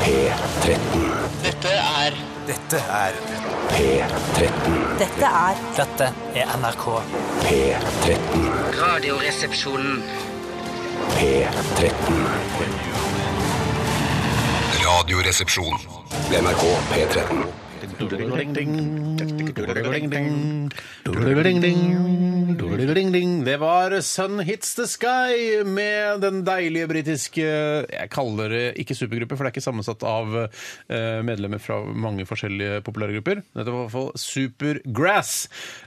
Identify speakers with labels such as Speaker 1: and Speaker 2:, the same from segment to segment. Speaker 1: P13.
Speaker 2: Dette er
Speaker 3: Dette er
Speaker 1: P13.
Speaker 4: Dette er
Speaker 5: Dette er NRK.
Speaker 1: P13.
Speaker 2: Radioresepsjonen.
Speaker 1: P13.
Speaker 6: Radioresepsjon.
Speaker 1: NRK P13.
Speaker 7: Det var Sun Hits The Sky med den deilige britiske Jeg kaller det ikke supergruppe, for det er ikke sammensatt av eh, medlemmer fra mange forskjellige populære grupper. Dette var i hvert fall Supergrass,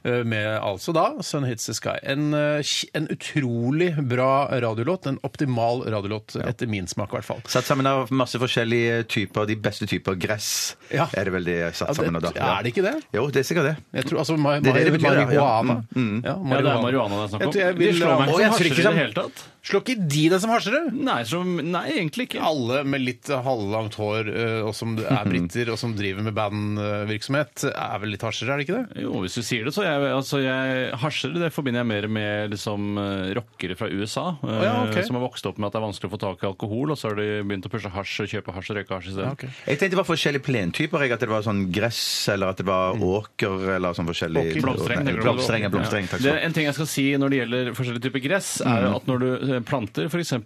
Speaker 7: eh, med altså da Sun Hits The Sky. En, eh, kj- en utrolig bra radiolåt. En optimal radiolåt, etter min smak i hvert fall.
Speaker 8: Satt sammen av masse forskjellige typer, de beste typer gress.
Speaker 7: Ja.
Speaker 8: Er det vel det jeg satt
Speaker 7: Ja, det-
Speaker 8: sammen av da? Ja.
Speaker 7: er det ikke det?
Speaker 8: Jo, det er sikkert det.
Speaker 7: Jeg tror, altså, ma
Speaker 8: Det er det det
Speaker 7: mari-
Speaker 8: betyr, ja.
Speaker 7: marihuana.
Speaker 8: Ja, mm, mm.
Speaker 7: Ja,
Speaker 9: Ja, det er
Speaker 7: marihuana.
Speaker 9: marihuana det er snakk
Speaker 7: Jeg
Speaker 9: om.
Speaker 7: tror jeg
Speaker 9: de
Speaker 7: vil-
Speaker 9: slår meg
Speaker 7: Å, jeg
Speaker 9: ikke som
Speaker 7: tror
Speaker 9: hasjer
Speaker 7: ikke
Speaker 9: i det
Speaker 7: som-
Speaker 9: hele tatt.
Speaker 7: Slår ikke de deg som hasjere?
Speaker 9: Nei, som, nei, egentlig ikke.
Speaker 7: Alle med litt halvlangt hår eh, og som er briter og som driver med bandvirksomhet, er vel litt hasjere, er det ikke det?
Speaker 9: Jo, hvis du sier det, så jeg, altså jeg Hasjer, det forbinder jeg mer med liksom, eh, rockere fra USA. eh,
Speaker 7: ja, ok.
Speaker 9: Som har vokst opp med at det er vanskelig å få tak i alkohol, og så har de begynt å pushe hasj og kjøpe hasj og røyke hasj isteden.
Speaker 7: ok.
Speaker 8: Jeg tenkte det var forskjellige plentyper. Jeg, at det var sånn gress, eller at det var åker, eller sånn
Speaker 7: Mm.
Speaker 8: forskjellig
Speaker 7: Åker,
Speaker 9: Blomstereng.
Speaker 8: Nei,
Speaker 9: tenker du på?
Speaker 8: Blomstereng, ja, blomstereng,
Speaker 9: Ja.
Speaker 8: takk
Speaker 9: det,
Speaker 8: skal du ha.
Speaker 9: En ting jeg skal si når det gjelder forskjellige typer gress, er jo at når du eh, planter f.eks. en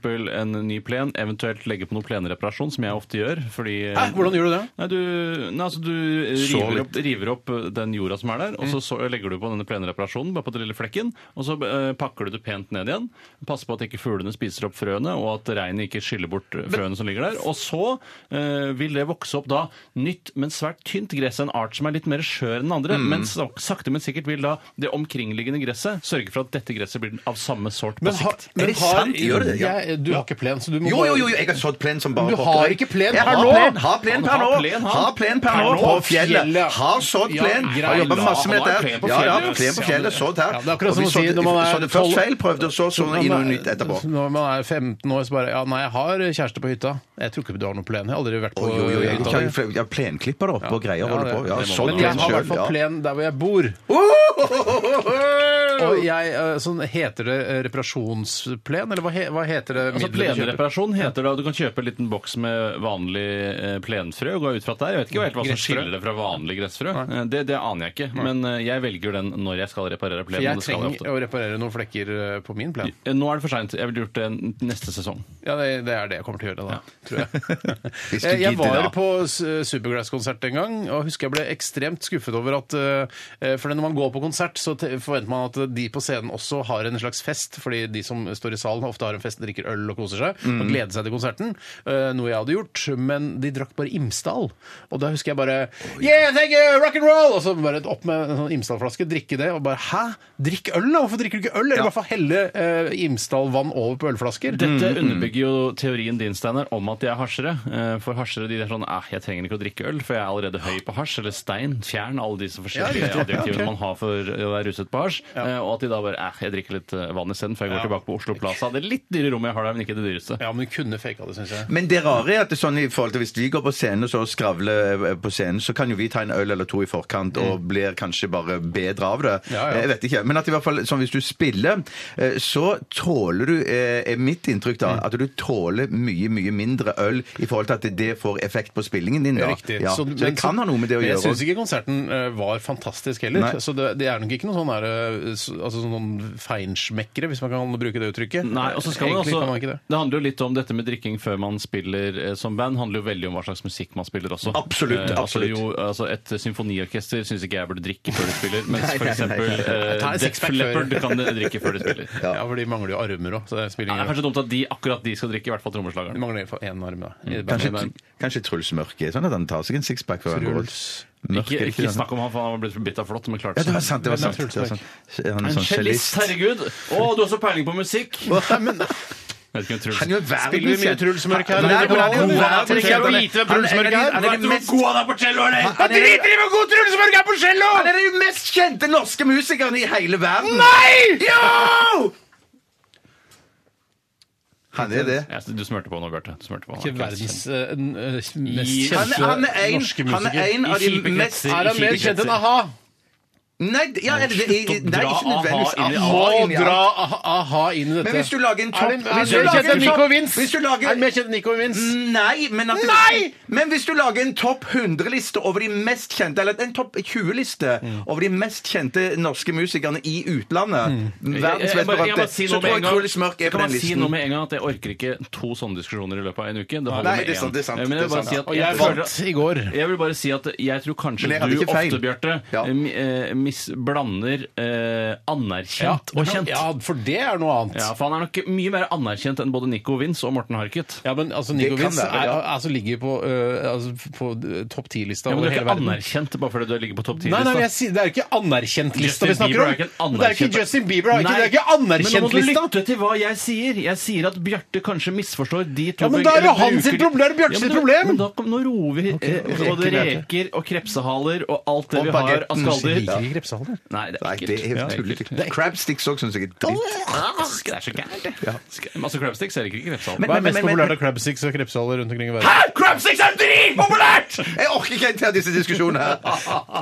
Speaker 9: ny plen, eventuelt legger på noe plenreparasjon, som jeg ofte gjør fordi
Speaker 7: Hæ, hvordan gjør du det?
Speaker 9: Nei, du, nei, altså du river opp, river opp eh, den jorda som er der, og så,
Speaker 7: Mm.
Speaker 9: så legger du på denne plenreparasjonen bare på den lille flekken, og så eh, pakker du det pent ned igjen. Pass på at ikke fuglene spiser opp frøene, og at regnet ikke skyller bort eh, frøene som ligger der. Og så eh, vil det vokse opp da nytt, men svært tynt gress, en art som er litt mer skjør enn den andre, men sak- sakte, men sikkert vil da det omkringliggende gresset sørge for at dette gresset blir av samme sort på
Speaker 7: Men, har-
Speaker 9: sikt.
Speaker 7: men
Speaker 8: det
Speaker 7: har,
Speaker 8: sant? Gjør det det? Ja.
Speaker 7: Jeg, du har ikke plen, så du må
Speaker 8: Jo,
Speaker 7: bare-
Speaker 8: jo, jo, jeg har sådd plen som bare
Speaker 7: Du har ikke plen
Speaker 8: Jeg
Speaker 7: per
Speaker 8: har
Speaker 7: nå.
Speaker 8: plen, har plen
Speaker 9: Han
Speaker 8: per
Speaker 9: har
Speaker 8: nå!
Speaker 9: plen, han.
Speaker 8: Har plen per nå
Speaker 7: Per nå,
Speaker 8: på
Speaker 7: på fjellet, ja.
Speaker 8: fjellet! Har sådd
Speaker 7: Ja,
Speaker 8: plen!
Speaker 7: grei,
Speaker 8: Har jobba
Speaker 7: da.
Speaker 8: masse med
Speaker 9: Han har
Speaker 8: dette.
Speaker 9: plen på
Speaker 8: her. Ja, ja,
Speaker 9: fjellet.
Speaker 8: plen på fjellet, sådd her.
Speaker 7: Ja, det er akkurat
Speaker 8: Og vi
Speaker 7: som å si
Speaker 8: sådde-
Speaker 7: når man
Speaker 8: vi
Speaker 7: er
Speaker 8: sådde først
Speaker 7: 12
Speaker 8: feil, prøvde, og så så
Speaker 7: Når
Speaker 8: i noe
Speaker 7: man er-
Speaker 8: nytt etterpå.
Speaker 7: Når man er 15 år, så bare Ja, nei, jeg har kjæreste på hytta. Jeg tror ikke du har noen plen. Jeg har aldri vært på
Speaker 8: Å, jo, jo, jeg,
Speaker 7: hytta.
Speaker 8: jeg, jeg, jeg plenklipper det opp og greier.
Speaker 7: Ja,
Speaker 8: holder
Speaker 7: det-
Speaker 8: på. Ja, sånn
Speaker 7: det må
Speaker 8: sådd
Speaker 7: Men jeg
Speaker 8: plen
Speaker 7: har i hvert
Speaker 8: sjøl.
Speaker 7: fall plen der hvor jeg bor. Og jeg, eh, sånn, heter det eh, reparasjonsplen, eller hva, he, hva heter det?
Speaker 9: Altså
Speaker 7: middelet du kjøper?
Speaker 9: Plenreparasjon heter det. og Du kan kjøpe en liten boks med vanlig eh, plenfrø. og Gå ut fra at det er. Jeg vet ikke helt hva som
Speaker 7: Gressfrø.
Speaker 9: skiller det fra vanlig gressfrø. Eh, Det, det aner jeg ikke. Men eh, jeg velger den når jeg skal reparere
Speaker 7: For
Speaker 9: plenen.
Speaker 7: jeg
Speaker 9: det skal jeg
Speaker 7: trenger
Speaker 9: ofte.
Speaker 7: å reparere noen flekker eh, på min plen.
Speaker 9: Eh, Nå er det for seint. Jeg ville gjort det n- neste sesong.
Speaker 7: Ja, det, det er det jeg kommer til å gjøre da, tror jeg.
Speaker 8: Hvis du
Speaker 7: jeg, Eh, jeg
Speaker 8: gidder,
Speaker 7: var
Speaker 8: da.
Speaker 7: på S- Supergrass-konsert en gang, og husker jeg ble ekstremt skuffet over at eh, For når man går på konsert, så te- forventer man at de på scenen også har en slags fest, fordi de som står i salen, ofte har en fest, drikker øl og koser seg,
Speaker 8: Mm.
Speaker 7: og gleder seg til konserten. eh, noe jeg hadde gjort, men de drakk bare Imsdal. Og da husker jeg bare Yeah, thank you, rock and roll! Og så bare opp med en sånn Imsdal-flaske, drikke det, og bare Hæ? Drikk øl, da? Hvorfor drikker du ikke øl? Eller i hvert fall helle eh, Imsdal-vann over på ølflasker.
Speaker 9: Dette underbygger jo teorien din, Steinar, om at de er hasjere. Eh, For hasjere de er sånn eh, jeg trenger ikke å drikke øl, for jeg er allerede høy på hasj. Eller stein. Fjern alle disse forskjellige
Speaker 7: Ja, riktig.
Speaker 9: adjektivene
Speaker 7: Ok.
Speaker 9: man har for å være ruset på hasj. Eh, Og at de da bare eh, jeg drikker litt eh, vann isteden, for jeg går tilbake på Oslo Plaza. Det er litt dyre rommet jeg har der, men ikke det dyreste.
Speaker 7: Ja, men du kunne faka det, syns jeg.
Speaker 8: Men det rare er at det er sånn i forhold til hvis vi går på scenen og så skravler eh, på scenen, så kan jo vi ta en øl eller to i forkant og blir kanskje bare bedre av det.
Speaker 7: Mm. Ja, ja.
Speaker 8: Eh, Jeg vet ikke. Men at i hvert fall sånn hvis du spiller, eh, så tåler du, eh, er mitt inntrykk
Speaker 7: Mm.
Speaker 8: da, at du tåler mye, mye mindre øl i forhold til at det får effekt på spillingen din. Da.
Speaker 7: Riktig.
Speaker 8: Ja. Så, det
Speaker 7: men
Speaker 8: kan ha noe med det å
Speaker 7: men
Speaker 8: gjøre.
Speaker 7: Jeg syns ikke konserten eh, var fantastisk heller.
Speaker 8: Nei.
Speaker 7: Så det, det er nok ikke noen sånn derre, s- altså sånn feinschmeckere, hvis man kan bruke det uttrykket.
Speaker 9: Nei, og så skal man
Speaker 7: Egentlig
Speaker 9: altså- også,
Speaker 7: kan man ikke
Speaker 9: det.
Speaker 7: det.
Speaker 9: handler jo litt om dette med drikking før man spiller eh, som band. handler jo veldig om hva slags musikk man spiller også.
Speaker 8: Absolutt,
Speaker 9: altså,
Speaker 8: absolutt.
Speaker 9: jo, altså Et symfoniorkester syns ikke jeg burde drikke før de spiller, mens for eksempel
Speaker 7: Ta
Speaker 9: eh,
Speaker 7: en
Speaker 9: Def
Speaker 7: sixpack før.
Speaker 9: Leppard kan drikke før de spiller.
Speaker 7: Ja. for de mangler jo armer òg, så det spiller
Speaker 9: Nei, det
Speaker 7: ingen rolle.
Speaker 9: er kanskje dumt at de, akkurat de skal drikke, i hvert fall
Speaker 7: De
Speaker 9: trommeslageren.
Speaker 7: mangler i hvert fall én arm, da.
Speaker 9: Mm,
Speaker 7: i bandet.
Speaker 8: Kanskje, kanskje Truls Mørke er sånn at han tar seg en sixpack før han går ut.
Speaker 7: Truls.
Speaker 8: Mørke,
Speaker 9: Ikke, ikke
Speaker 8: det?
Speaker 9: snakk om han, for han har blitt bitt av flott, men klart
Speaker 8: Ja, det var sant. det var
Speaker 7: Hvem er
Speaker 8: sant.
Speaker 7: Truls
Speaker 8: Det var sant. Han er
Speaker 9: En
Speaker 8: sånn cellist.
Speaker 9: cellist, herregud! Å, du har så peiling på musikk! Jeg vet ikke om Truls-
Speaker 8: Han er jo verdens
Speaker 7: Spiller vi mye Truls Mørk her?
Speaker 8: Nei,
Speaker 7: Eller
Speaker 8: men han er jo
Speaker 7: hvordan-
Speaker 8: verdens-
Speaker 7: Trenger jeg å vite hvem Truls Mørk er?
Speaker 8: Han er den mest-
Speaker 9: god han er på cello, eller?
Speaker 8: Han er-
Speaker 7: i hvor god Truls Mørk er på cello!
Speaker 8: Han er den mest kjente norske musikeren i hele verden! Jo! Han er det.
Speaker 9: Ja, du smørte på nå, Bjarte. Du smørte på.
Speaker 7: Ikke verdens eh, n- eh, mest
Speaker 9: I-
Speaker 8: Han
Speaker 7: kjente
Speaker 8: er, han er en,
Speaker 7: norske
Speaker 8: han er
Speaker 7: musiker.
Speaker 8: en av
Speaker 9: I
Speaker 8: de
Speaker 9: kjipe
Speaker 8: mest
Speaker 9: kretser.
Speaker 7: Er han mer kjent enn a-ha?
Speaker 8: Nei, d- ja, eller, det, i-
Speaker 9: Slutt
Speaker 8: nei,
Speaker 9: å dra
Speaker 8: ikke nødvendigvis.
Speaker 9: a-ha inn i
Speaker 8: A-ha
Speaker 7: Må
Speaker 8: inn i alt.
Speaker 7: dra a- a-ha inn i dette.
Speaker 8: Men hvis du lager en
Speaker 7: Er
Speaker 8: topp
Speaker 7: det-
Speaker 8: hvis du
Speaker 7: Er det
Speaker 8: lager
Speaker 7: kjent
Speaker 8: en
Speaker 7: enn Nico
Speaker 8: topp-
Speaker 7: Vince?
Speaker 8: hvis du lager- Mm.
Speaker 7: Er det mer kjent enn Nico Vince?
Speaker 8: Nei! Men, at
Speaker 7: Nei!
Speaker 8: men hvis du lager en topp 100-liste over de mest kjente, eller en topp 20-liste
Speaker 9: Mm.
Speaker 8: over de mest kjente norske musikerne i utlandet verdens
Speaker 9: Mm. Jeg- jeg
Speaker 8: mest
Speaker 9: bare- jeg
Speaker 8: berømte,
Speaker 9: må si
Speaker 8: så
Speaker 9: noe med
Speaker 8: tror jeg
Speaker 9: en gang.
Speaker 8: Truls Mørk
Speaker 9: Så
Speaker 8: er
Speaker 9: kan
Speaker 8: på den
Speaker 9: jeg si noe
Speaker 8: listen.
Speaker 9: med en gang at jeg orker ikke to sånne diskusjoner i løpet av en uke. Det holder
Speaker 8: Nei,
Speaker 9: med
Speaker 8: det er sant,
Speaker 9: én.
Speaker 8: det er sant,
Speaker 9: Men
Speaker 8: det
Speaker 9: jeg
Speaker 8: er
Speaker 9: vil bare
Speaker 8: sant.
Speaker 9: si at
Speaker 7: Og
Speaker 9: jeg
Speaker 7: jeg vant
Speaker 9: føler
Speaker 7: i går.
Speaker 9: jeg vil bare si at jeg tror kanskje
Speaker 8: Men jeg hadde
Speaker 9: du
Speaker 8: ikke feil.
Speaker 9: ofte, Bjarte,
Speaker 8: Ja.
Speaker 9: eh, mi- eh, mis- blander eh, anerkjent og kjent.
Speaker 7: Ja, for det er noe annet.
Speaker 9: Ja, for han er nok mye mer anerkjent enn både Nico Vince og Morten Harket.
Speaker 7: Ja, men altså,
Speaker 8: Det
Speaker 7: Nico
Speaker 8: kan
Speaker 7: Vince
Speaker 8: være,
Speaker 7: er,
Speaker 8: ja.
Speaker 7: altså, ligger på, øh, altså, på øh, topp ti-lista
Speaker 9: Ja, men
Speaker 7: over
Speaker 9: du er
Speaker 7: hele
Speaker 9: ikke
Speaker 7: verden.
Speaker 9: anerkjent bare fordi du ligger på topp 10
Speaker 7: Nei, nei, men jeg sier, Det er jo ikke anerkjent-lista vi
Speaker 9: Justin
Speaker 7: snakker
Speaker 9: Bieber
Speaker 7: om.
Speaker 9: er
Speaker 7: det er jo
Speaker 9: ikke en anerkjent-
Speaker 7: ikke Justin Bieber. Er ikke,
Speaker 9: Nei,
Speaker 7: det er ikke
Speaker 9: Men nå
Speaker 7: anerkjent-lista!
Speaker 9: må du lytte til hva jeg sier. Jeg sier at Bjarte kanskje misforstår de to
Speaker 7: Ja, men da er det
Speaker 9: eller
Speaker 7: han
Speaker 9: bruker-
Speaker 7: sitt problem, det er Bjarte
Speaker 9: men
Speaker 7: sitt
Speaker 9: da-
Speaker 7: problem.
Speaker 9: Men da kom, nå roer vi eh,
Speaker 7: reker
Speaker 9: både
Speaker 7: Bjarte.
Speaker 9: reker og krepsehaler og alt det
Speaker 8: Og
Speaker 9: vi har av
Speaker 8: bagetten.
Speaker 9: skalder.
Speaker 7: Jeg liker ikke krepsehaler.
Speaker 9: Nei,
Speaker 8: Nei,
Speaker 9: det er
Speaker 8: det er
Speaker 9: ekkelt.
Speaker 8: helt
Speaker 9: ekkelt.
Speaker 8: tullete. Crabsticks òg syns jeg er dritt.
Speaker 9: Ah, Det er så gærent, det. Altså, crabsticks er ikke krepsehaler.
Speaker 7: Hva er
Speaker 8: Men-
Speaker 7: mest
Speaker 8: men- men-
Speaker 7: populært av crabsticks og krepsehaler rundt omkring i verden?
Speaker 9: Crabsticks er dritpopulært!
Speaker 8: Jeg orker ikke en til av disse diskusjonene her.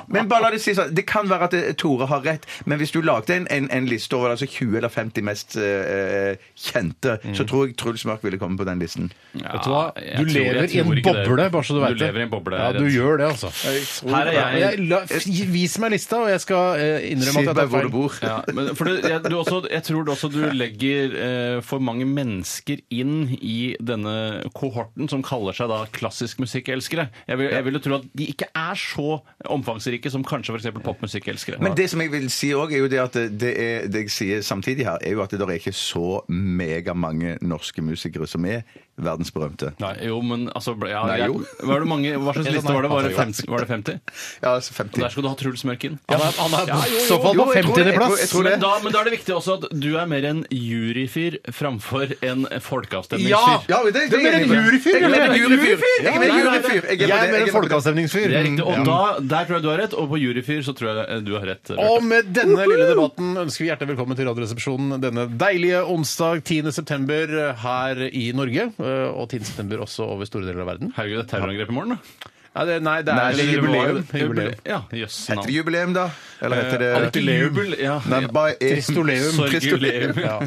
Speaker 8: Men bare la det si sånn, det kan være at eh, Tore har rett, men hvis du lagde en, en, en liste over altså 20 eller 50 mest eh, kjente, så tror jeg Truls Mørk ville komme på den listen.
Speaker 7: Vet du hva?
Speaker 9: jeg
Speaker 7: Du
Speaker 9: tror- jeg
Speaker 7: lever i
Speaker 9: tror
Speaker 7: en
Speaker 9: ikke det.
Speaker 7: boble, bare så du
Speaker 9: Du
Speaker 7: vet det.
Speaker 9: lever i en boble,
Speaker 7: Ja,
Speaker 9: jeg er
Speaker 7: du
Speaker 9: redd.
Speaker 7: gjør det, altså.
Speaker 9: Her er jeg.
Speaker 7: jeg la, f- vis meg lista, og jeg skal eh, innrømme
Speaker 8: Si
Speaker 7: at jeg
Speaker 8: meg
Speaker 7: tar
Speaker 8: hvor
Speaker 7: feil.
Speaker 8: du bor.
Speaker 9: Ja, men for du, jeg, du også, jeg tror du også du legger eh, for mange mennesker inn i denne kohorten som kaller seg da klassisk musikkelskere. Jeg, vil, jeg ville tro at de ikke er så omfangsrike som kanskje f.eks. popmusikkelskere.
Speaker 8: Men det som jeg vil si også er jo det at det, det er, det jeg sier samtidig her, er jo at det er ikke så megamange norske musikere som er verdensberømte.
Speaker 9: Nei, jo, men altså ja,
Speaker 8: Nei,
Speaker 9: jeg-
Speaker 8: jo.
Speaker 9: Var det mange, Hva slags liste var det? Var det 50? Var det 50?
Speaker 8: Ja, altså
Speaker 9: Og der
Speaker 8: 50.
Speaker 9: skal du ha Truls Mørk inn.
Speaker 7: Han er, han er i så fall
Speaker 8: Jo,
Speaker 7: på
Speaker 8: jeg tror det, jeg tror- jeg
Speaker 7: 50.-plass.
Speaker 8: tror det.
Speaker 9: Men da, men da er det viktig også at du er mer en juryfyr framfor en
Speaker 7: Ja!
Speaker 9: folkeavstemningsfyr.
Speaker 8: Ja, det, det,
Speaker 7: Du er mer en
Speaker 8: enig i.
Speaker 7: juryfyr,
Speaker 8: Jeg er mer en
Speaker 7: eller?
Speaker 8: juryfyr! Jeg er mer en
Speaker 9: Ja, nei, nei,
Speaker 8: juryfyr.
Speaker 7: Jeg er mer en
Speaker 8: på det.
Speaker 7: folkeavstemningsfyr.
Speaker 9: Det er riktig, og da, Der tror jeg du har rett, og på juryfyr så tror jeg eh, du har rett. Bjarte.
Speaker 7: Og med denne lille debatten ønsker vi hjertelig velkommen til Radioresepsjonen denne deilige onsdag 10. september eh, her i Norge, eh, og 10. september også over store deler av verden.
Speaker 9: Herregud, det er terrorangrep i morgen, da.
Speaker 7: Nei, det, nei, det
Speaker 8: Nei,
Speaker 7: er,
Speaker 8: det er
Speaker 7: jubileum.
Speaker 8: jubileum.
Speaker 7: jubileum.
Speaker 9: Ja, jøss.
Speaker 8: Heter det jubileum, da? Eller heter
Speaker 9: Eh,
Speaker 8: det
Speaker 9: Jubel, ja.
Speaker 8: Nei, bare
Speaker 7: Tristoleum.
Speaker 9: Sorguleum.
Speaker 7: Ja.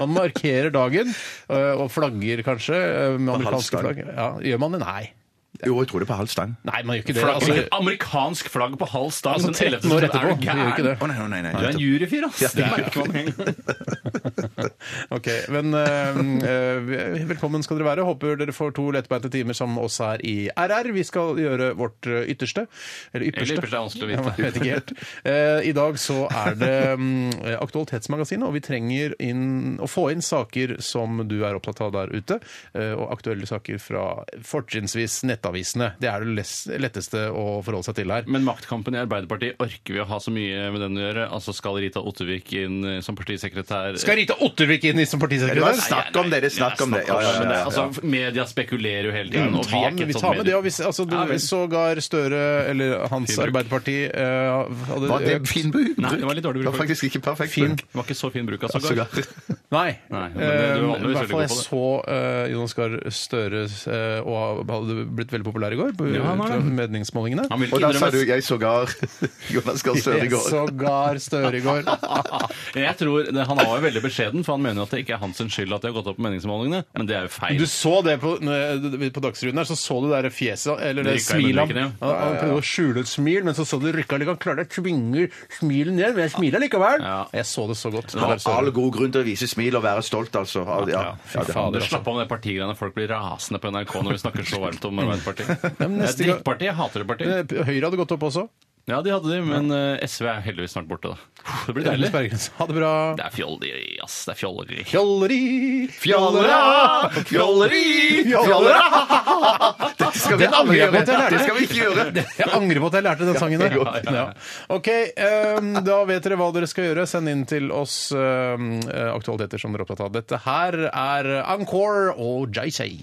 Speaker 7: Man markerer dagen, eh, og flagger kanskje eh, med amerikanske
Speaker 8: halvstang.
Speaker 7: flagg. Ja, gjør man det? Nei.
Speaker 8: Jo, jeg tror det er på halv stang.
Speaker 7: Nei, man gjør ikke det.
Speaker 9: Flagg,
Speaker 7: Altså,
Speaker 9: amerikansk flagg på halv stang.
Speaker 7: altså
Speaker 9: den
Speaker 7: 13
Speaker 9: 11.
Speaker 7: år
Speaker 9: september,
Speaker 7: etterpå.
Speaker 9: er du
Speaker 7: Man
Speaker 9: gæren?
Speaker 7: gjør ikke det.
Speaker 8: Å, nei, å, nei, nei.
Speaker 9: Du er en
Speaker 8: nettopp.
Speaker 9: juryfyr, ass. Det merker man med en gang.
Speaker 7: Ok, men eh, eh, Velkommen skal dere være. Håper dere får to lettbeinte timer sammen med oss her i RR. Vi skal gjøre vårt eh, ytterste. Eller
Speaker 9: Eller
Speaker 7: ypperste.
Speaker 9: ypperste er vanskelig å
Speaker 7: Jeg
Speaker 9: vite.
Speaker 7: vet ikke helt. Eh, I dag så er det mm, Aktualitetsmagasinet, og vi trenger inn, å få inn saker som du er opptatt av der ute. eh, og aktuelle saker fra fortrinnsvis nettavisene. Det er det les- letteste å forholde seg til her.
Speaker 9: Men maktkampen i Arbeiderpartiet orker vi å ha så mye med den å gjøre? Altså Skal Rita Ottervik inn eh, som partisekretær?
Speaker 7: Skal Rita Ottervik inn i som
Speaker 8: Det var
Speaker 7: partisekretær?
Speaker 8: snakk om det, det er snakk om det. Ja,
Speaker 9: Ja,
Speaker 8: ja,
Speaker 9: men det,
Speaker 8: ja, ja.
Speaker 9: altså, media spekulerer jo hele tiden. og
Speaker 7: Ta
Speaker 9: er
Speaker 7: med,
Speaker 9: ikke
Speaker 7: vi
Speaker 9: et sånt
Speaker 7: tar med det.
Speaker 9: medium.
Speaker 7: Og hvis, altså, du,
Speaker 9: Ja, vel.
Speaker 7: sågar Støre, eller hans
Speaker 9: Fin bruk.
Speaker 7: Arbeiderparti, eh, hadde
Speaker 8: Var det
Speaker 7: økt-
Speaker 8: fin bruk?
Speaker 9: Nei, det var litt dårlig
Speaker 8: Det
Speaker 9: bruk.
Speaker 8: var faktisk ikke perfekt
Speaker 7: Fin.
Speaker 8: bruk.
Speaker 9: Det var ikke så fin bruk av
Speaker 8: Altså,
Speaker 9: sågar.
Speaker 7: Nei.
Speaker 9: Nei, men det- du er
Speaker 7: Eh,
Speaker 9: vanligvis
Speaker 7: I hvert fall
Speaker 9: veldig god
Speaker 7: jeg så eh, Jonas Gahr Støre eh, og hadde blitt veldig populær i går på
Speaker 9: Ja, han har det.
Speaker 7: på meningsmålingene.
Speaker 9: Han vil
Speaker 8: Og
Speaker 9: ikke
Speaker 8: da sa du
Speaker 9: innrømme
Speaker 8: 'jeg sågar Jonas Gahr Støre i går'.
Speaker 7: Eh, Sågar Støre i går.
Speaker 9: Jeg tror, det- Han var jo veldig beskjeden, for han mener at det ikke er hans skyld at de har gått opp på meningsmålingene. Men det er jo feil.
Speaker 7: Du så det på, når- på Dagsrevyen her, så så du det der fjeset, eller det,
Speaker 9: Det rykket i
Speaker 7: smilet han-
Speaker 9: munnvikene,
Speaker 7: Han han prøvde å skjule et smil, men så så du rykka litt. Han klarte å tvinge smilet ned, men jeg smiler likevel.
Speaker 9: Ja.
Speaker 7: Jeg så det så godt.
Speaker 8: Har all god grunn til å vise smil og være stolt, altså. Ja, ja,
Speaker 7: fy
Speaker 8: det- altså.
Speaker 7: fader.
Speaker 9: Du slapp av med det partigreiene. Folk blir rasende på NRK når vi snakker så varmt om Arbeiderpartiet.
Speaker 7: men
Speaker 9: Det er
Speaker 7: neste gang-
Speaker 9: drittpartiet. Jeg hater det partiet.
Speaker 7: Eh, Høyre hadde gått opp også.
Speaker 9: Ja, de hadde de, men eh, SV er heldigvis snart borte, da. Det blir deilig. Det
Speaker 7: Sperregrense. Ha det bra.
Speaker 9: er fjolleri, ass. Det er fjolleri.
Speaker 7: Fjolleri!
Speaker 8: Fjollera! Fjolleri! Fjollera! Dette skal vi
Speaker 7: Den angrer
Speaker 8: aldri
Speaker 7: jeg på
Speaker 8: gjøre.
Speaker 7: at jeg lærte.
Speaker 8: Det skal vi ikke gjøre.
Speaker 7: Jeg angrer på at jeg lærte den sangen der.
Speaker 8: Ja,
Speaker 7: Ja. OK, ehm, da vet dere hva dere skal gjøre. Send inn til oss ehm, aktualiteter som dere er opptatt av. Dette her er Encore og JC.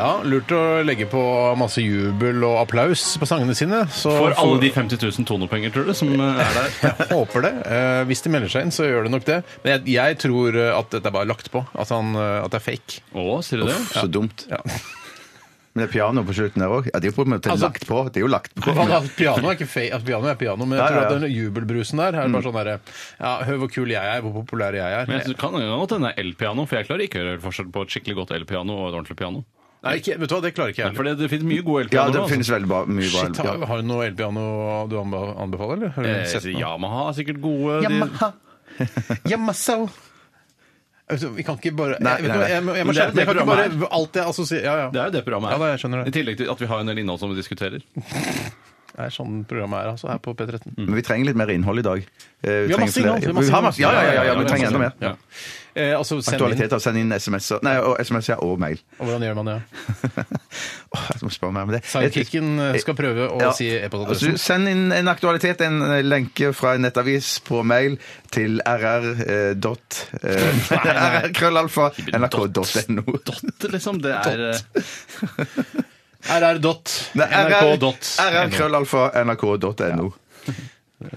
Speaker 7: Ja, Lurt å legge på masse jubel og applaus på sangene sine. Så
Speaker 9: For alle de 50 000 tonopenger, tror du, som eh, er der.
Speaker 7: Jeg håper det. Eh, hvis de melder seg inn, så gjør det nok det. Men jeg, jeg tror eh, at dette er bare lagt på. At, han, eh, at det er fake.
Speaker 9: Å, sier du det?
Speaker 8: Så dumt.
Speaker 7: Ja.
Speaker 8: Men det er piano på slutten der òg. Ja, det er jo på en måte
Speaker 7: Altså-
Speaker 8: lagt på. Det er jo lagt på.
Speaker 7: At altså, piano er ikke fake, at piano er piano, men jeg
Speaker 8: Ja,
Speaker 7: tror at
Speaker 8: ja, ja.
Speaker 7: den jubelbrusen der er bare sånn derre ja, Hør hvor kul jeg er, hvor populær jeg er.
Speaker 9: Men jeg synes, det kan godt hende det er elpiano, for jeg klarer ikke å høre forskjell på et skikkelig godt elpiano og et ordentlig piano.
Speaker 7: Nei, ikke, vet du hva, det klarer ikke jeg
Speaker 9: For
Speaker 7: heller.
Speaker 9: det, det finnes mye gode
Speaker 8: Ja,
Speaker 9: elpianoer.
Speaker 8: det
Speaker 9: altså.
Speaker 8: finnes veldig bra, mye bra.
Speaker 7: Shit, har, har du noe elpiano du anbe- anbefaler, eller? Har du
Speaker 9: Eh,
Speaker 7: sett noe?
Speaker 9: Yamaha er sikkert gode. de-
Speaker 7: Yamaso. Altså, Vi kan ikke bare
Speaker 8: Nei,
Speaker 7: jeg, vet du
Speaker 8: nei,
Speaker 7: hva,
Speaker 8: nei.
Speaker 7: jeg, må- jeg, må
Speaker 9: Men det er
Speaker 7: skjerpe meg. jeg
Speaker 9: jo det
Speaker 7: kan
Speaker 9: programmet
Speaker 7: ikke bare alt jeg assosierer Ja, ja.
Speaker 9: Det er jo det programmet
Speaker 7: Ja,
Speaker 9: er.
Speaker 7: da, jeg skjønner
Speaker 9: I
Speaker 7: det.
Speaker 9: tillegg til at vi har en del innhold som vi diskuterer.
Speaker 7: Det er sånn programmet er altså her på P13.
Speaker 8: Men vi trenger litt mer innhold i dag. Eh,
Speaker 7: Vi har
Speaker 8: trenger
Speaker 7: masse
Speaker 8: flere-
Speaker 7: innhold, vi har masse
Speaker 8: Vi har masse- Ja, ja, ja, ja, ja,
Speaker 9: innhold.
Speaker 8: vi trenger enda mer.
Speaker 7: Ja. Eh, altså, send inn.
Speaker 8: Aktualiteter. Send inn SMS-er Nei, og SMS-er og mail.
Speaker 7: Og hvordan gjør man det?
Speaker 8: Åh, jeg må spørre mer om det.
Speaker 7: Sidekicken eh, skal prøve å
Speaker 8: Ja.
Speaker 7: si
Speaker 8: Altså,
Speaker 7: e-postadressen.
Speaker 8: send inn en aktualitet, en eh, lenke fra en nettavis på mail til eh, rr.krøllalfa.nrk.no.
Speaker 9: Dott, liksom. Det er eh,
Speaker 7: rr.nrk.no.
Speaker 8: rr.krøllalfa.nrk.no.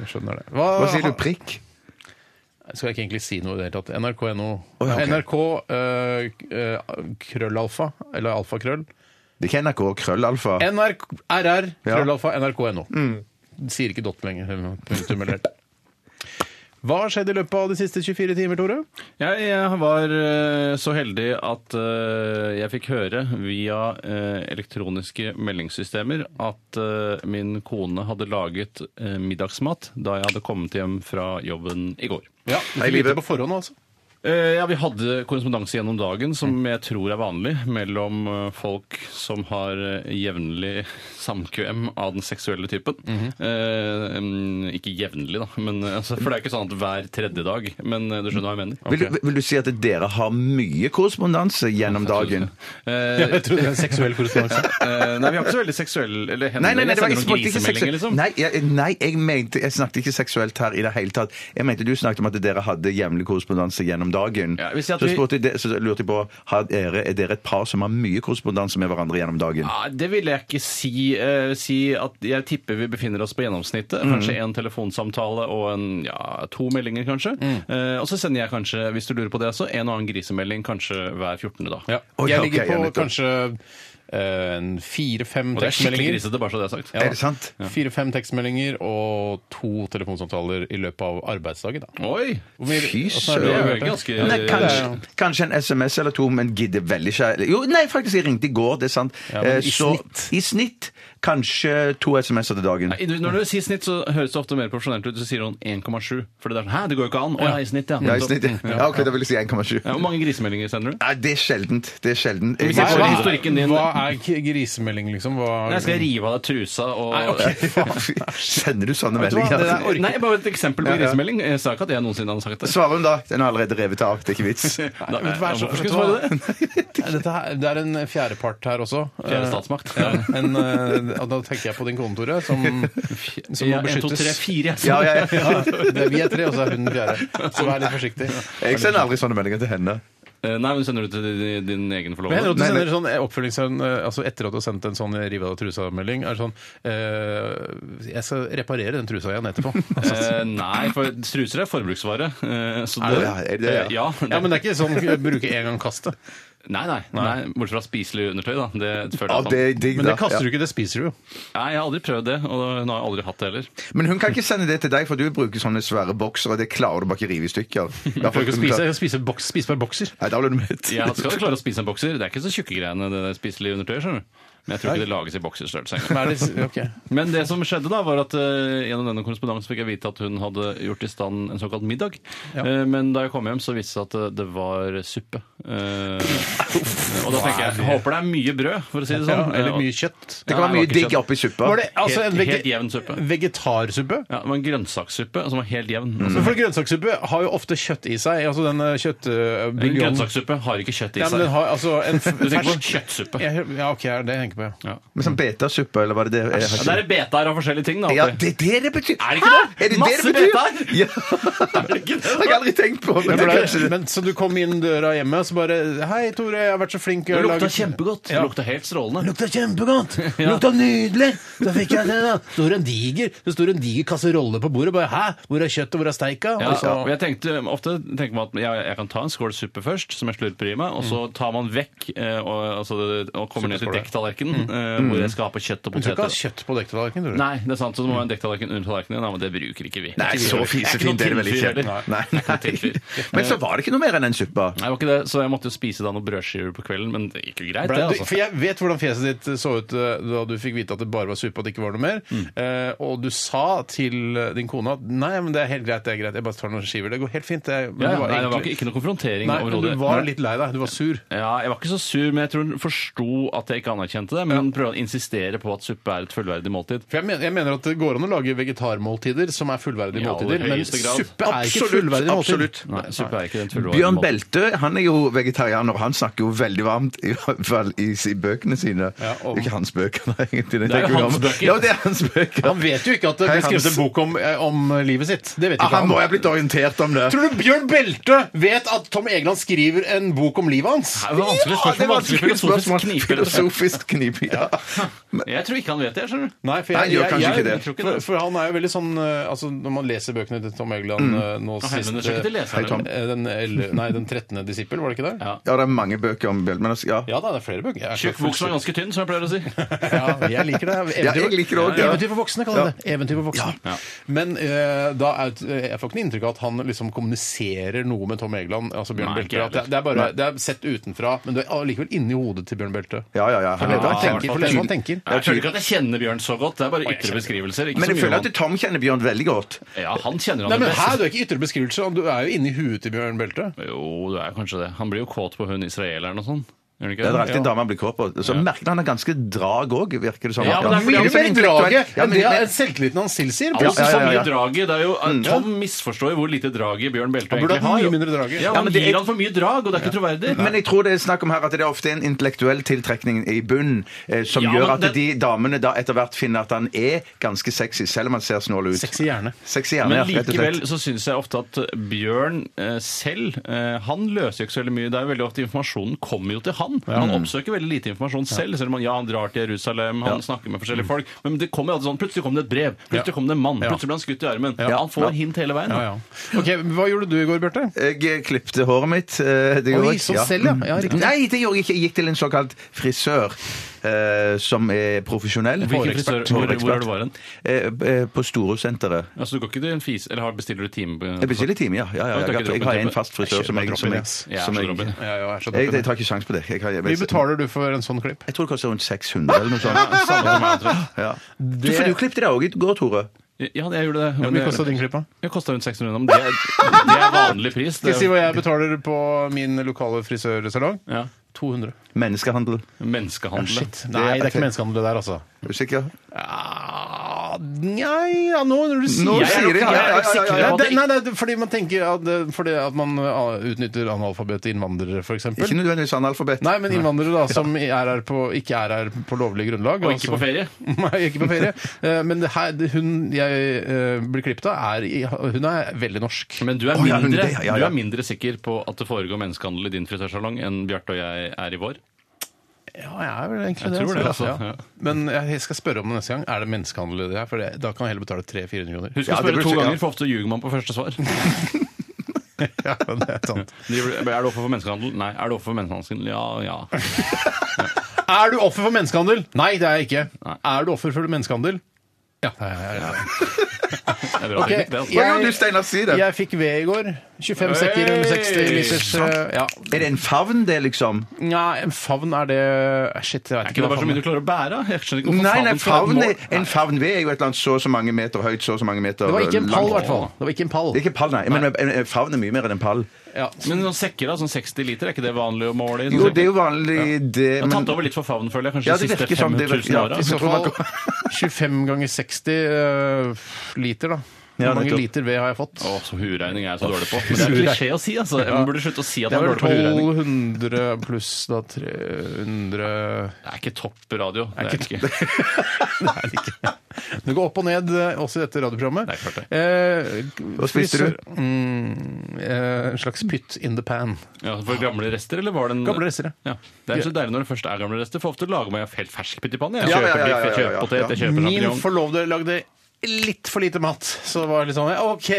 Speaker 7: Skjønner det. Hva,
Speaker 8: Hva sier du? Prikk?
Speaker 7: Skal jeg ikke egentlig si noe i det hele tatt? NRK.no.
Speaker 8: Å, ja, ok.
Speaker 7: NRK eh, eh, krøllalfa, eller alfakrøll.
Speaker 8: Det er ikke NRK krøllalfa.
Speaker 7: NRK, RR,
Speaker 8: Ja. Mm.
Speaker 7: krøllalfa, NRK.no. Sier ikke dot lenger. eller Punktum eller Hva har skjedd i løpet av de siste 24 timer, Tore?
Speaker 9: jeg, jeg var eh, så heldig at eh, jeg fikk høre via eh, elektroniske meldingssystemer at eh, min kone hadde laget eh, middagsmat da jeg hadde kommet hjem fra jobben i går.
Speaker 7: Ja, du
Speaker 8: Hei,
Speaker 7: fikk vite
Speaker 8: livet.
Speaker 7: det på forhånd, altså.
Speaker 9: Eh, Ja, Vi hadde korrespondanse gjennom dagen, som jeg tror er vanlig mellom eh, folk som har eh, jevnlig samkvem av den seksuelle typen.
Speaker 8: Mhm.
Speaker 9: Eh, mm, ikke jevnlig, da, men, eh, altså, for det er ikke sånn at hver tredje dag. Men eh, du skjønner hva jeg mener.
Speaker 8: Vil, du- vil du si at dere har mye korrespondanse gjennom dagen?
Speaker 9: Eh,
Speaker 7: Jeg trodde det var en seksuell korrespondanse.
Speaker 9: eh, nei, vi har ikke så veldig seksuell eller hender,
Speaker 8: Nei, nei, nei, det var,
Speaker 9: jeg
Speaker 8: jeg
Speaker 9: sender noen
Speaker 8: spurte ikke seksuelt.
Speaker 9: grisemeldinger, liksom.
Speaker 8: Nei, jeg, nei jeg, mente, jeg snakket ikke seksuelt her i det hele tatt. Jeg mente du snakket om at dere hadde jevnlig korrespondanse gjennom dagen.
Speaker 9: Ja, hvis jeg at
Speaker 8: så,
Speaker 9: vi-
Speaker 8: spurte, jeg det- så lurte jeg på har dere, er dere et par som har mye korrespondanse med hverandre gjennom dagen.
Speaker 9: Ja, Ah, det vil jeg ikke si. Eh, si at jeg tipper vi befinner oss på gjennomsnittet. Kanskje en telefonsamtale og en, ja, to meldinger, kanskje. Eh, og så sender jeg kanskje, hvis du lurer på det også, en og annen grisemelding kanskje hver 14. dag.
Speaker 7: Ja.
Speaker 8: Oi,
Speaker 7: Jeg
Speaker 8: ja,
Speaker 7: ligger
Speaker 8: ok, ja,
Speaker 7: på
Speaker 8: nettopp.
Speaker 7: kanskje eh, en fire-fem
Speaker 9: Og det er skikkelig
Speaker 7: tekstmeldinger.
Speaker 9: grisete, bare så det er sagt.
Speaker 7: Ja.
Speaker 8: Er det sant?
Speaker 7: Fire-fem tekstmeldinger og to telefonsamtaler i løpet av arbeidsdagen. Da.
Speaker 9: Oi!
Speaker 7: Hvor mye-
Speaker 8: Fy
Speaker 7: Åssen er det?
Speaker 9: søren. Det er ganske-
Speaker 7: Ja,
Speaker 8: Nei,
Speaker 7: det er-
Speaker 8: kanskje, kanskje en SMS eller to, men gidder veldig ikke. Jo, nei, faktisk, jeg ringte i går, det er sant.
Speaker 7: men i
Speaker 8: Eh, så, I snitt kanskje to SMS-er til dagen.
Speaker 9: Nei, du- Når du sier snitt, så høres det ofte mer profesjonelt ut. Så sier hun 1,7. For det er sånn Hæ, det går jo ikke an! Å ja, i snitt, ja.
Speaker 8: Ja, i snitt, ja. ja, ok, da vil jeg si 1,7.
Speaker 9: Ja, Hvor mange grisemeldinger sender du?
Speaker 8: Nei, det er sjeldent. Det er sjeldent. Jeg-
Speaker 9: Hva er-
Speaker 7: Hva er,
Speaker 9: historikken din?
Speaker 7: hva er k- grisemelding, liksom? Hva,
Speaker 9: Nei, skal jeg rive av deg trusa og
Speaker 7: Nei, ok.
Speaker 8: Sender du sånne
Speaker 7: du hva, det der
Speaker 8: meldinger?
Speaker 7: orker-
Speaker 9: Nei, bare et eksempel på
Speaker 8: Ja, ja.
Speaker 9: grisemelding. Jeg sa ikke at jeg noensinne hadde sagt det.
Speaker 8: Svarer hun da? Den er allerede revet av. Det er ikke vits.
Speaker 9: Da-
Speaker 7: Vet du hva, jeg så-
Speaker 9: Hvorfor skulle
Speaker 7: vet
Speaker 9: jeg
Speaker 7: du hva?
Speaker 9: svare det?
Speaker 7: Nei, Dette her, det er en fjerdepart her også.
Speaker 9: Fjerde statsmakt.
Speaker 7: Ja, en, eh, og da tenker jeg på din kone, Tore, som, som må
Speaker 9: Ja, en, to, tre,
Speaker 7: beskyttes.
Speaker 9: fire.
Speaker 8: Ja, jeg,
Speaker 7: Ja, det er vi er tre, og så er hun den fjerde. Så vær litt forsiktig.
Speaker 8: jeg sender aldri sånne meldinger til henne.
Speaker 9: Eh, Nei, men sender du til din, din egen
Speaker 7: Men hender
Speaker 9: forlovede?
Speaker 7: det at du
Speaker 8: Nei,
Speaker 7: sender sånn oppfølgingssønn altså etter at du har sendt en sånn rive av deg trusa-melding? Er det sånn eh, Jeg skal reparere den trusa igjen etterpå. Altså,
Speaker 9: Eh, nei, for truser er forbruksvare. eh, så
Speaker 8: Er det det? Er det det,
Speaker 9: Eh, ja.
Speaker 7: ja, men det er ikke sånn eh, bruke en gang kaste.
Speaker 9: nei, nei, nei. Bortsett fra spiselig undertøy, da. Det føler
Speaker 8: Ja,
Speaker 9: jeg at
Speaker 8: det
Speaker 9: han-
Speaker 8: er digg,
Speaker 7: Men
Speaker 8: da.
Speaker 7: det kaster
Speaker 8: Ja.
Speaker 7: du ikke, det spiser du jo.
Speaker 9: Nei, jeg har aldri prøvd det, og hun har aldri hatt det heller.
Speaker 8: Men hun kan ikke sende det til deg, for du bruker sånne svære boksere. Det klarer du bare ikke rive i stykker. Da
Speaker 7: Jeg får ikke spise, jeg spiser boks, spisbar bokser.
Speaker 8: Nei, da blir du mett.
Speaker 9: Jeg skal klare å spise en bokser. Det er ikke så tjukke greiene, det der spiselige undertøyet, skjønner du. Men jeg tror ikke det lages i bokserstørrelse engang.
Speaker 7: Men er det, ok.
Speaker 9: Men det som skjedde da, var at eh, gjennom denne korrespondansen fikk jeg vite at hun hadde gjort i stand en såkalt middag. Eh, men da jeg kom hjem, så viste det seg at eh, det var suppe. Eh, og da tenker jeg håper det er mye brød, for å si det
Speaker 7: Ja,
Speaker 9: sånn.
Speaker 7: eller mye kjøtt.
Speaker 8: Det kan være mye digg oppi suppa.
Speaker 7: Var det altså en
Speaker 9: Helt-
Speaker 7: vege
Speaker 9: helt jevn suppe.
Speaker 7: vegetarsuppe?
Speaker 9: Ja, det var en grønnsakssuppe som var helt jevn. Altså,
Speaker 7: Men for Grønnsakssuppe har jo ofte kjøtt i seg. altså den eh, kjøtt... eh,
Speaker 9: en
Speaker 7: buljongen.
Speaker 9: grønnsakssuppe har ikke kjøtt i
Speaker 7: Ja, men
Speaker 9: seg.
Speaker 7: den har altså en f-
Speaker 9: Du tenker på
Speaker 7: fersk-
Speaker 9: kjøttsuppe.
Speaker 7: Jeg- Ja, ok, det er det jeg tenker på. ja.
Speaker 8: Men sånn betasuppe, eller var det det? Jeg har
Speaker 9: Ja,
Speaker 8: ikke-
Speaker 9: det er betaer av forskjellige ting, da.
Speaker 8: Ja,
Speaker 9: alltid.
Speaker 8: det er det det betyr!
Speaker 9: Er det ikke det?
Speaker 8: Hæ? Er det det
Speaker 9: Masse
Speaker 8: det betyr?
Speaker 9: betaer!
Speaker 8: Ja. Det har jeg aldri tenkt på. Men
Speaker 7: Men,
Speaker 8: det
Speaker 7: for
Speaker 8: er
Speaker 7: det,
Speaker 8: kanskje det.
Speaker 7: men Så du kom inn døra hjemme, så så bare Hei, Tore, jeg har vært så flink.
Speaker 9: Det
Speaker 7: jeg har
Speaker 9: lukta
Speaker 7: laget-
Speaker 9: kjempegodt.
Speaker 7: Ja.
Speaker 9: Det Lukta helt strålende.
Speaker 7: Lukta kjempegodt!
Speaker 9: Ja.
Speaker 7: Lukta nydelig! Så fikk jeg det, da. Så står en diger, så står en diger kasserolle på bordet. Bare, Hæ? Hvor er kjøttet? Hvor er steika?
Speaker 9: Ja,
Speaker 7: Og så-
Speaker 9: og jeg tenkte ofte tenker man at jeg, jeg kan ta en skål suppe først, som jeg slurper i meg, og så
Speaker 7: Mm.
Speaker 9: tar man vekk eh, og, altså, det- og kommer ned til
Speaker 7: Suppeskål, ja.
Speaker 9: dekktallerkenen,
Speaker 7: Mm.
Speaker 9: eh, hvor jeg skal ha på kjøtt og
Speaker 7: Du skal ikke ha
Speaker 9: poteter.
Speaker 7: kjøtt på dekketallerkenen, tror du?
Speaker 9: Nei, det er sant, så det må være en dekktallerken under tallerkenen. Ja, men det bruker ikke vi.
Speaker 8: Nei, så fisefint
Speaker 9: Det
Speaker 8: er
Speaker 9: er
Speaker 8: det vel
Speaker 9: ikke noe
Speaker 8: ikke.
Speaker 9: tilfyr heller.
Speaker 8: Nei.
Speaker 9: Det er ikke noe tilfyr.
Speaker 8: Men så var det ikke noe mer enn den suppa.
Speaker 9: Nei, det var ikke det, så jeg måtte jo spise da noen brødskiver på kvelden, men det gikk jo greit,
Speaker 7: Ble,
Speaker 9: det.
Speaker 7: du, for
Speaker 9: altså.
Speaker 7: jeg vet hvordan fjeset ditt så ut eh, da du fikk vite at det bare var suppe og det ikke var noe mer.
Speaker 9: Mm.
Speaker 7: Eh, og du sa til eh, din kone at nei, men det er helt greit, det er greit, jeg bare tar noen skiver. Det går helt fint. Det, men
Speaker 9: Ja,
Speaker 7: du
Speaker 9: nei, det var
Speaker 7: egentlig-
Speaker 9: ikke, ikke noe konfrontering
Speaker 7: Nei, men
Speaker 9: overhodet.
Speaker 7: du var litt lei deg. Du var sur.
Speaker 9: Ja, jeg var ikke så sur, men jeg tror hun forsto at jeg ikke anerkjente det. Men hun prøvde å insistere på at suppe er et fullverdig måltid.
Speaker 7: For jeg mener, jeg mener at det går an å lage vegetarmåltider som er fullverdige
Speaker 9: I aller
Speaker 7: måltider, men
Speaker 9: høyeste grad.
Speaker 7: suppe er ikke
Speaker 8: Absolutt,
Speaker 7: fullverdig måltid.
Speaker 8: absolutt.
Speaker 9: Nei, suppe er ikke den fullverdige
Speaker 8: Bjørn
Speaker 9: måltid.
Speaker 8: Beltø han er jo vegetarianer, og han snakker jo veldig varmt i hvert fall i, i bøkene sine.
Speaker 7: Ja, om-
Speaker 8: Ikke hans bøker, nei. egentlig.
Speaker 9: Det
Speaker 8: tenker
Speaker 9: er jo
Speaker 8: jeg om.
Speaker 9: hans bøker.
Speaker 8: Ja, det er hans bøker.
Speaker 7: Han vet jo ikke at det
Speaker 8: Hei,
Speaker 7: blir skrevet
Speaker 8: Hans.
Speaker 7: en bok om, eh, om livet sitt. Det vet jo
Speaker 8: Ah,
Speaker 7: ikke
Speaker 8: han
Speaker 7: han.
Speaker 8: må jo ha blitt orientert om det.
Speaker 7: Tror du Bjørn Belte vet at Tom Egeland skriver en bok om livet hans?
Speaker 9: Det var vanskelig spørsmål. vanskelig filosofisk knipe, rett og slett.
Speaker 8: Filosofisk knipe, ja.
Speaker 9: Jeg tror ikke han vet det, skjønner du.
Speaker 7: Nei, for
Speaker 8: Nei, gjør kanskje ikke det.
Speaker 9: Jeg tror ikke
Speaker 7: For,
Speaker 9: det.
Speaker 7: for han er jo veldig sånn eh, altså Når man leser bøkene til Tom Egeland eh, nå
Speaker 9: Han
Speaker 7: sist
Speaker 9: henvender seg ikke til
Speaker 7: eh,
Speaker 8: Mm. Hei, Tom.
Speaker 9: leserne.
Speaker 7: eh, den, elle- Nei, den 13. disippel, var det ikke det?
Speaker 9: Ja.
Speaker 8: ja, det er mange bøker om Bjørn, men altså, ja.
Speaker 7: Ja da, det er flere bøker. Jeg er
Speaker 9: Tjukk
Speaker 7: så
Speaker 9: bok som er ganske tynn, som jeg pleier å si.
Speaker 7: Ja, jeg liker det. Eventyr,
Speaker 8: Ja, jeg liker det også, ja.
Speaker 7: Eventyr for voksne, kaller jeg
Speaker 8: Ja.
Speaker 7: det. Eventyr for voksne.
Speaker 9: Ja.
Speaker 7: Men eh, da er, jeg får ikke noe inntrykk av at han liksom kommuniserer noe med Tom Egeland, altså Bjørn
Speaker 9: Nei, ikke
Speaker 7: Belte. At det, det er bare det er sett utenfra, men det er allikevel inni hodet til Bjørn Belte.
Speaker 8: Ja, ja, ja.
Speaker 7: For det er hva
Speaker 9: Ja,
Speaker 7: han tenker, for det er hva han tenker.
Speaker 9: Jeg føler ikke at jeg kjenner Bjørn så godt. Det er bare ytre beskrivelser. Ikke
Speaker 8: Men
Speaker 9: så
Speaker 8: jeg
Speaker 9: mye
Speaker 8: føler
Speaker 9: om
Speaker 8: at Tom kjenner Bjørn veldig godt.
Speaker 9: han. Ja, han kjenner
Speaker 7: Nei,
Speaker 9: han det
Speaker 7: men her,
Speaker 9: best.
Speaker 7: Du er ikke ytre beskrivelser, du er jo inni huet til Bjørn Belte.
Speaker 9: Jo, du er kanskje det. Han blir jo kåt på hun israeleren og sånn. Gjør han
Speaker 8: Det
Speaker 9: ikke
Speaker 8: er
Speaker 9: det?
Speaker 8: alltid en dame han blir kåt på. Så merker han er ganske drag òg, virker det som.
Speaker 9: Ja, men det er fordi
Speaker 7: Mye
Speaker 9: han
Speaker 7: mer draget
Speaker 8: Ja,
Speaker 7: enn
Speaker 8: men,
Speaker 7: det er
Speaker 8: men,
Speaker 7: selvtilliten han tilsier.
Speaker 9: Ja,
Speaker 7: pluss
Speaker 9: altså,
Speaker 8: ja, ja,
Speaker 9: så mye
Speaker 8: ja.
Speaker 9: draget. Det er jo, Tom misforstår jo hvor lite draget Bjørn Belte
Speaker 7: burde
Speaker 9: egentlig
Speaker 7: hatt
Speaker 9: har.
Speaker 7: mye mindre draget.
Speaker 9: Ja,
Speaker 8: Ja,
Speaker 9: man
Speaker 8: men det
Speaker 9: gir
Speaker 8: er-
Speaker 9: han for mye drag, og det er ikke troverdig.
Speaker 8: men jeg tror det er snakk om her at det er ofte en intellektuell tiltrekning i bunnen eh, som
Speaker 9: Ja,
Speaker 8: gjør
Speaker 9: men
Speaker 8: at
Speaker 9: det-
Speaker 8: de damene da etter hvert finner at han er ganske sexy, selv om han ser snål ut.
Speaker 7: Sexy hjerne.
Speaker 8: Sexy hjerne,
Speaker 9: Men
Speaker 8: ja, rett og
Speaker 9: likevel
Speaker 8: slett.
Speaker 9: så syns jeg ofte at Bjørn eh, selv eh, Han løser jo ikke så veldig mye. Det er jo veldig ofte Informasjonen kommer jo til han. Han oppsøker veldig lite informasjon selv. Selv om han, ja, han drar til Jerusalem, han snakker med forskjellige folk. Men det kommer jo alltid sånn Plutselig kom det et brev. Plutselig kom det en mann. Plutselig ble han skutt i armen. Han får hint hele veien.
Speaker 7: Ja, ja. Ok, Hva gjorde du i går, Bjarte?
Speaker 8: Jeg klippte håret mitt. eh, Det
Speaker 7: Oi,
Speaker 8: gjorde jeg.
Speaker 7: så selv, ja. Ja, riktig.
Speaker 8: Nei, det gjorde jeg ikke. Jeg gikk til en såkalt frisør eh, som er profesjonell.
Speaker 9: Hvilken frisør? Hvor, hvor er du var hen?
Speaker 8: Eh, eh, På Storosenteret.
Speaker 9: Altså, du går ikke til en fis, eller har- bestiller du time? på-
Speaker 8: Jeg bestiller time, ja. ja, ja,
Speaker 9: Jeg tar
Speaker 8: ja.
Speaker 9: ikke
Speaker 8: Jeg,
Speaker 9: droppen
Speaker 8: har
Speaker 9: til-
Speaker 8: en fast frisør
Speaker 7: Jeg
Speaker 8: som jeg,
Speaker 7: kjøper
Speaker 8: som jeg,
Speaker 7: droppen,
Speaker 8: som
Speaker 9: Jeg er
Speaker 8: jeg,
Speaker 9: så droppen.
Speaker 7: Ja, ja, jeg er så
Speaker 8: jeg, jeg
Speaker 7: dårlig.
Speaker 8: tar ikke sjans på det. Jeg, har- jeg,
Speaker 7: Hvor mye betaler du for en sånn klipp?
Speaker 8: jeg tror det koster rundt 600 eller noe sånt.
Speaker 9: Samme som meg, tror jeg.
Speaker 8: Ja. Du, for du klippet deg òg i går, Tore.
Speaker 9: Ja, jeg gjorde det.
Speaker 7: Hvor
Speaker 9: men
Speaker 7: mye kosta din klipp? da?
Speaker 9: Det kosta rundt 600 kroner. men Det, er- det er vanlig pris.
Speaker 7: Skal jeg
Speaker 9: Det,
Speaker 7: si hva jeg betaler på min lokale frisørsalong?
Speaker 9: ja.
Speaker 7: 200.
Speaker 8: Menneskehandel.
Speaker 9: Menneskehandel.
Speaker 7: Nei, det er ikke menneskehandel det der, altså.
Speaker 8: Er du sikker?
Speaker 7: Ja, nei, ja, nå når du sier
Speaker 8: Nå
Speaker 9: Jeg er
Speaker 8: sier
Speaker 9: nok-
Speaker 8: de ja, ja,
Speaker 9: jeg
Speaker 8: ja,
Speaker 9: er nok
Speaker 8: ja,
Speaker 9: sikker
Speaker 7: Nei,
Speaker 8: ja,
Speaker 9: på at det
Speaker 7: det, nei, det er fordi man tenker at, det- fordi at man ah, utnytter analfabete innvandrere, f.eks.
Speaker 8: ja. Ikke nødvendigvis analfabet.
Speaker 7: Nei, men innvandrere da, som er her på, ikke er her på lovlig grunnlag. altså.
Speaker 9: Og ikke på ferie.
Speaker 7: Nei, ikke på ferie. Eh, Men det her, det- hun jeg eh, blir klippet av, er, i- hun er veldig norsk.
Speaker 9: Men du er,
Speaker 8: Å, ja, hun-
Speaker 9: mindre,
Speaker 8: det- ja, ja,
Speaker 9: du
Speaker 8: ja.
Speaker 9: er mindre sikker på at det foregår menneskehandel i din frisørsalong enn Bjarte og jeg er i vår?
Speaker 7: Ja, jeg er vel egentlig
Speaker 9: Jeg
Speaker 7: det.
Speaker 9: tror det, altså.
Speaker 7: Ja.
Speaker 9: Ja.
Speaker 7: Men jeg skal spørre om det neste gang. Er det menneskehandel i det her? For det, da kan jeg heller betale 300-400 kroner.
Speaker 9: Husk
Speaker 8: Ja, det
Speaker 9: å spørre
Speaker 8: burde
Speaker 9: to
Speaker 8: sikkert-
Speaker 9: ganger, for ofte ljuger man på første svar.
Speaker 7: Ja, det er sant.
Speaker 9: Driver du- Er du offer for menneskehandel? Nei. Er du offer for menneskehandel? Ja, ja.
Speaker 7: Er du offer for menneskehandel? Nei, det er jeg ikke.
Speaker 9: Nei.
Speaker 7: Er du offer for menneskehandel? Ja. det er jeg.
Speaker 9: Det er bra
Speaker 7: Ok,
Speaker 9: teknikk, det, altså.
Speaker 8: Hva gjør du, Steinar? Si det.
Speaker 7: Jeg fikk ved i går. 25 sekker,
Speaker 9: Hey!
Speaker 7: 160 liters eh, ja.
Speaker 8: Er det en favn, det, liksom?
Speaker 7: Nei, en favn er det Shit, jeg
Speaker 9: Er
Speaker 7: vet
Speaker 9: ikke
Speaker 7: ikke.
Speaker 9: det
Speaker 7: hva
Speaker 9: bare så
Speaker 7: favn
Speaker 9: mye du klarer å bære? Jeg skjønner ikke hvorfor
Speaker 8: Nei, nei,
Speaker 9: skal være et
Speaker 8: favn er,
Speaker 9: mål.
Speaker 8: en favn ved er jo et eller annet så og så mange meter høyt, så og så mange meter
Speaker 7: Det var ikke en pall, i
Speaker 8: langt.
Speaker 7: hvert fall. Det var ikke en pall.
Speaker 8: Det er ikke pall, nei. Men en- en favn er mye mer enn en pall.
Speaker 7: Ja.
Speaker 9: Men noen sekker da, sånn 60 liter, er ikke det vanlig å måle i? sånn-
Speaker 8: Jo, det er jo vanlig, det,
Speaker 9: har
Speaker 8: men
Speaker 9: tatt over litt for favn, føler jeg, kanskje
Speaker 8: Ja,
Speaker 9: de
Speaker 8: det
Speaker 9: siste
Speaker 8: virker som det
Speaker 9: 5000
Speaker 8: virker- ja,
Speaker 9: åra.
Speaker 7: I
Speaker 8: Jeg
Speaker 7: så
Speaker 8: tror man
Speaker 7: fall 25 ganger 60 eh, liter, da.
Speaker 8: Ja,
Speaker 7: Hvor mange
Speaker 8: nettopp.
Speaker 7: liter ved har jeg fått?
Speaker 9: Å, så huregning er jeg så dårlig på. Men det er klisjé å si, altså. Jeg burde slutte å si at
Speaker 7: Det er
Speaker 9: man er
Speaker 7: vel
Speaker 9: dårlig på huregning.
Speaker 7: 1200 pluss da 300
Speaker 9: Det er ikke topp radio. Det er
Speaker 7: Det
Speaker 9: det
Speaker 7: er
Speaker 9: ikke.
Speaker 7: Nei, det er ikke. Det går opp og ned eh, også i dette radioprogrammet.
Speaker 9: Det er klart det.
Speaker 7: Eh,
Speaker 8: Hva spiste du?
Speaker 7: Mm, eh, en slags pytt in the pan.
Speaker 9: Ja, for gamle rester, eller var det en
Speaker 7: Gamle rester,
Speaker 9: ja. Det er så deilig når det først er gamle rester, for ofte lager man jo helt fersk pytt i panne. Jeg
Speaker 8: Ja, ja,
Speaker 9: kjøper
Speaker 8: ja,
Speaker 9: biff,
Speaker 8: ja,
Speaker 9: jeg
Speaker 8: ja, ja,
Speaker 9: kjøper
Speaker 8: ja.
Speaker 9: potet, jeg kjøper
Speaker 7: Min
Speaker 9: champignon.
Speaker 7: forlovede lagde litt for lite mat. Så det var litt sånn OK!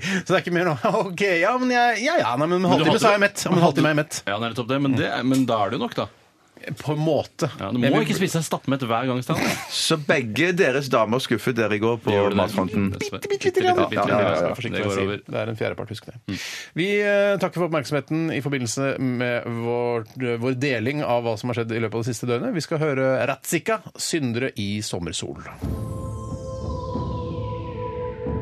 Speaker 7: Så det er ikke mer nå. OK, ja, men jeg Ja, ja, nei, men om en
Speaker 9: Men du
Speaker 7: halvtime så er
Speaker 9: hadde-
Speaker 7: jeg mett. Om en halvtime er jeg mett.
Speaker 9: Ja, det er nettopp det, men, det, er- men da er det jo nok, da.
Speaker 7: På en måte.
Speaker 9: Ja, du må
Speaker 7: Jeg vil-
Speaker 9: ikke spise deg stappmett hver gang. Stanley.
Speaker 8: Så begge deres damer skuffet dere i går på
Speaker 9: Gjør du det?
Speaker 8: matfronten.
Speaker 9: Bitte,
Speaker 7: Bitte lite grann.
Speaker 9: bitte,
Speaker 8: Ja, ja, ja,
Speaker 9: bitte, bitte,
Speaker 8: ja.
Speaker 9: altså. Det går over. Mm.
Speaker 7: Det er en fjerdepart, husk det. Vi eh, takker for oppmerksomheten i forbindelse med vår, vår deling av hva som har skjedd i løpet av det siste døgnet. Vi skal høre Ratzika, 'Syndere i sommersol'.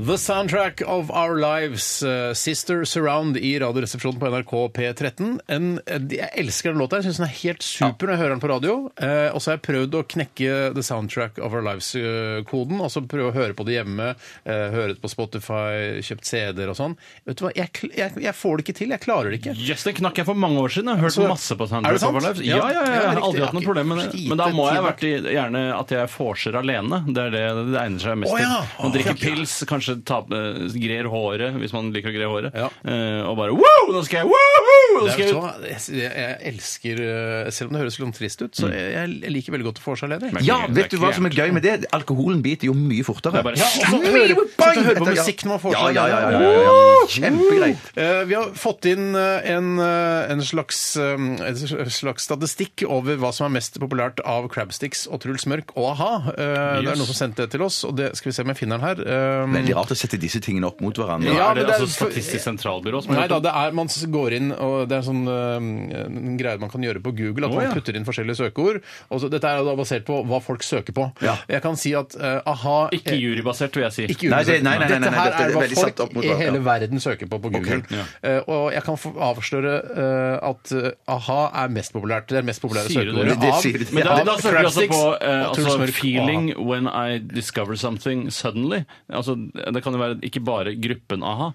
Speaker 7: The soundtrack of our lives, eh, 'Sister Surround' i Radioresepsjonen på NRK P13. En, eh, jeg elsker den låta. Jeg syns den er helt super når jeg hører den på radio. Eh, og så har jeg prøvd å knekke 'The soundtrack of our lives'-koden. Altså prøve å høre på det hjemme. Eh, høre det på Spotify, kjøpt CD-er og sånn. Vet du hva, jeg, kl- jeg, jeg får det ikke til. Jeg klarer det ikke.
Speaker 9: Jøss, den knakk jeg for mange år siden. Jeg har hørt
Speaker 7: Altså,
Speaker 9: masse på
Speaker 7: er det
Speaker 9: Soundtrack
Speaker 7: sant?
Speaker 9: Over Lives.
Speaker 7: Ja,
Speaker 9: Ja, ja, ja,
Speaker 7: ja,
Speaker 9: jeg har
Speaker 7: riktig.
Speaker 9: aldri hatt noe problem med det.
Speaker 7: Skite
Speaker 9: Men da må jeg ha
Speaker 7: timer.
Speaker 9: vært i, gjerne at jeg vorser alene. Det er det det egner seg mest
Speaker 7: Å, ja.
Speaker 9: til. Man
Speaker 7: Å,
Speaker 9: drikker
Speaker 7: ja, ja.
Speaker 9: pils, kanskje ta, eh, grer håret, hvis man liker å gre håret,
Speaker 7: Ja.
Speaker 9: eh, og bare wow, nå skal jeg wow, nå
Speaker 7: Det
Speaker 9: skal
Speaker 7: er
Speaker 9: jeg
Speaker 7: jo
Speaker 9: ut.
Speaker 7: så, jeg, jeg elsker eh, Selv om det høres litt trist ut, så jeg, jeg liker veldig godt å få seg alene.
Speaker 9: Mm. Men-
Speaker 8: Ja, vet du hva som er gøy med det? Alkoholen biter jo mye fortere.
Speaker 9: Det er bare-
Speaker 7: Ja, og så høre, sitte og høre på musikk når man får
Speaker 8: Sånn, Ja,
Speaker 7: seg
Speaker 8: ja, ja, ja,
Speaker 7: alene.
Speaker 8: ja, ja. Kjempegreit.
Speaker 7: Eh, Vi har fått inn eh, en, eh, en, slags, eh, en slags statistikk over hva som er mest populært av crabsticks og Truls Mørk og a-ha. Eh, Det
Speaker 9: Yes.
Speaker 7: er noen som sendte det til oss, og det skal vi se om jeg finner den her. Eh,
Speaker 8: Veldig rart å sette disse tingene opp mot hverandre.
Speaker 7: Ja,
Speaker 9: Er det
Speaker 7: men det er-
Speaker 9: altså Statistisk sentralbyrå som
Speaker 7: Nei
Speaker 9: har
Speaker 7: da,
Speaker 9: gjort det?
Speaker 7: det er, man s- går inn og Det er sånn øh, en greie man kan gjøre på Google, at
Speaker 9: Å,
Speaker 7: man
Speaker 9: ja.
Speaker 7: putter inn forskjellige søkeord. Og så, dette er jo da basert på hva folk søker på.
Speaker 8: Ja.
Speaker 7: Jeg kan si at øh, aha
Speaker 9: Ikke jurybasert, vil jeg si.
Speaker 7: ikke
Speaker 8: Nei, det- nei, nei, nei, nei,
Speaker 7: dette her
Speaker 8: dette er
Speaker 7: er hva
Speaker 8: veldig satt opp
Speaker 7: folk
Speaker 8: mot
Speaker 7: i
Speaker 8: hverandre.
Speaker 7: hele verden søker på på Google.
Speaker 8: Ok.
Speaker 7: Eh, og jeg kan få avsløre eh, at eh, a-ha er mest populært. Det er det mest populære
Speaker 9: Sier du det?
Speaker 7: søkeordet
Speaker 8: Det
Speaker 7: av
Speaker 8: sier du.
Speaker 9: Men da,
Speaker 7: av
Speaker 9: da søker vi altså
Speaker 7: crabsticks
Speaker 9: på eh,
Speaker 7: og
Speaker 9: altså,
Speaker 7: Truls Mørk og
Speaker 9: feeling
Speaker 7: a-ha.
Speaker 9: when I discover something suddenly. Altså, det kan jo være ikke bare gruppen a-ha.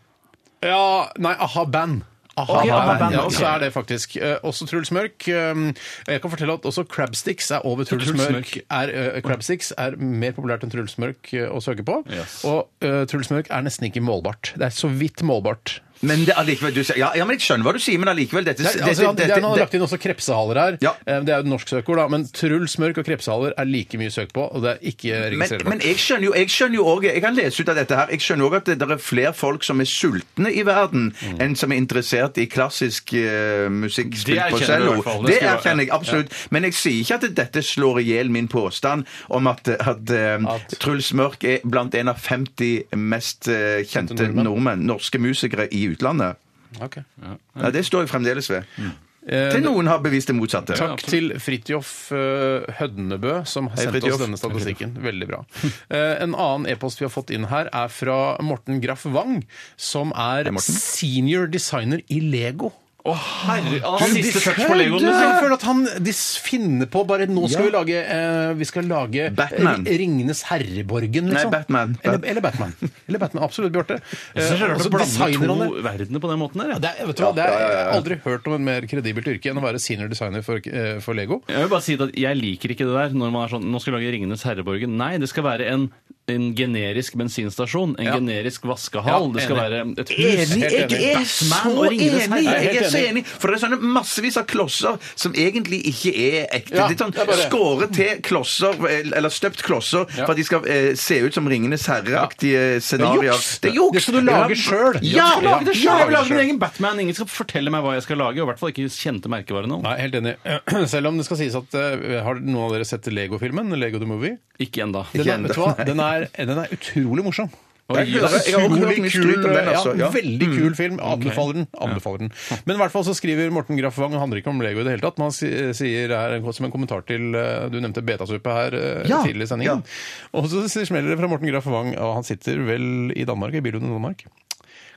Speaker 7: Ja, nei, a-ha-band. Aha,
Speaker 9: Ok,
Speaker 7: band,
Speaker 9: a-ha-band,
Speaker 7: ja,
Speaker 9: ok.
Speaker 7: så er det faktisk. Eh, også Truls Mørk. eh, jeg kan fortelle at også Crabsticks er over Truls,
Speaker 9: Truls
Speaker 7: Mørk.
Speaker 9: Mørk.
Speaker 7: Er, eh, Crabsticks er mer populært enn Truls Mørk eh, å søke på.
Speaker 9: Yes.
Speaker 7: Og eh, Truls Mørk er nesten ikke målbart. Det er så vidt målbart.
Speaker 8: Men det, allikevel, du, sier- ja, ja, men jeg skjønner hva du sier, men allikevel dette,
Speaker 7: Det er, altså, han, det er, han har lagt inn også krepsehaler her.
Speaker 8: Ja.
Speaker 7: Eh, Det er jo et norsk søkeord, da. Men Truls Mørk og krepsehaler er like mye søkt på, og det er ikke
Speaker 8: men, men
Speaker 7: registrerbart.
Speaker 8: jeg skjønner jo jeg skjønner jo også, jeg kan lese ut av dette her, jeg skjønner òg at det, det er flere folk som er sultne i verden, enn som er interessert i klassisk eh, musikk
Speaker 9: Mm. Det
Speaker 8: spilt på
Speaker 9: erkjenner du i
Speaker 8: cello.
Speaker 9: hvert fall, det
Speaker 8: Det
Speaker 9: skal jeg-
Speaker 8: erkjenner jeg absolutt. Men jeg sier ikke at dette slår i hjel min påstand om at, at, eh,
Speaker 7: At-
Speaker 8: Truls Mørk er blant en av 50 mest eh, kjente
Speaker 7: Kjente nordmenn.
Speaker 8: nordmenn. norske musikere i utlandet.
Speaker 7: Ok.
Speaker 8: Ja, det står jeg fremdeles ved.
Speaker 9: Mm.
Speaker 7: Eh,
Speaker 8: Til noen har bevist det motsatte.
Speaker 7: Takk til Fridtjof eh, Hødnebø, som har
Speaker 8: Hei,
Speaker 7: sendt
Speaker 8: Fridtjof.
Speaker 7: oss denne statistikken. Veldig bra. Eh, en annen e-post vi har fått inn her, er fra Morten Graff Wang, som er
Speaker 8: Morten.
Speaker 7: senior designer i Lego.
Speaker 9: Å, herre Han har
Speaker 7: Du,
Speaker 9: siste
Speaker 7: de
Speaker 9: touch på
Speaker 7: kødder!
Speaker 9: legoen, liksom.
Speaker 7: Jeg føler at han de s- finner på bare Nå skal
Speaker 8: Ja.
Speaker 7: vi lage eh, Vi skal lage
Speaker 8: Batman.
Speaker 7: Ri- Ringenes herreborgen, liksom.
Speaker 8: Nei, Batman.
Speaker 7: Eller, eller Batman. Eller Batman. Absolutt, Bjarte.
Speaker 9: Jeg synes det er
Speaker 7: Eh, og
Speaker 9: rart å
Speaker 7: så designer han det.
Speaker 9: blande to verdener på den måten der.
Speaker 7: Ja,
Speaker 9: jeg.
Speaker 7: Det er, vet du hva, det er, jeg har aldri hørt om et mer kredibelt yrke enn å være senior designer for, eh, for Lego.
Speaker 9: Jeg vil bare si at jeg liker ikke det der når man er sånn Nå skal vi lage Ringenes herreborgen. Nei, det skal være en, en generisk bensinstasjon. En
Speaker 7: Ja.
Speaker 9: generisk vaskehall.
Speaker 7: Ja,
Speaker 9: det skal
Speaker 7: enig.
Speaker 9: være et hus.
Speaker 8: Enig! Jeg er så
Speaker 9: Batman og
Speaker 8: enig!
Speaker 9: Ringenes herre.
Speaker 7: Jeg er
Speaker 8: Jeg
Speaker 7: helt
Speaker 8: er så
Speaker 7: enig.
Speaker 8: enig. For det er sånne massevis av klosser som egentlig ikke er ekte.
Speaker 7: Ja,
Speaker 8: Litt sånn
Speaker 7: det er bare-
Speaker 8: skåret til klosser, eller støpt klosser,
Speaker 7: Ja.
Speaker 8: for at de skal eh, se ut som Ringenes herre-aktige scenarioer.
Speaker 7: juks.
Speaker 8: Det er juks!
Speaker 7: Det skal du lage selv.
Speaker 8: Ja!
Speaker 7: Du skal lage det selv.
Speaker 9: Jeg vil lage min egen Batman. Ingen skal fortelle meg hva jeg skal lage. Og i hvert fall ikke kjente merkevarene.
Speaker 7: Nei, helt enig. Selv om det skal sies at eh, Har noen av dere sett Lego-filmen? Lego the Movie?
Speaker 9: Ikke enda.
Speaker 7: Den er,
Speaker 8: enda,
Speaker 7: vet du hva? Den, er, den er utrolig morsom.
Speaker 8: Jeg hører- jeg har også hørt mye skryt om den, altså.
Speaker 7: ja,
Speaker 8: Ja.
Speaker 7: veldig kul film. Anbefaler den. anbefaler den. Men i hvert fall så skriver Morten Graff Wang, og handler ikke om Lego i det hele tatt, men han si- sier her som en kommentar til eh, Du nevnte betasuppe her eh,
Speaker 8: Ja,
Speaker 7: tidligere i sendingen. Og så sier- smeller det fra Morten Graff Wang, og han sitter vel i Danmark, i Billund i Danmark.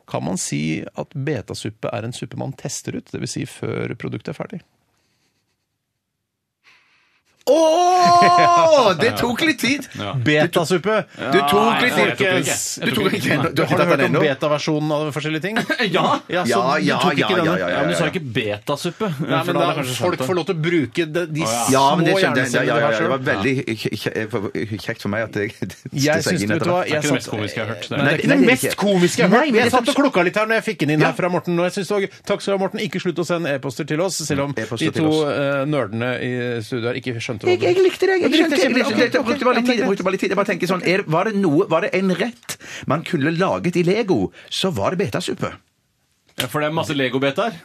Speaker 7: Kan man si at betasuppe er en suppe man tester ut, dvs. Si før produktet er ferdig?
Speaker 8: Åh! Det tok litt tid!
Speaker 7: Betasuppe!
Speaker 8: Du tok litt
Speaker 9: Nei, jeg
Speaker 8: tid.
Speaker 9: tok ikke.
Speaker 7: Folkens,
Speaker 8: Du tok ikke
Speaker 7: Du har du hørt om betaversjonen av forskjellige ting?
Speaker 9: Ja!
Speaker 7: Ja, så
Speaker 8: Ja, ja,
Speaker 7: du tok ikke
Speaker 8: ja,
Speaker 7: denne?
Speaker 8: ja, ja,
Speaker 9: Ja, men du sa ikke betasuppe.
Speaker 7: Nei, men
Speaker 9: for da
Speaker 7: da,
Speaker 9: hadde jeg kanskje skjønt
Speaker 7: folk
Speaker 9: det.
Speaker 7: får lov til å bruke de, de
Speaker 8: Ja, men det
Speaker 7: små
Speaker 8: skjønte jeg. Ja,
Speaker 7: hjernecellene
Speaker 8: ja,
Speaker 7: de
Speaker 8: ja,
Speaker 7: har
Speaker 8: det
Speaker 7: selv.
Speaker 8: var veldig kje- kje- kjekt for meg at jeg
Speaker 7: Jeg synes, vet du hva,
Speaker 9: Det er
Speaker 7: jeg
Speaker 9: ikke det mest
Speaker 7: satt-
Speaker 9: komiske jeg har hørt. Det er-
Speaker 7: Nei, det er
Speaker 8: Nei,
Speaker 7: den
Speaker 8: det er
Speaker 7: mest
Speaker 8: ikke-
Speaker 7: komiske jeg har
Speaker 8: Nei,
Speaker 7: hørt.
Speaker 8: men
Speaker 7: Jeg
Speaker 8: det er
Speaker 7: satt og klokka litt her når jeg fikk den inn her
Speaker 8: Ja.
Speaker 7: fra Morten. Og jeg synes det var gøy. Takk skal du ha, Morten. Ikke slutt å sende e-poster til oss, selv om
Speaker 8: E-poster
Speaker 7: de
Speaker 8: til
Speaker 7: to
Speaker 8: oss.
Speaker 7: eh, nerdene i studio her ikke skjønte
Speaker 8: jeg,
Speaker 7: hva
Speaker 8: jeg likte det. Jeg,
Speaker 7: Du likte det,
Speaker 8: skjønte- jeg, jeg,
Speaker 7: ok, ok,
Speaker 8: jeg brukte bare litt tid. Jeg brukte bare litt tid. Jeg bare tenker sånn, er, var, det noe, var det en rett man kunne laget i Lego, så var det betasuppe.
Speaker 9: Ja, For det er masse legobetaer.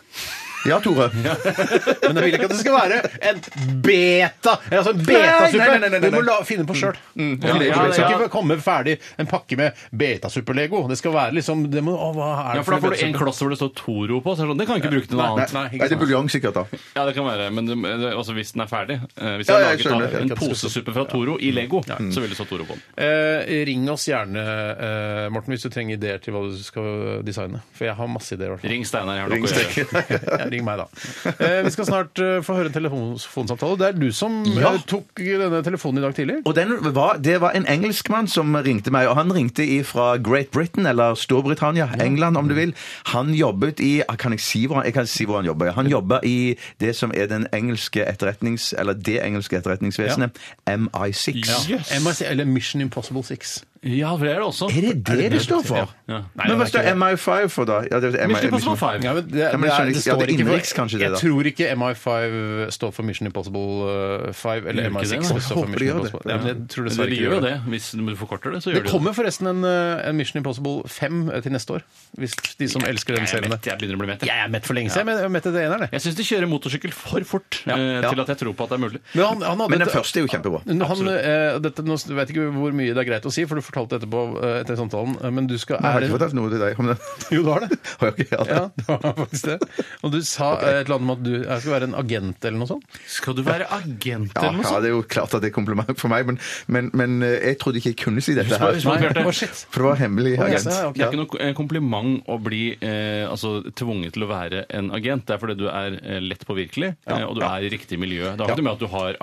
Speaker 8: Ja, Tore.
Speaker 7: Men jeg vil ikke at det skal være en beta. Altså en betasuppe.
Speaker 8: Nei, nei, nei, nei, nei.
Speaker 7: Du må la, finne på sjøl.
Speaker 9: Ja,
Speaker 7: Det
Speaker 9: ja,
Speaker 7: skal
Speaker 9: ja.
Speaker 7: ikke komme ferdig en pakke med betasuppe-lego. Det skal være liksom det må, å, hva er det
Speaker 9: Ja, for da får du
Speaker 7: betasuppe?
Speaker 9: en kloss hvor det står Toro på. Så er det sånn, det kan jeg ikke bruke til noe
Speaker 7: Nei,
Speaker 9: annet.
Speaker 7: nei,
Speaker 8: Nei,
Speaker 7: ikke
Speaker 8: det er
Speaker 7: sant.
Speaker 8: buljong sikkert, da.
Speaker 9: Ja, det kan være, men det, det, også hvis den er ferdig. Eh, hvis
Speaker 8: Ja, ja,
Speaker 9: jeg har
Speaker 8: jeg
Speaker 9: laget
Speaker 8: skjønner.
Speaker 9: da,
Speaker 8: Jeg
Speaker 9: en
Speaker 7: kan ikke
Speaker 9: posesuppe fra Toro i Lego, så vil det stå Toro på den.
Speaker 7: Eh, ring oss gjerne, eh, Morten, hvis du trenger ideer til hva du skal designe. For jeg har masse ideer. i hvert fall.
Speaker 9: Ring Steinar, jeg har nok å gjøre.
Speaker 7: Ja, ring meg, da. Eh, vi skal snart eh, få høre en telefonsamtale. Det er du som
Speaker 8: Ja.
Speaker 7: eh, tok denne telefonen i dag tidlig.
Speaker 8: Og den var, det var en engelskmann som ringte meg, og han ringte fra Great Britain, eller Storbritannia, England om du vil. Han jobbet i ah, Kan jeg si hvor han, jeg kan si hvor han jobber? Han jobba i det som er den engelske etterretnings... Eller det engelske etterretningsvesenet, MI6.
Speaker 9: Jøss.
Speaker 7: MIC, eller Mission Impossible 6.
Speaker 9: Ja, for det er det også.
Speaker 8: Er det det det står for?
Speaker 9: Ja. Nei,
Speaker 8: Men hva
Speaker 9: det er
Speaker 8: står
Speaker 9: ikke det.
Speaker 8: MI5 for, da? Ja, det er
Speaker 9: Mission Impossible 5.
Speaker 7: Ja, men det,
Speaker 8: Ja, men jeg skjønner ikke- ja, det er innenriks kanskje det,
Speaker 7: Jeg
Speaker 8: da.
Speaker 7: tror ikke MI5 står for Mission Impossible 5, eller
Speaker 9: Gjør ikke
Speaker 7: MI6
Speaker 9: det, da?
Speaker 7: står for
Speaker 8: Håper de
Speaker 7: Mission
Speaker 8: gjør det.
Speaker 7: Impossible. Ja, men jeg tror
Speaker 9: Men
Speaker 7: dessverre
Speaker 9: de
Speaker 7: ikke
Speaker 9: gjør jo det. Hvis du forkorter det, så gjør
Speaker 7: Det
Speaker 9: de
Speaker 7: kommer forresten en, eh, en Mission Impossible 5 til neste år. Hvis de som elsker den
Speaker 9: Jeg, er
Speaker 7: serien.
Speaker 9: mett, jeg begynner å bli mett. jeg.
Speaker 7: Jeg er mett for lenge siden. men Jeg er mett etter eneren, jeg.
Speaker 9: Jeg syns de kjører motorsykkel for fort eh,
Speaker 8: Ja.
Speaker 9: til at jeg tror på at det er mulig.
Speaker 7: Men, han, han hadde
Speaker 8: Men den
Speaker 7: et-
Speaker 8: første er jo kjempebra.
Speaker 7: Men Han, eh, dette, nå vet jeg ikke hvor mye det er greit å si, for du fortalte etterpå eh, etter samtalen, eh, men du skal
Speaker 8: Jeg har
Speaker 7: er
Speaker 8: ikke
Speaker 7: det-
Speaker 8: fortalt noe til deg om den.
Speaker 7: Jo, du har det.
Speaker 8: Har jeg ikke?
Speaker 7: Ja, det var faktisk det. Og du sa eh, et eller annet om at du jeg skal være en agent eller noe sånt.
Speaker 9: Skal du være agent
Speaker 8: Ja,
Speaker 9: eller
Speaker 7: sånn.
Speaker 9: noe
Speaker 8: ja,
Speaker 9: sånt?
Speaker 8: det er jo klart at det er kompliment for meg, men, men, men eh, jeg trodde ikke jeg kunne si dette her.
Speaker 9: Husk på,
Speaker 7: Nei,
Speaker 9: Bjarte.
Speaker 7: å, shit.
Speaker 8: For det var hemmelig
Speaker 7: Å,
Speaker 8: agent.
Speaker 7: ja, ok.
Speaker 9: Det er ikke noe eh, kompliment å bli eh, altså, tvunget til å være en agent. Det er fordi du er eh, lett påvirkelig, eh, og du er i riktig miljø. Det har ikke noe med at du har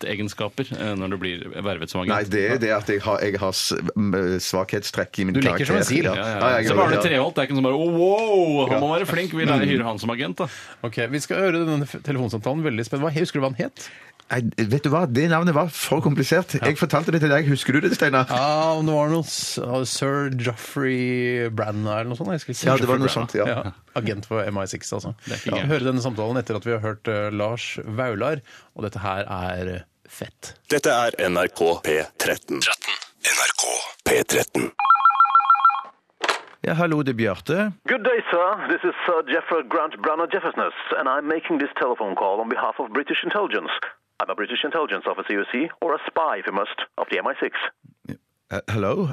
Speaker 9: agentegenskaper eh, når du blir vervet som agent.
Speaker 8: Nei, det er det at jeg har, jeg har s- m- svaghetstrekk i min
Speaker 7: Du leker
Speaker 8: karakter.
Speaker 7: som en sil.
Speaker 8: Ja,
Speaker 9: Ja,
Speaker 8: ja,
Speaker 9: ja,
Speaker 8: jeg
Speaker 9: ja. Så
Speaker 8: gjør
Speaker 9: Arne
Speaker 8: det, Mm. ja.
Speaker 9: Treholt det er ikke noe som bare «Å, wow, han må være flink, vi lærer hyre han som agent, da.
Speaker 7: Ok, Vi skal høre denne f- telefonsamtalen veldig spennende. Hva- Husker du hva han het?
Speaker 8: Nei, vet du hva, det navnet var for komplisert. Jeg fortalte det til deg, husker du det, Steinar?
Speaker 7: Ja, om det var noe s- ah, Sir Joffrey Branna eller noe sånt. Jeg husker ikke.
Speaker 8: Ja, det var noe
Speaker 7: Joffrey Branagh.
Speaker 8: sånt, ja.
Speaker 7: Agent for MI6, altså.
Speaker 9: ikke
Speaker 7: Ja.
Speaker 9: gærent.
Speaker 7: Høre denne samtalen etter at vi har hørt eh, Lars Vaular, og dette her er eh, fett.
Speaker 4: Dette er NRK P13.
Speaker 6: NRK
Speaker 4: P13.
Speaker 8: Ja, hallo, det er Bjarte.
Speaker 5: Good day, sir. This is Sir Jeffrey Grant Branner Jeffersonus, and I'm making this telephone call on behalf of British intelligence. I'm a British intelligence officer, you see, or a spy, if you must, of the MI6.
Speaker 8: Eh, Hello?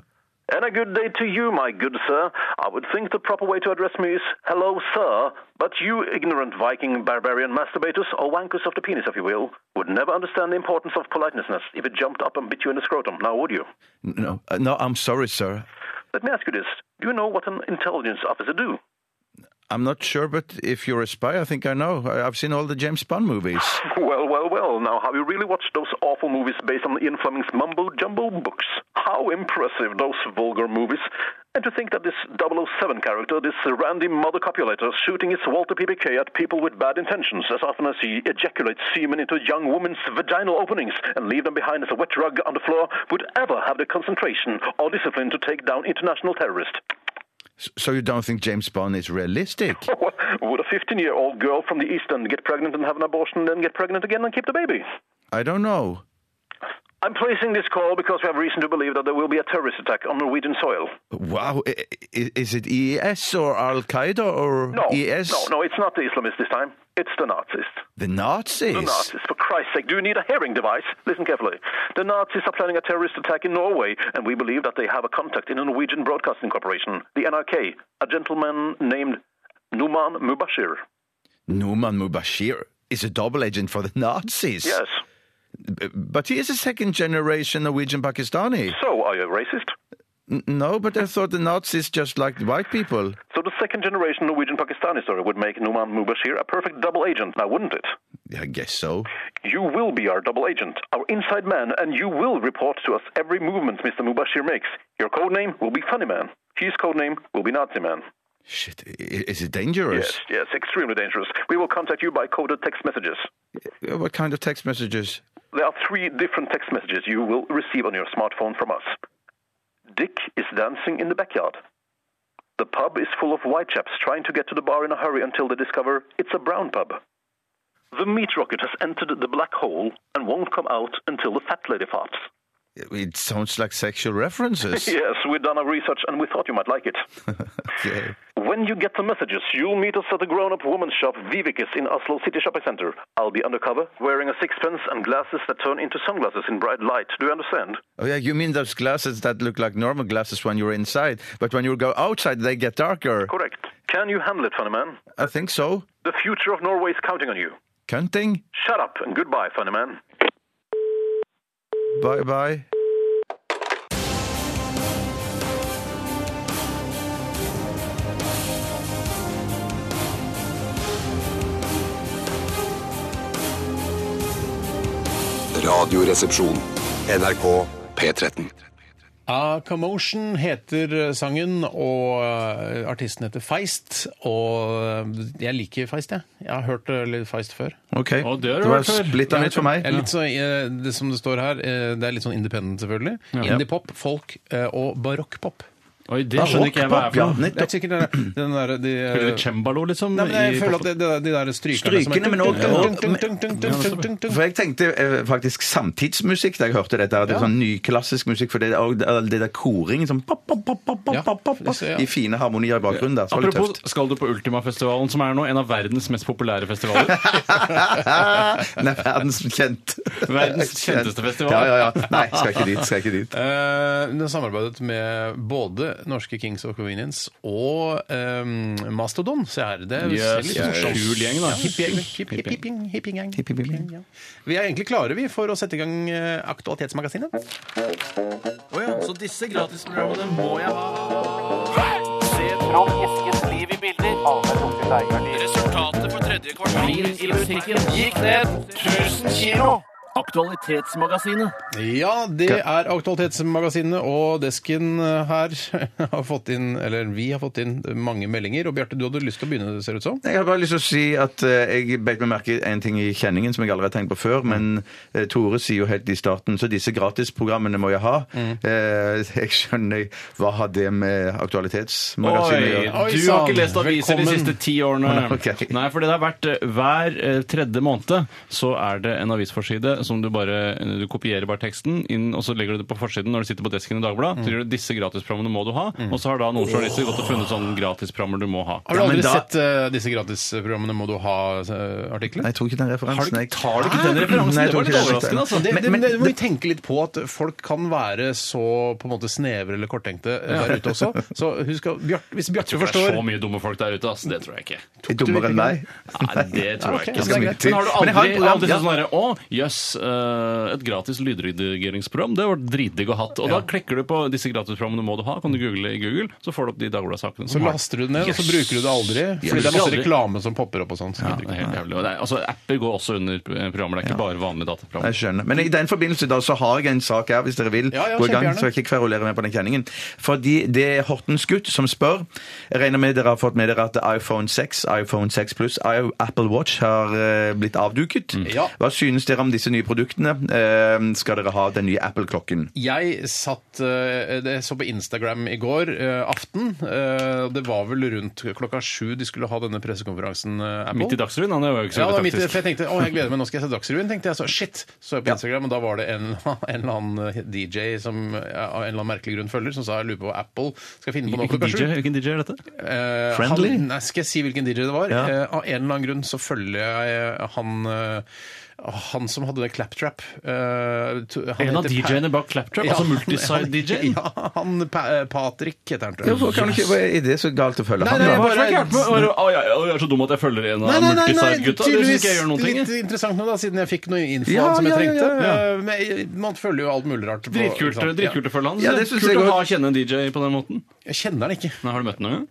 Speaker 5: And a good day to you, my good sir. I would think the proper way to address me is hello, sir, but you ignorant Viking barbarian masturbators, or wankers of the penis, if you will, would never understand the importance of politeness if it jumped up and bit you in the scrotum, now would you?
Speaker 8: No, eh, no I'm sorry, sir.
Speaker 5: Let me ask you this. Do you know what an intelligence officer do?
Speaker 8: I'm not sure, but if you're a spy, I think I know. I- I've seen all the James Bond movies.
Speaker 5: Well, well, well. Now, have you really watched those awful movies based on Ian Fleming's mumbo jumbo books? How impressive, those vulgar movies. And to think that this 007 character, this Randy Mother Copulator, shooting his Walter PPK at people with bad intentions as often as he ejaculates semen into young women's vaginal openings and leave them behind as a wet rug on the floor, would ever have the concentration or discipline to take down international terrorists.
Speaker 8: S- So you don't think James Bond is realistic?
Speaker 5: Well, would a 15 year old girl from the East End get pregnant and have an abortion, then get pregnant again and keep the baby?
Speaker 8: I don't know.
Speaker 5: I'm placing this call because we have reason to believe that there will be a terrorist attack on Norwegian soil.
Speaker 8: Wow, I- i- is it EES or Al Qaeda or
Speaker 5: No,
Speaker 8: ES?
Speaker 5: no, no, it's not the Islamists this time. It's the Nazis.
Speaker 8: The Nazis.
Speaker 5: The Nazis, for Christ's sake, do you need a hearing device? Listen carefully. The Nazis are planning a terrorist attack in Norway, and we believe that they have a contact in the Norwegian Broadcasting Corporation, the NRK, a gentleman named Numan Mubashir.
Speaker 8: Numan Mubashir is a double agent for the Nazis.
Speaker 5: Yes.
Speaker 8: B- But he is a second generation Norwegian Pakistani.
Speaker 5: So, are you a racist?
Speaker 8: N- No, but I thought the Nazis just liked white people.
Speaker 5: So, the second generation Norwegian Pakistani story would make Numan Mubashir a perfect double agent, now wouldn't it?
Speaker 8: I guess so.
Speaker 5: You will be our double agent, our inside man, and you will report to us every movement Mr. Mubashir makes. Your codename will be Funny Man. His codename will be Nazi Man.
Speaker 8: Shit, i- is it dangerous?
Speaker 5: Yes, yes, extremely dangerous. We will contact you by coded text messages.
Speaker 8: Uh, What kind of text messages?
Speaker 5: There are three different text messages you will receive on your smartphone from us. Dick is dancing in the backyard. The pub is full of white chaps trying to get to the bar in a hurry until they discover it's a brown pub. The meat rocket has entered the black hole and won't come out until the fat lady farts.
Speaker 8: It sounds like sexual references.
Speaker 5: Yes, we've done our research and we thought you might like it.
Speaker 8: Okay.
Speaker 5: When you get the messages, you'll meet us at the grown up woman's shop Vivikis in Oslo City Shopping Center. I'll be undercover, wearing a sixpence and glasses that turn into sunglasses in bright light. Do you understand?
Speaker 8: Oh yeah, you mean those glasses that look like normal glasses when you're inside, but when you go outside they get darker.
Speaker 5: Correct. Can you handle it, funny man?
Speaker 8: I think so.
Speaker 5: The future of Norway is counting on you.
Speaker 8: Cunting.
Speaker 5: Shut up and goodbye, funny man.
Speaker 8: Bye bye.
Speaker 1: Radioresepsjon. NRK P13.
Speaker 7: A Commotion heter eh, sangen, og eh, artisten heter Feist. Og eh, jeg liker Feist, jeg. Jeg har hørt eh, litt Feist før.
Speaker 8: Ok,
Speaker 9: Å, det har du
Speaker 8: var
Speaker 9: hørt før.
Speaker 8: splitta nytt for meg.
Speaker 7: Jeg er litt så, eh, det som det står her, eh, det er litt sånn independent, selvfølgelig. Indie-pop, folk eh, og barokkpop.
Speaker 9: Oi, det skjønner ikke jeg hva er for noe.
Speaker 7: Det er sikkert den der, den der de, eh,
Speaker 9: Spiller du cembalo, liksom?
Speaker 7: Nei, men jeg
Speaker 9: i-
Speaker 7: føler at det, det er de der strykerne som er-
Speaker 8: Strykene, men også-
Speaker 7: Tung, tung, tung, tung, tung, tung, tung, tung.
Speaker 8: For jeg tenkte eh, faktisk samtidsmusikk da jeg hørte dette. at Det er sånn nyklassisk musikk, for det er også all det der koring sånn pop, pop, pop, pop, pop,
Speaker 7: Ja,
Speaker 8: pop, pop,
Speaker 7: det ser jeg.
Speaker 8: i fine harmonier i bakgrunnen. Da. Så var det
Speaker 9: Apropos,
Speaker 8: tøft.
Speaker 9: skal du på Ultimafestivalen, som er nå en av verdens mest populære festivaler?
Speaker 8: Nei, verdenskjent.
Speaker 9: Verdens kjenteste festival.
Speaker 8: Ja, ja, ja. Nei, skal ikke dit. Skal ikke dit.
Speaker 7: Eh, Den har samarbeidet med både norske Kings of Convenience og eh, Mastodon. Se her. Det er
Speaker 9: Yes,
Speaker 7: litt
Speaker 9: yes.
Speaker 7: morsomt.
Speaker 9: Kul gjeng, da.
Speaker 7: Ja, Hipp gjeng. Hipp, hipp, hipp gjeng, hipp gjeng.
Speaker 8: Hipp, hipp, hipp gjeng.
Speaker 7: Ja. Vi er egentlig klare vi for å sette i gang eh, Aktualitetsmagasinet.
Speaker 9: Så disse gratisprogrammene må jeg ha. Resultatet på tredje kvartal i musikken gikk ned 1000 kilo. Aktualitetsmagasinet.
Speaker 7: Ja, det er Aktualitetsmagasinet, og desken eh, her har fått inn, eller vi har fått inn mange meldinger. Og Bjarte, du hadde lyst til å begynne, det ser ut som.
Speaker 8: Jeg har bare lyst til å si at eh, jeg beit meg merke i en ting i kjenningen som jeg aldri har tenkt på
Speaker 9: Mm.
Speaker 8: før, men eh, Tore sier jo helt i starten så disse gratisprogrammene må jeg ha.
Speaker 9: Mm.
Speaker 8: Eh, jeg skjønner hva har det med aktualitetsmagasinet å
Speaker 9: Oi,
Speaker 8: gjøre?
Speaker 7: Oi,
Speaker 9: du har ikke
Speaker 7: sann.
Speaker 9: lest aviser
Speaker 7: Velkommen.
Speaker 9: de siste ti årene.
Speaker 8: Ok.
Speaker 9: Nei, for det har vært eh, hver eh, tredje måned så er det en avisforside som du bare eh, du kopierer bare teksten inn, og så legger du det på forsiden når du sitter på desken i Dagbladet. Så gjør du disse gratisprogrammene må du ha, og så har da noen journalister gått og funnet sånne gratisprogrammer du må ha.
Speaker 7: Har du
Speaker 8: Ja, men
Speaker 7: aldri
Speaker 8: da-
Speaker 7: sett eh, disse gratisprogrammene Må du eh, ha-artikler?
Speaker 8: Nei, jeg tror ikke den referansen. jeg-
Speaker 9: Tar du ikke den referansen?
Speaker 8: Nei, jeg
Speaker 9: det
Speaker 8: tror ikke
Speaker 9: var litt
Speaker 8: det er riktig.
Speaker 9: overraskende, altså.
Speaker 7: Det,
Speaker 8: Men-
Speaker 7: det,
Speaker 8: men-
Speaker 7: men det må vi tenke litt på at folk kan være så på en måte snevre eller korttenkte eh, der ute også. Så husk å Bjarte- Hvis Bjarte
Speaker 9: Det er
Speaker 7: forstår
Speaker 9: så mye dumme folk der ute, ass. Det tror jeg ikke.
Speaker 8: Er Dummere enn meg?
Speaker 9: Nei, det tror
Speaker 7: ok,
Speaker 9: jeg
Speaker 7: det skal
Speaker 9: ikke.
Speaker 7: mye
Speaker 8: til.
Speaker 9: Men har du
Speaker 8: Men jeg har
Speaker 9: aldri,
Speaker 8: et program,
Speaker 9: aldri
Speaker 8: ja.
Speaker 9: sånn derre Å, jøss, eh, et gratis lydredigeringsprogram. Det var dritdigg å hatt. Og da klikker du på disse gratisprogrammene må du ha. Kan du google i Google, så får du opp de Dagbladet-sakene.
Speaker 7: så
Speaker 9: som har-
Speaker 7: laster du det ned, og så
Speaker 9: Yes.
Speaker 7: bruker du det aldri.
Speaker 9: Yes.
Speaker 7: Fordi det er masse
Speaker 9: Aldri.
Speaker 7: reklame som popper opp og sånn. så
Speaker 9: Ja,
Speaker 7: gidder
Speaker 9: det
Speaker 7: du
Speaker 9: er
Speaker 7: ikke.
Speaker 9: helt jævlig. Og det er- Altså, apper går også under eh, programmer. Det er ikke bare vanlige
Speaker 8: Jeg
Speaker 9: dataprogrammer.
Speaker 8: skjønner. Men i den forbindelse da, så har jeg en sak her, hvis dere vil
Speaker 7: Ja, ja,
Speaker 8: gå i gang.
Speaker 7: kjempegjerne.
Speaker 8: Så jeg ikke kverulerer mer på den kjenningen. Fordi det er Hortens gutt som spør. Jeg regner med dere har fått med dere at iPhone 6, iPhone 6 Plus, I- Apple Watch har eh, blitt avduket.
Speaker 7: Ja.
Speaker 8: Hva synes dere om disse nye produktene? Eh, Skal dere ha den nye Apple-klokken?
Speaker 7: Jeg satt eh, det jeg så på Instagram i går eh, aften. eh, Det var vel rundt klokka sju de skulle ha denne pressekonferansen. eh, Apple.
Speaker 9: Midt i Dagsrevyen? Han er jo ikke så
Speaker 7: Ja, det var
Speaker 9: veldig
Speaker 7: midt, i-
Speaker 9: taktisk.
Speaker 7: for jeg tenkte å, jeg gleder meg, nå skal jeg se Dagsrevyen. tenkte jeg så, Shit! Så jeg på Instagram, og da var det en, en eller annen DJ som jeg av en eller annen merkelig grunn følger, som sa jeg lurer på hva Apple skal finne på nå
Speaker 9: Hvilken
Speaker 7: klokka
Speaker 9: DJ,
Speaker 7: sju.
Speaker 9: hvilken DJ er dette?
Speaker 7: Eh,
Speaker 9: Friendly?
Speaker 7: Han, nei, skal jeg si hvilken DJ det var?
Speaker 8: Ja.
Speaker 7: Eh, av en eller annen grunn så følger jeg han eh, han som hadde den claptrap eh, to- han
Speaker 9: En av
Speaker 7: heter Pa-
Speaker 9: DJ-ene bak Claptrap?
Speaker 7: Ja,
Speaker 9: Altså
Speaker 7: han-
Speaker 9: Multiside-DJ?
Speaker 7: Ja, han Pa- Patrick heter han, tror
Speaker 8: Ja,
Speaker 7: jeg.
Speaker 8: for kan du ikke, hva er det så galt å følge
Speaker 7: Nei,
Speaker 8: han?
Speaker 7: nei,
Speaker 8: da?
Speaker 7: jeg bare-
Speaker 9: Hva er det gærent med- Å, ja, å, ja, å, Jeg er så dum at jeg følger en av Multiside-gutta. Det synes ikke jeg gjør noen ting.
Speaker 7: litt
Speaker 9: jeg.
Speaker 7: interessant nå da, siden jeg fikk noe info
Speaker 8: Ja,
Speaker 7: som jeg
Speaker 8: ja, ja,
Speaker 7: trengte.
Speaker 8: ja,
Speaker 7: Eh, Men jeg- man følger jo alt mulig rart. på-
Speaker 9: Dritkult
Speaker 7: ikke sant?
Speaker 9: dritkult å følge han.
Speaker 8: Ja,
Speaker 9: det
Speaker 8: det
Speaker 9: er
Speaker 8: synes
Speaker 9: Kult
Speaker 8: jeg
Speaker 9: å
Speaker 8: også.
Speaker 9: ha kjenne en DJ på den måten.
Speaker 7: Ja. Jeg kjenner den ikke.
Speaker 9: Nei, har du møtt ham noen gang?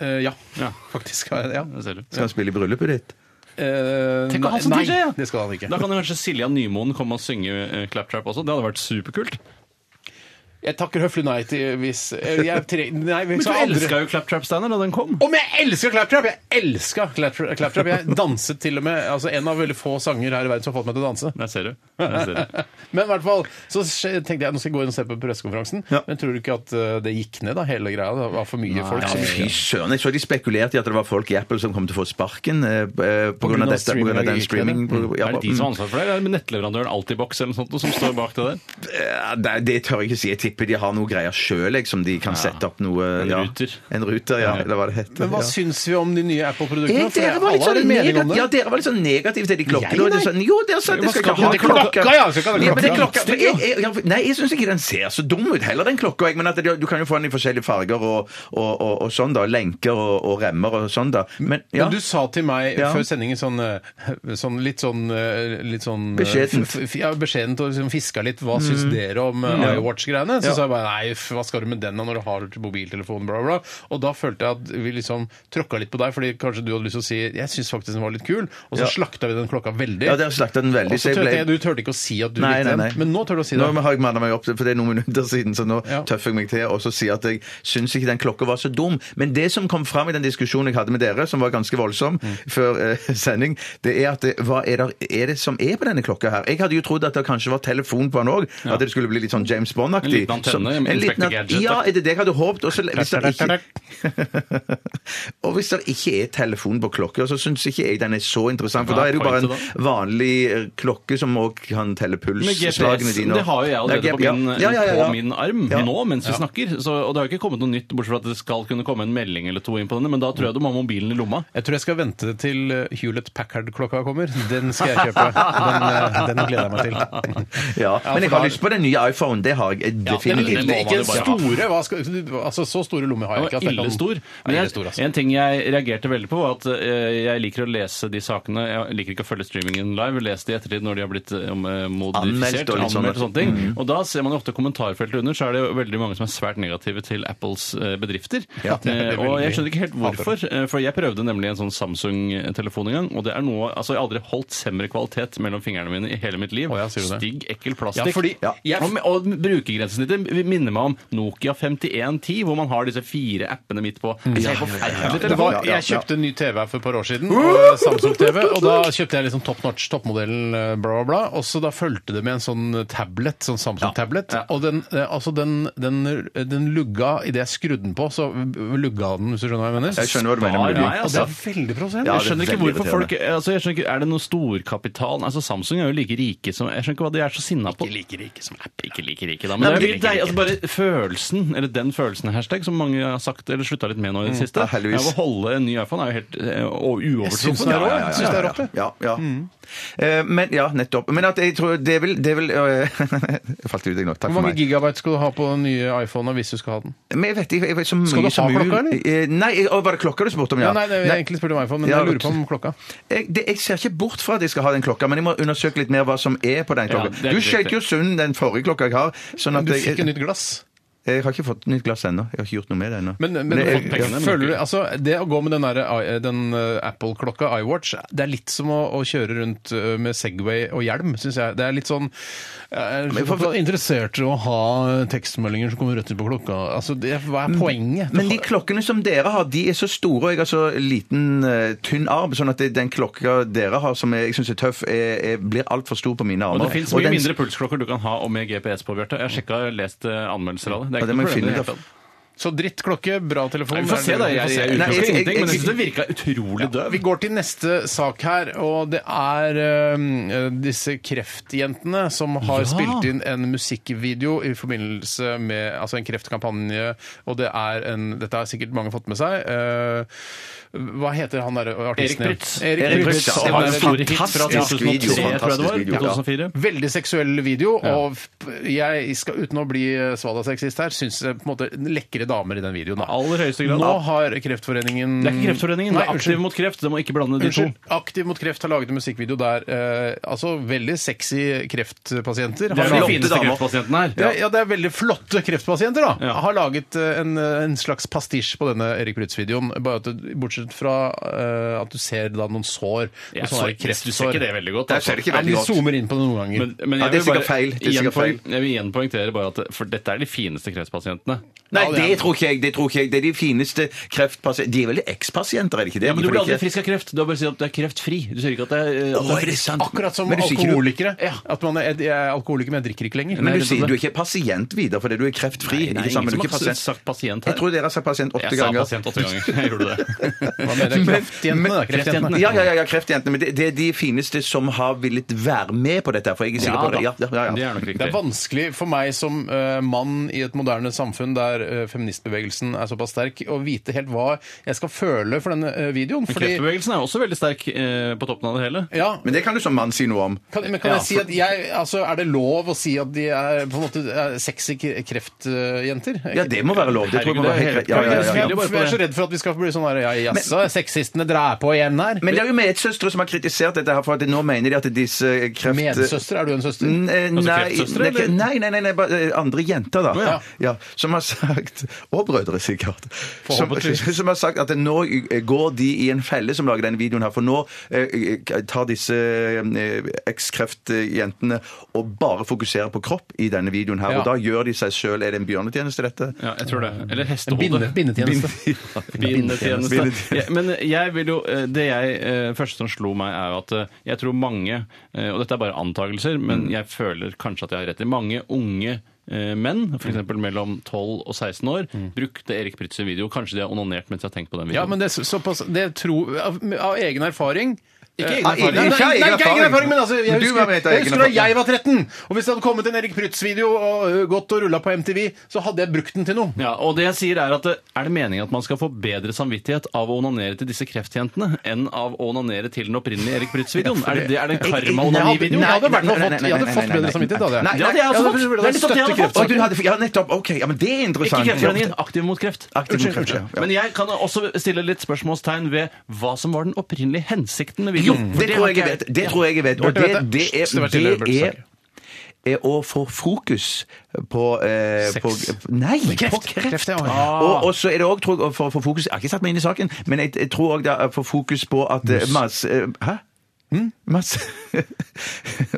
Speaker 7: Eh, ja,
Speaker 9: Ja.
Speaker 7: faktisk. har jeg det, Ja.
Speaker 9: Det ser du.
Speaker 8: Skal han spille i bryllupet ditt?
Speaker 7: Eh,
Speaker 9: Tenk å ha som
Speaker 7: nei,
Speaker 9: DJ, ja.
Speaker 7: Det skal han ikke.
Speaker 9: Da kan jo kanskje Silja Nymoen komme og synge eh, Claptrap også. Det hadde vært superkult.
Speaker 7: Jeg takker høflig nei til hvis eh, jeg tre, Nei, vi
Speaker 9: Men du
Speaker 7: skal aldri-
Speaker 9: elska jo Claptrap Steiner da den kom.
Speaker 7: Om jeg elsker claptrap! Jeg elska claptrap. claptrap. Jeg danset til og med altså En av veldig få sanger her i verden som har fått meg til å danse.
Speaker 9: Der ser du. Der ser du.
Speaker 7: Men i hvert fall så skje- tenkte jeg nå skal jeg gå inn og se på pressekonferansen. Men tror du ikke at eh, det gikk ned, da, hele greia? Det var for mye folk. som-
Speaker 8: Fy søren. Jeg så de spekulerte i at det var folk i Apple som kom til å få sparken eh, b- eh, på grunn av dette, på grunn av den streaming. på- ja, mm.
Speaker 9: Mm. Er det de som har ansvar for det? eller Er det nettleverandøren Altibox eller noe sånt som står bak det der?
Speaker 8: Eh, Det, det tør jeg ikke si. Jeg tipper de har noe greier sjøl som de kan sette opp noe
Speaker 9: En
Speaker 8: ja.
Speaker 9: ruter.
Speaker 8: En ruter, ja. Eller hva det heter.
Speaker 7: Men hva
Speaker 8: ja.
Speaker 7: syns vi om de nye Apple-produktene?
Speaker 8: Eh,
Speaker 7: For
Speaker 8: dere var
Speaker 7: alle
Speaker 8: litt
Speaker 7: har
Speaker 8: sånn
Speaker 7: en mening om
Speaker 8: negativ-
Speaker 7: det.
Speaker 8: Ja, dere var litt sånn negative til de klokkene. og det er sånn, Jo, det er sant,
Speaker 9: Hva
Speaker 8: jeg skal ikke
Speaker 9: skal
Speaker 8: ha
Speaker 9: du til
Speaker 8: klokka.
Speaker 7: klokka, ja, jeg skal ikke ha
Speaker 8: Ja, men det er
Speaker 7: klokka.
Speaker 8: klokka. for Jeg, jeg, ja, for- nei, jeg syns ikke den ser så dum ut heller, den klokka. jeg, Men at det, du kan jo få den i forskjellige farger og, og, og, og sånn, da. Lenker og, og remmer og sånn, da. Men ja.
Speaker 7: Men du sa til meg
Speaker 8: Ja.
Speaker 7: før sendingen sånn, eh, sånn litt sånn, eh, litt sånn eh,
Speaker 8: Beskjedent. Mm.
Speaker 7: f- f- Ja, beskjedent og liksom fiska litt. Hva syns dere om eh, iWatch-greiene? Så
Speaker 8: Ja.
Speaker 7: sa jeg bare nei, f- hva skal du med den da når du har mobiltelefon, bla, bla. bla. Og da følte jeg at vi liksom tråkka litt på deg, fordi kanskje du hadde lyst til å si jeg syns faktisk den var litt kul, og så
Speaker 8: Ja.
Speaker 7: slakta vi den klokka veldig.
Speaker 8: Ja, dere slakta den veldig.
Speaker 7: og så
Speaker 8: jeg
Speaker 7: tørte
Speaker 8: ble-
Speaker 7: jeg, Du turte ikke å si at du
Speaker 8: Nei,
Speaker 7: likte
Speaker 8: nei, nei.
Speaker 7: den, men nå tør du å si det.
Speaker 8: Nå har jeg manna meg opp, for det er noen minutter siden, så nå
Speaker 7: Ja.
Speaker 8: tøffer jeg meg til og så sier at jeg syns ikke den klokka var så dum. Men det som kom fram i den diskusjonen jeg hadde med dere, som var ganske voldsom
Speaker 7: Mm.
Speaker 8: før eh, sending, det er at eh, hva er det, er det som er på denne klokka her? Jeg hadde jo trodd at det kanskje var telefon på den òg, at det skulle bli litt sånn James Bond-aktig.
Speaker 9: En liten antenne,
Speaker 8: Som-
Speaker 9: en
Speaker 8: liten
Speaker 9: Inspector
Speaker 8: an-
Speaker 9: Gadget,
Speaker 8: Ja,
Speaker 9: da.
Speaker 8: er det det jeg hadde håpet? Og, så, hvis det ikke, og hvis det ikke er telefon på klokka, så syns ikke jeg den er så interessant, for
Speaker 9: Hva
Speaker 8: da
Speaker 9: er
Speaker 8: er det jo bare en
Speaker 9: pointet
Speaker 8: vanlig eh, klokke som òg kan telle puls.
Speaker 9: Med
Speaker 8: slagene
Speaker 9: GPS,
Speaker 8: dine og-
Speaker 9: det har jo jeg allerede
Speaker 8: Ja,
Speaker 9: på, min,
Speaker 8: ja, ja, ja, ja.
Speaker 9: på min arm
Speaker 8: Ja.
Speaker 9: nå mens vi snakker. Så, og det har jo ikke kommet noe nytt, bortsett fra at det skal kunne komme en melding eller to inn på denne, men da tror jeg du må ha mobilen i lomma.
Speaker 7: Jeg tror jeg skal vente til eh, Hewlett Packard-klokka kommer. Den skal jeg kjøpe. Den, eh, den gleder jeg meg til.
Speaker 8: Ja,
Speaker 7: Ja,
Speaker 8: men jeg
Speaker 7: for
Speaker 8: har
Speaker 7: da-
Speaker 8: lyst på den nye iPhone. Det har jeg
Speaker 9: Ja,
Speaker 8: definitivt.
Speaker 9: det- det-
Speaker 7: Ikke
Speaker 9: må man jo bare
Speaker 7: store, hva skal, altså Så store lommer har jeg ikke. at
Speaker 9: Det
Speaker 7: jeg
Speaker 9: var
Speaker 7: kan-
Speaker 9: ille stor. Men
Speaker 7: Ja, ille
Speaker 9: jeg,
Speaker 7: stor, altså.
Speaker 9: En ting jeg reagerte veldig på, var at eh, jeg liker å lese de sakene Jeg liker ikke å følge streamingen live. Les de i ettertid når de har blitt eh, om, eh,
Speaker 8: Anmeldt
Speaker 9: modifisert.
Speaker 8: og litt
Speaker 9: Anmeldt
Speaker 8: sånn,
Speaker 9: og sånne ting.
Speaker 7: Mm.
Speaker 9: Og da ser man jo ofte kommentarfeltet under, så er det jo veldig mange som er svært negative til Apples eh, bedrifter.
Speaker 7: Ja, det er
Speaker 9: Eh,
Speaker 7: veldig-
Speaker 9: og jeg skjønner ikke helt
Speaker 7: Hater
Speaker 9: hvorfor, eh, for jeg prøvde nemlig en sånn Samsung-telefon en gang, og det er noe Altså, jeg har aldri holdt semre kvalitet mellom fingrene mine i hele mitt liv.
Speaker 7: Å, ja, sier du det?
Speaker 9: Stygg,
Speaker 7: Ja,
Speaker 9: ekkel plastikk.
Speaker 7: fordi jeg-
Speaker 9: Og, og brukergrensesnittet minner meg om Nokia 5110, hvor man har disse fire appene midt på. Det er helt forferdelig
Speaker 7: Det var,
Speaker 9: telefon.
Speaker 7: jeg kjøpte en ny TV her for et par år siden, og eh, Samsung-TV, og da kjøpte jeg liksom top notch, toppmodellen, eh, bla, bla, bla. Og så da fulgte det med en sånn tablet, sånn Samsung-tablet.
Speaker 9: Ja, ja.
Speaker 7: Og den, eh, altså den, den, den lugga idet jeg skrudde den på, så lugga den, hvis du skjønner hva jeg mener.
Speaker 8: Jeg skjønner hva du mener med
Speaker 9: Spar
Speaker 8: lugg.
Speaker 9: meg,
Speaker 7: Og det er veldig prosent.
Speaker 8: Ja,
Speaker 9: Jeg
Speaker 8: det er
Speaker 9: skjønner ikke
Speaker 8: veldig
Speaker 9: hvorfor folk altså jeg skjønner ikke, Er det noe storkapital Altså Samsung er jo like rike som Jeg skjønner ikke hva de er så sinna på. Ikke like rike som Apple. Ikke like rike, da. Men det er jo deg, altså bare følelsen, eller den følelsen, hashtag, som mange har sagt eller slutta litt med nå i det siste.
Speaker 8: Ja, heldigvis.
Speaker 9: Av å holde en ny iPhone er jo helt eh, og
Speaker 7: Mm, Jeg syns
Speaker 9: uovertruffen.
Speaker 7: den er rå,
Speaker 9: Ja, ja,
Speaker 7: jeg.
Speaker 9: ja.
Speaker 7: Syns det er rått, det. Mm.
Speaker 8: Ja, ja. Eh, Men, ja, nettopp. Men at jeg tror det vil, det vil øh, Jeg falt ut, jeg nå. Takk
Speaker 7: Hvor
Speaker 8: for
Speaker 7: mange
Speaker 8: meg.
Speaker 7: gigabyte skal du ha på den nye iPhonen hvis du skal ha den?
Speaker 8: Men jeg vet ikke, jeg vet så mye
Speaker 7: Skal du
Speaker 8: som
Speaker 7: ha
Speaker 8: mulig.
Speaker 7: klokka, eller?
Speaker 8: Eh, Nei, jeg- å, var det klokka du spurte om?
Speaker 7: Ja,
Speaker 8: Ja.
Speaker 7: nei, det, jeg egentlig spurte om iPhone, men
Speaker 8: Ja,
Speaker 7: jeg lurer på om klokka.
Speaker 8: Jeg, det, jeg ser ikke bort fra at jeg skal ha den klokka, men jeg må undersøke litt mer hva som er på den
Speaker 9: Ja,
Speaker 8: klokka.
Speaker 9: det er
Speaker 8: du
Speaker 9: riktig.
Speaker 8: skjøt jo sund den forrige klokka jeg har. Sånn at
Speaker 7: Du fikk jo
Speaker 8: jeg,
Speaker 7: nytt glass.
Speaker 8: jeg har ikke fått nytt glass ennå. Jeg har ikke gjort noe med det ennå.
Speaker 7: Men, men,
Speaker 8: jeg-
Speaker 9: fått pengene, men
Speaker 7: føler du,
Speaker 9: ikke-
Speaker 7: altså, det å gå med den, derre i- den eh, Apple-klokka, iWatch, det er litt som å, å kjøre rundt eh, med Segway og hjelm, syns jeg. Det er litt sånn Jeg er
Speaker 8: for-
Speaker 7: så interessert i å ha eh, tekstmeldinger som kommer rett inn på klokka. Altså, det, hva er poenget?
Speaker 8: Men de klokkene som dere har, de er så store, og jeg har så liten, eh, tynn arm, sånn at det, den klokka dere har, som jeg, jeg syns er tøff, er, er, blir altfor stor på mine
Speaker 9: Og
Speaker 8: armer.
Speaker 9: det fins mye
Speaker 8: den-
Speaker 9: mindre pulsklokker du kan ha og med GPS på, Bjarte. Jeg har sjekka og lest eh, anmeldelser av det. Det
Speaker 8: Ja,
Speaker 9: er
Speaker 8: det
Speaker 9: ikke
Speaker 8: må
Speaker 9: noe
Speaker 8: jeg finne
Speaker 9: problem. i det
Speaker 8: ut av.
Speaker 9: hele tatt.
Speaker 7: Så drittklokke, bra telefon.
Speaker 9: Nei, Vi får se, da. Jeg, jeg
Speaker 8: Nei, jeg-
Speaker 9: utelukker
Speaker 8: jeg-
Speaker 9: ingenting, men jeg
Speaker 8: jeg-
Speaker 9: syns det virka utrolig døv.
Speaker 7: Vi går til neste sak her, og det er eh, disse kreftjentene som har spilt inn en musikkvideo i forbindelse med altså en kreftkampanje, og det er en Dette har sikkert mange fått med seg. eh, hva heter han derre artisten?
Speaker 9: Erik Prytz.
Speaker 7: Erik
Speaker 8: Erik
Speaker 7: Prytz.
Speaker 8: Prytz, ja.
Speaker 7: Det
Speaker 9: var
Speaker 7: var
Speaker 9: en
Speaker 7: en
Speaker 9: stor hit fra
Speaker 8: fantastisk
Speaker 9: 2003,
Speaker 8: video,
Speaker 9: tror jeg det var.
Speaker 8: fantastisk video, ja.
Speaker 9: 2004.
Speaker 7: Veldig eh, seksuell video, og f- jeg skal uten å bli svadaseksist her, syns jeg på en måte den lekre flere damer i den videoen. Da.
Speaker 9: Aller høyeste grad.
Speaker 7: Nå har Kreftforeningen
Speaker 9: Det er ikke Kreftforeningen,
Speaker 7: Nei,
Speaker 9: det er Aktiv
Speaker 7: unnskyld.
Speaker 9: mot kreft. Det må ikke blande de to.
Speaker 7: Unnskyld. Aktiv mot kreft har laget en musikkvideo der eh, altså veldig sexy kreftpasienter
Speaker 9: Det
Speaker 7: har
Speaker 9: er de
Speaker 7: laget,
Speaker 9: fineste
Speaker 8: damer.
Speaker 9: kreftpasientene her.
Speaker 7: ja. ja, det er veldig flotte kreftpasienter, da.
Speaker 9: Ja.
Speaker 7: Har laget eh, en, en slags pastisj på denne Erik Brutz-videoen. Bare at du- Bortsett fra eh, at du ser da noen sår.
Speaker 9: Jeg
Speaker 7: noen sånne
Speaker 9: så- jeg synes ikke det veldig godt.
Speaker 8: Der ser det ikke
Speaker 7: Ja,
Speaker 8: veldig
Speaker 7: de
Speaker 8: godt.
Speaker 7: zoomer inn på det noen ganger.
Speaker 9: Men, men
Speaker 8: Ja,
Speaker 9: jeg,
Speaker 8: det er
Speaker 9: vil bare,
Speaker 8: sikkert feil. Det er
Speaker 9: igjen
Speaker 8: sikkert feil.
Speaker 9: poeng- jeg vil igjen poengtere bare at For dette er de fineste kreftpasientene.
Speaker 8: Nei,
Speaker 7: Ja, det er-
Speaker 8: det tror ikke jeg. Det tror ikke jeg. Det er de fineste kreftpasienter... De er vel ekspasienter, er det ikke det?
Speaker 9: Ja, men Du
Speaker 8: For det
Speaker 9: blir
Speaker 8: er
Speaker 9: aldri
Speaker 8: ikke-
Speaker 9: frisk av kreft. Du har bare sagt at du er kreftfri. Du sier ikke at det er, eh, at
Speaker 8: Å,
Speaker 9: du
Speaker 8: er
Speaker 9: er
Speaker 8: det
Speaker 9: frisk.
Speaker 8: sant?
Speaker 7: Akkurat som
Speaker 8: Men du sier ikke du-
Speaker 7: alkoholikere. At man er, jeg er alkoholiker, men sånn- jeg drikker ikke lenger.
Speaker 8: Men
Speaker 9: Nei,
Speaker 8: du
Speaker 9: det- sånn
Speaker 8: sier du er ikke pasient videre fordi du er kreftfri.
Speaker 9: Nei, det er
Speaker 8: ikke sant?
Speaker 9: ingen
Speaker 8: Men du er
Speaker 9: som
Speaker 8: ikke
Speaker 9: har
Speaker 8: pasient.
Speaker 9: sagt pasient her.
Speaker 8: Jeg tror dere har sagt pasient åtte
Speaker 9: Jeg sa
Speaker 8: ganger.
Speaker 9: pasient åtte ganger. Jeg gjorde det.
Speaker 7: Hva mener jeg?
Speaker 8: Men-
Speaker 7: Kreftjentene, da.
Speaker 8: men-
Speaker 7: Kreftjentene.
Speaker 8: Ja, ja, ja, ja, kreftjentene. Men det, det er de fineste som har villet være med på dette. For jeg er sikker
Speaker 9: Ja,
Speaker 8: på det. Ja, ja, ja,
Speaker 9: Det
Speaker 8: ja.
Speaker 9: er nok
Speaker 7: Det er
Speaker 9: riktig.
Speaker 7: vanskelig for meg som eh, mann i et moderne samfunn der eh, feministbevegelsen er såpass sterk, å vite helt hva jeg skal føle for denne eh, videoen. Fordi,
Speaker 9: Kreftbevegelsen er også veldig sterk eh, på toppen av det hele.
Speaker 7: ja,
Speaker 8: Men det kan du som mann si noe om.
Speaker 7: kan, men kan
Speaker 9: Ja,
Speaker 7: jeg si at jeg, altså, Er det lov å si at de er på en måte er sexy k- kreftjenter?
Speaker 8: Ja, det må være lov. Det tror jeg må være
Speaker 9: Herregud, det er
Speaker 8: helt
Speaker 9: helt-
Speaker 8: greit. Ja, ja, ja, ja.
Speaker 9: Jeg er bare på
Speaker 7: Jeg er så
Speaker 9: det.
Speaker 7: redd for at vi skal bli sånn her ja, Jaså, sexistene drar på igjen her?
Speaker 8: Men det er jo medsøstre som har kritisert dette her, for at nå mener de at disse kreft...
Speaker 7: Medsøster? Er du en søster?
Speaker 8: Mm, eh, Nei,
Speaker 9: kreftsøstre,
Speaker 8: nei,
Speaker 9: eller?
Speaker 8: nei, nei, nei, nei bare, eh, andre jenter, da.
Speaker 7: ja.
Speaker 8: Ja, som har sagt Og brødre, sikkert. Som,
Speaker 7: Forhåpentligvis.
Speaker 8: som har sagt at nå eh, går de i en felle som lager denne videoen her. For nå eh, tar disse eh, ekskreftjentene og bare fokuserer på kropp i denne videoen her.
Speaker 7: Ja.
Speaker 8: Og da gjør de seg sjøl Er det en bjørnetjeneste, dette?
Speaker 9: Ja, jeg tror det.
Speaker 7: En
Speaker 9: Eller
Speaker 7: binde,
Speaker 9: hestehode.
Speaker 7: bindetjeneste.
Speaker 9: Bindetjeneste.
Speaker 8: Bindetjeneste.
Speaker 9: Ja, men jeg vil jo, eh, det jeg, eh, første som slo meg, er jo at eh, jeg tror mange, eh, og dette er bare antakelser,
Speaker 8: Mm.
Speaker 9: men jeg føler kanskje at jeg har rett i mange unge eh, menn,
Speaker 8: Mm.
Speaker 9: f.eks. mellom 12 og 16 år, brukte Erik Pritz sin video. Kanskje de har onanert mens de har tenkt på den videoen.
Speaker 7: Ja, men det, er så- såpass, det tror av, av egen erfaring
Speaker 9: Ikke
Speaker 7: Eh,
Speaker 9: egen
Speaker 8: erfaring.
Speaker 7: Nei, nei, nei,
Speaker 8: Ikke egen
Speaker 7: nei, ikke egen
Speaker 8: erfaring.
Speaker 7: erfaring, men altså, jeg
Speaker 8: Men du var
Speaker 7: husker,
Speaker 8: med etter
Speaker 7: jeg
Speaker 8: egen
Speaker 7: husker da
Speaker 8: erfaring.
Speaker 7: jeg var 13, og hvis det hadde kommet en Erik Prytz-video og ø, gått og rulla på MTV, så hadde jeg brukt den til noe.
Speaker 9: Ja, og det jeg sier Er at eh, er det meningen at man skal få bedre samvittighet av å onanere til disse kreftjentene enn av å onanere til den opprinnelige Erik Prytz-videoen? Er det, er det
Speaker 7: Jeg
Speaker 9: karma-onani-videoen?
Speaker 7: hadde- jeg hadde i hvert fall
Speaker 8: Nei, nei,
Speaker 7: fått-
Speaker 8: nei,
Speaker 7: jeg hadde
Speaker 8: nei,
Speaker 7: fått
Speaker 8: nei, nei,
Speaker 7: bedre
Speaker 8: nei,
Speaker 7: samvittighet,
Speaker 8: nei,
Speaker 7: hadde jeg.
Speaker 8: nei,
Speaker 9: Ja, det er
Speaker 8: nei, nei, nei, nei,
Speaker 9: altså- det er litt at jeg hadde
Speaker 8: støtte
Speaker 9: fått-
Speaker 8: Å, du hadde- Ja, nettopp. Ok, ja, men det er
Speaker 9: Ikke
Speaker 8: interessant.
Speaker 9: Kreftforeningen, Aktiv mot kreft.
Speaker 8: Aktiv mot
Speaker 9: Unnskyld,
Speaker 8: kreft,
Speaker 9: unnskyld.
Speaker 8: ja.
Speaker 9: Men jeg kan også stille litt spørsmålstegn ved hva som var den opprinnelige hensikten med
Speaker 8: Jo,
Speaker 9: videoen. For
Speaker 8: det tror
Speaker 9: har
Speaker 8: jeg jeg
Speaker 9: ikke
Speaker 8: vet. Det tror jeg jeg vet.
Speaker 7: Bjarte
Speaker 8: Og det,
Speaker 7: vet det.
Speaker 8: det
Speaker 7: Hysj, det var
Speaker 8: er,
Speaker 7: tidligere
Speaker 8: det
Speaker 7: Bjarte
Speaker 8: er er å få fokus på, eh,
Speaker 7: Sex.
Speaker 8: på Nei, på
Speaker 7: kreft.
Speaker 8: kreft.
Speaker 7: Kreft, ja, Ah. ja.
Speaker 8: Og, og så er det òg, tror jeg, for å få fokus Jeg har ikke satt meg inn i saken, men jeg, jeg tror òg det er for fokus på at eh, masse eh, Hæ? Masse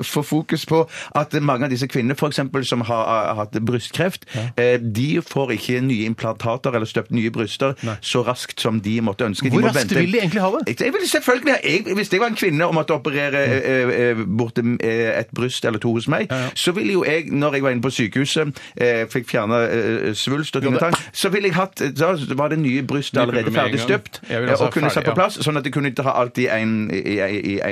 Speaker 8: Få fokus på at mange av disse kvinnene for eksempel, som har, har hatt brystkreft, eh, de får ikke nye implantater eller støpt nye bryster så raskt som de måtte ønske.
Speaker 7: Hvor
Speaker 8: de må
Speaker 7: raskt
Speaker 8: vente-
Speaker 7: vil de egentlig ha det?
Speaker 8: jeg ville selvfølgelig, jeg, Hvis jeg var en kvinne og måtte operere eh, eh, bort eh, et bryst eller to hos meg, så ville jo jeg, når jeg var inne på sykehuset, eh, fikk fjerna eh, svulst og ting og tang, så ville jeg hatt Da var det nye bryst allerede
Speaker 9: pupper med en
Speaker 8: ferdig
Speaker 9: gang.
Speaker 8: støpt
Speaker 7: Jeg vil
Speaker 8: eh,
Speaker 7: altså
Speaker 8: og
Speaker 7: ha
Speaker 8: kunne
Speaker 7: ferdig,
Speaker 8: satt på
Speaker 7: ja.
Speaker 8: plass, sånn at jeg kunne ta alt i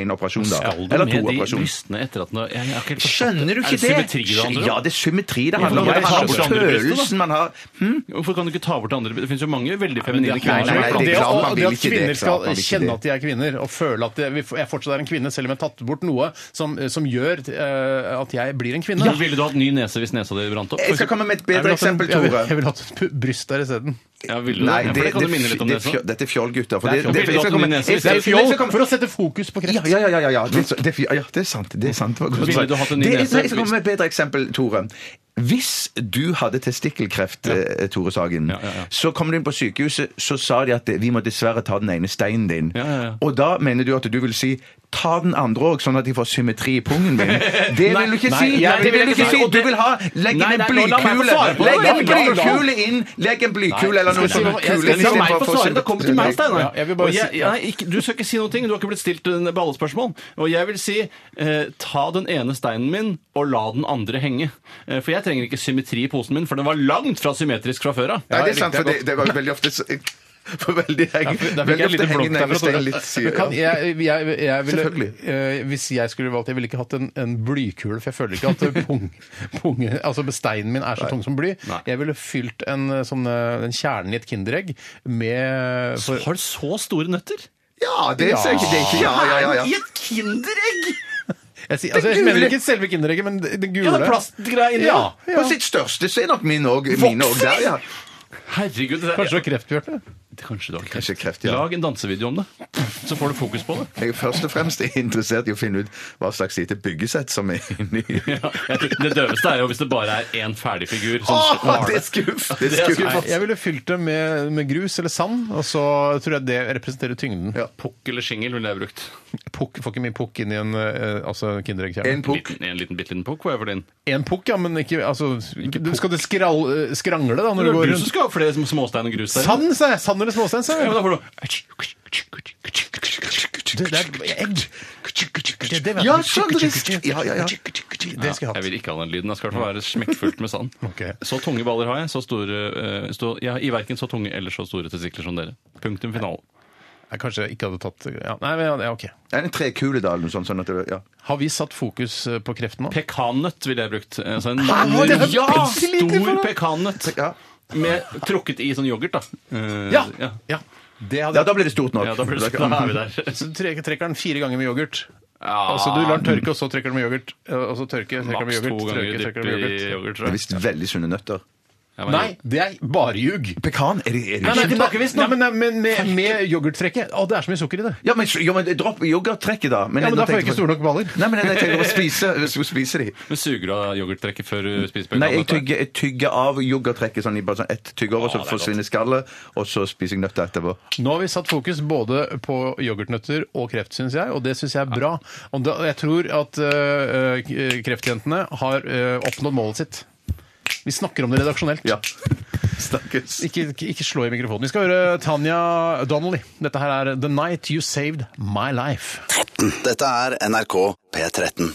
Speaker 8: én operasjon, da.
Speaker 9: Skal du
Speaker 8: Eller
Speaker 9: med
Speaker 8: to
Speaker 9: de
Speaker 8: operasjoner.
Speaker 9: brystene etter at den har- jeg har ikke helt forstått
Speaker 8: Skjønner du
Speaker 9: det.
Speaker 8: ikke det?
Speaker 9: Er
Speaker 8: Ja,
Speaker 9: det symmetri det handler om?
Speaker 8: det er symmetri det handler om.
Speaker 9: Ja,
Speaker 8: Det
Speaker 9: for jeg
Speaker 8: handler om
Speaker 9: skjønner det brystet, da. Hm?
Speaker 8: følelsen man har.
Speaker 9: Hvorfor kan du ikke ta bort det andre? Det finnes jo mange veldig feminine
Speaker 8: Nei,
Speaker 9: kvinner
Speaker 8: nei,
Speaker 9: som er
Speaker 8: nei,
Speaker 9: blant-
Speaker 8: det
Speaker 7: det,
Speaker 8: er klart
Speaker 7: å-
Speaker 8: man
Speaker 7: og det
Speaker 8: vil
Speaker 7: at
Speaker 8: ikke det,
Speaker 7: kvinner
Speaker 8: klart
Speaker 7: skal
Speaker 8: man vil ikke
Speaker 7: kjenne
Speaker 8: det.
Speaker 7: at de er kvinner, og føle at jeg jeg fortsatt er en kvinne, selv om jeg har tatt bort noe som, som gjør eh, at jeg blir en kvinne.
Speaker 9: Men Ville du hatt ny nese hvis nesa di brant opp?
Speaker 8: Jeg skal komme med et
Speaker 7: Jeg vil
Speaker 8: bedre
Speaker 7: hatt
Speaker 9: altså,
Speaker 7: en-
Speaker 8: eksempel,
Speaker 7: jeg vil-
Speaker 8: Tore.
Speaker 7: Jeg vil ha et pu- bryst der isteden.
Speaker 9: Ja, ville du
Speaker 8: Nei,
Speaker 9: det? Ja, for
Speaker 8: det,
Speaker 9: det kan
Speaker 8: det,
Speaker 9: du minne litt om
Speaker 8: det,
Speaker 9: nesa.
Speaker 8: det, dette er fjoll, gutter. For
Speaker 9: Det er
Speaker 8: det,
Speaker 9: fjoll.
Speaker 8: det, jeg skal komme-
Speaker 9: Vil du at min nese-
Speaker 8: jeg
Speaker 7: Det
Speaker 8: skal-
Speaker 7: er
Speaker 8: jeg skal
Speaker 7: fjoll
Speaker 8: komme-
Speaker 7: for å sette fokus på kreft.
Speaker 8: Ja, ja, ja, ja, ja, ja. Det, er- det, er- ja, det er sant. Det er sant. Det var godt
Speaker 9: Ville
Speaker 8: sagt.
Speaker 9: du hatt en ny
Speaker 8: Det er-
Speaker 9: nese?
Speaker 8: nei, Jeg skal komme med et bedre eksempel, Tore. Hvis du hadde testikkelkreft, eh, Tore Sagen,
Speaker 9: Ja, ja, ja.
Speaker 8: så kom du inn på sykehuset, så sa de at eh, vi må dessverre ta den ene steinen din.
Speaker 9: Ja, ja, ja.
Speaker 8: Og da mener du at du vil si ta den andre òg, sånn at de får symmetri i pungen min. Det vil du ikke
Speaker 9: Nei,
Speaker 8: si!
Speaker 9: jeg
Speaker 8: Nei, det vil du ikke si!
Speaker 9: Og
Speaker 8: Du
Speaker 9: det-
Speaker 8: vil ha Legg inn
Speaker 9: Nei,
Speaker 8: en
Speaker 9: nei, nå la meg
Speaker 8: blykule!
Speaker 9: få svare på det.
Speaker 8: Legg en
Speaker 9: La meg- la meg-
Speaker 8: blykule inn! Legg en blykule eller noe
Speaker 9: Nei,
Speaker 8: sånt.
Speaker 9: jeg skal la meg få svare. Det kommer til meg, Steinar.
Speaker 7: Ja, jeg vil bare
Speaker 9: Og jeg-
Speaker 7: si- ja.
Speaker 9: nei, ikke- Du skal ikke si noe, du har ikke blitt stilt en ballespørsmål. Og jeg vil si eh, ta den ene steinen min og la den andre henge. Eh, for jeg trenger ikke symmetri i posen min, for den var langt fra symmetrisk fra før av.
Speaker 8: Nei, det
Speaker 7: jeg
Speaker 8: er sant,
Speaker 7: likte
Speaker 8: for
Speaker 7: det
Speaker 8: det, det var veldig ofte så- for veldig heng,
Speaker 7: Der fikk
Speaker 8: veldig
Speaker 7: jeg
Speaker 8: ofte
Speaker 7: litt blokk
Speaker 8: henger
Speaker 7: derfra,
Speaker 8: nærmest
Speaker 7: Tore.
Speaker 8: en litt
Speaker 7: Men
Speaker 8: syre.
Speaker 7: kan jeg, jeg, jeg ville,
Speaker 8: Selvfølgelig.
Speaker 7: eh, hvis jeg skulle valgt, jeg ville ikke hatt en, en blykule, for jeg føler ikke at pung, pung, altså steinen min er så tung som bly.
Speaker 9: Nei.
Speaker 7: Jeg ville fylt en, eh, sånn, eh, den kjernen i et kinderegg med for,
Speaker 9: Altså, Har du så store nøtter?
Speaker 8: Ja, det er sikkert det er ikke. Ja, ja, ja.
Speaker 9: I
Speaker 8: ja.
Speaker 9: et Kinderegg!
Speaker 7: jeg, sier- altså, jeg
Speaker 8: gule-
Speaker 7: mener ikke selve kinderegget, men det det
Speaker 9: Ja,
Speaker 7: gule.
Speaker 9: det er plastgreier inni.
Speaker 7: Ja.
Speaker 9: Ja.
Speaker 8: På sitt største så er nok min òg der, ja.
Speaker 9: Herregud, det
Speaker 7: Kanskje det var kreftbjørn?
Speaker 9: Kanskje du har kreft.
Speaker 8: Kanskje kreft, ja.
Speaker 9: Lag en dansevideo om det, så får du fokus på det.
Speaker 8: Jeg er først og fremst interessert i å finne ut hva slags lite byggesett som er inni.
Speaker 9: Ja, jeg tror det døveste er jo hvis det bare er én ferdig figur. som
Speaker 8: Åh,
Speaker 9: har
Speaker 8: det er skuff! Det
Speaker 9: Det er
Speaker 8: er skuff.
Speaker 9: skuff.
Speaker 8: ass.
Speaker 7: Jeg ville fylt det med, med grus eller sand, og så tror jeg det representerer tyngden.
Speaker 8: Ja.
Speaker 9: Pukk eller shingle ville jeg brukt.
Speaker 7: Pukk, får ikke mye pukk inn i en eh, altså
Speaker 8: En
Speaker 7: Kinderegg-kjerne.
Speaker 8: pukk.
Speaker 9: Liten, en liten bitte liten pukk var jeg for din.
Speaker 7: Én pukk, ja, men ikke, altså, du, Skal det skral, eh, skrangle, da, når
Speaker 9: Det
Speaker 7: du
Speaker 9: er
Speaker 7: går
Speaker 9: du som
Speaker 7: rundt?
Speaker 9: skal ha flere sm- småstein og grus der.
Speaker 7: Sand, sa jeg! Sand eller småstein, sa
Speaker 9: Ja, men
Speaker 7: jeg.
Speaker 9: da får du
Speaker 7: Det er egg. Det, det vet
Speaker 8: Ja,
Speaker 7: jeg.
Speaker 8: sandrisk! Ja, ja, ja.
Speaker 7: Det skal jeg
Speaker 9: Jeg
Speaker 7: ha.
Speaker 9: vil ikke ha den lyden. Jeg skal i hvert fall være smekkfullt med sand.
Speaker 7: Ok.
Speaker 9: Så tunge baller har jeg. Så store, eh, stå, jeg har i verken så tunge eller så store testikler som dere. Punktum finale.
Speaker 7: Jeg kanskje ikke hadde tatt ja. Nei, men ja, det er ok.
Speaker 8: En trekuledal eller noe sånt. sånn at det, ja.
Speaker 7: Har vi satt fokus eh, på kreften nå?
Speaker 9: Pekannøtt ville jeg brukt. Altså en
Speaker 7: var det
Speaker 9: ja,
Speaker 7: bitte lite for
Speaker 9: stor
Speaker 7: noe?
Speaker 9: pekannøtt.
Speaker 8: Ja.
Speaker 9: Med trukket i sånn yoghurt, da. Eh,
Speaker 7: Ja!
Speaker 9: ja.
Speaker 7: ja. Det
Speaker 8: ja,
Speaker 7: hadde
Speaker 8: da blir det stort nok.
Speaker 9: Ja, da, blir det, da er vi der.
Speaker 7: Så du tre- trekker den fire ganger med yoghurt.
Speaker 9: Ja,
Speaker 7: Altså, du lar den tørke, og så trekker du med yoghurt. eh, Og så tørke, trekker du med
Speaker 9: Maks to
Speaker 7: yoghurt. Tørke,
Speaker 9: ganger dypp
Speaker 7: trekker du
Speaker 9: i
Speaker 7: med yoghurt.
Speaker 9: yoghurt,
Speaker 8: Det
Speaker 9: tror
Speaker 8: er
Speaker 9: jeg.
Speaker 8: visst veldig sunne nøtter.
Speaker 9: Ja, men-
Speaker 7: Nei, det er bare ljug.
Speaker 8: Pekan? Er det, er det
Speaker 7: Nei,
Speaker 8: sunt?
Speaker 7: nei, nei, men, nei, men med, med yoghurttrekket Å, det er så mye sukker i det.
Speaker 8: Ja, men, jo, men dropp yoghurttrekket, da.
Speaker 7: Ja, men
Speaker 8: nå
Speaker 7: Da får jeg
Speaker 8: tenkte
Speaker 7: ikke store nok baller.
Speaker 8: Nei, men jeg tenker å spise, å spise de.
Speaker 9: Men Suger du av yoghurttrekket før du spiser
Speaker 8: Nei, jeg
Speaker 9: pekannøtt? da?
Speaker 8: tygger, jeg tygger av yoghurttrekket sånn i bare sånn ett tygg over,
Speaker 9: Å,
Speaker 8: så
Speaker 9: det er
Speaker 8: forsvinner skallet, og så spiser jeg nøtta etterpå.
Speaker 7: Nå har vi satt fokus både på yoghurtnøtter og kreft, syns jeg, og det syns jeg er bra. Og da, jeg tror at øh, øh, kreftjentene har øh, oppnådd målet sitt. Vi snakker om det redaksjonelt.
Speaker 8: Ja. Snakkes.
Speaker 7: Ikke, ikke- ikke slå i mikrofonen. Vi skal høre Tanja Donnelly. Dette her er The Night You Saved My Life.
Speaker 6: Dette er NRK P13.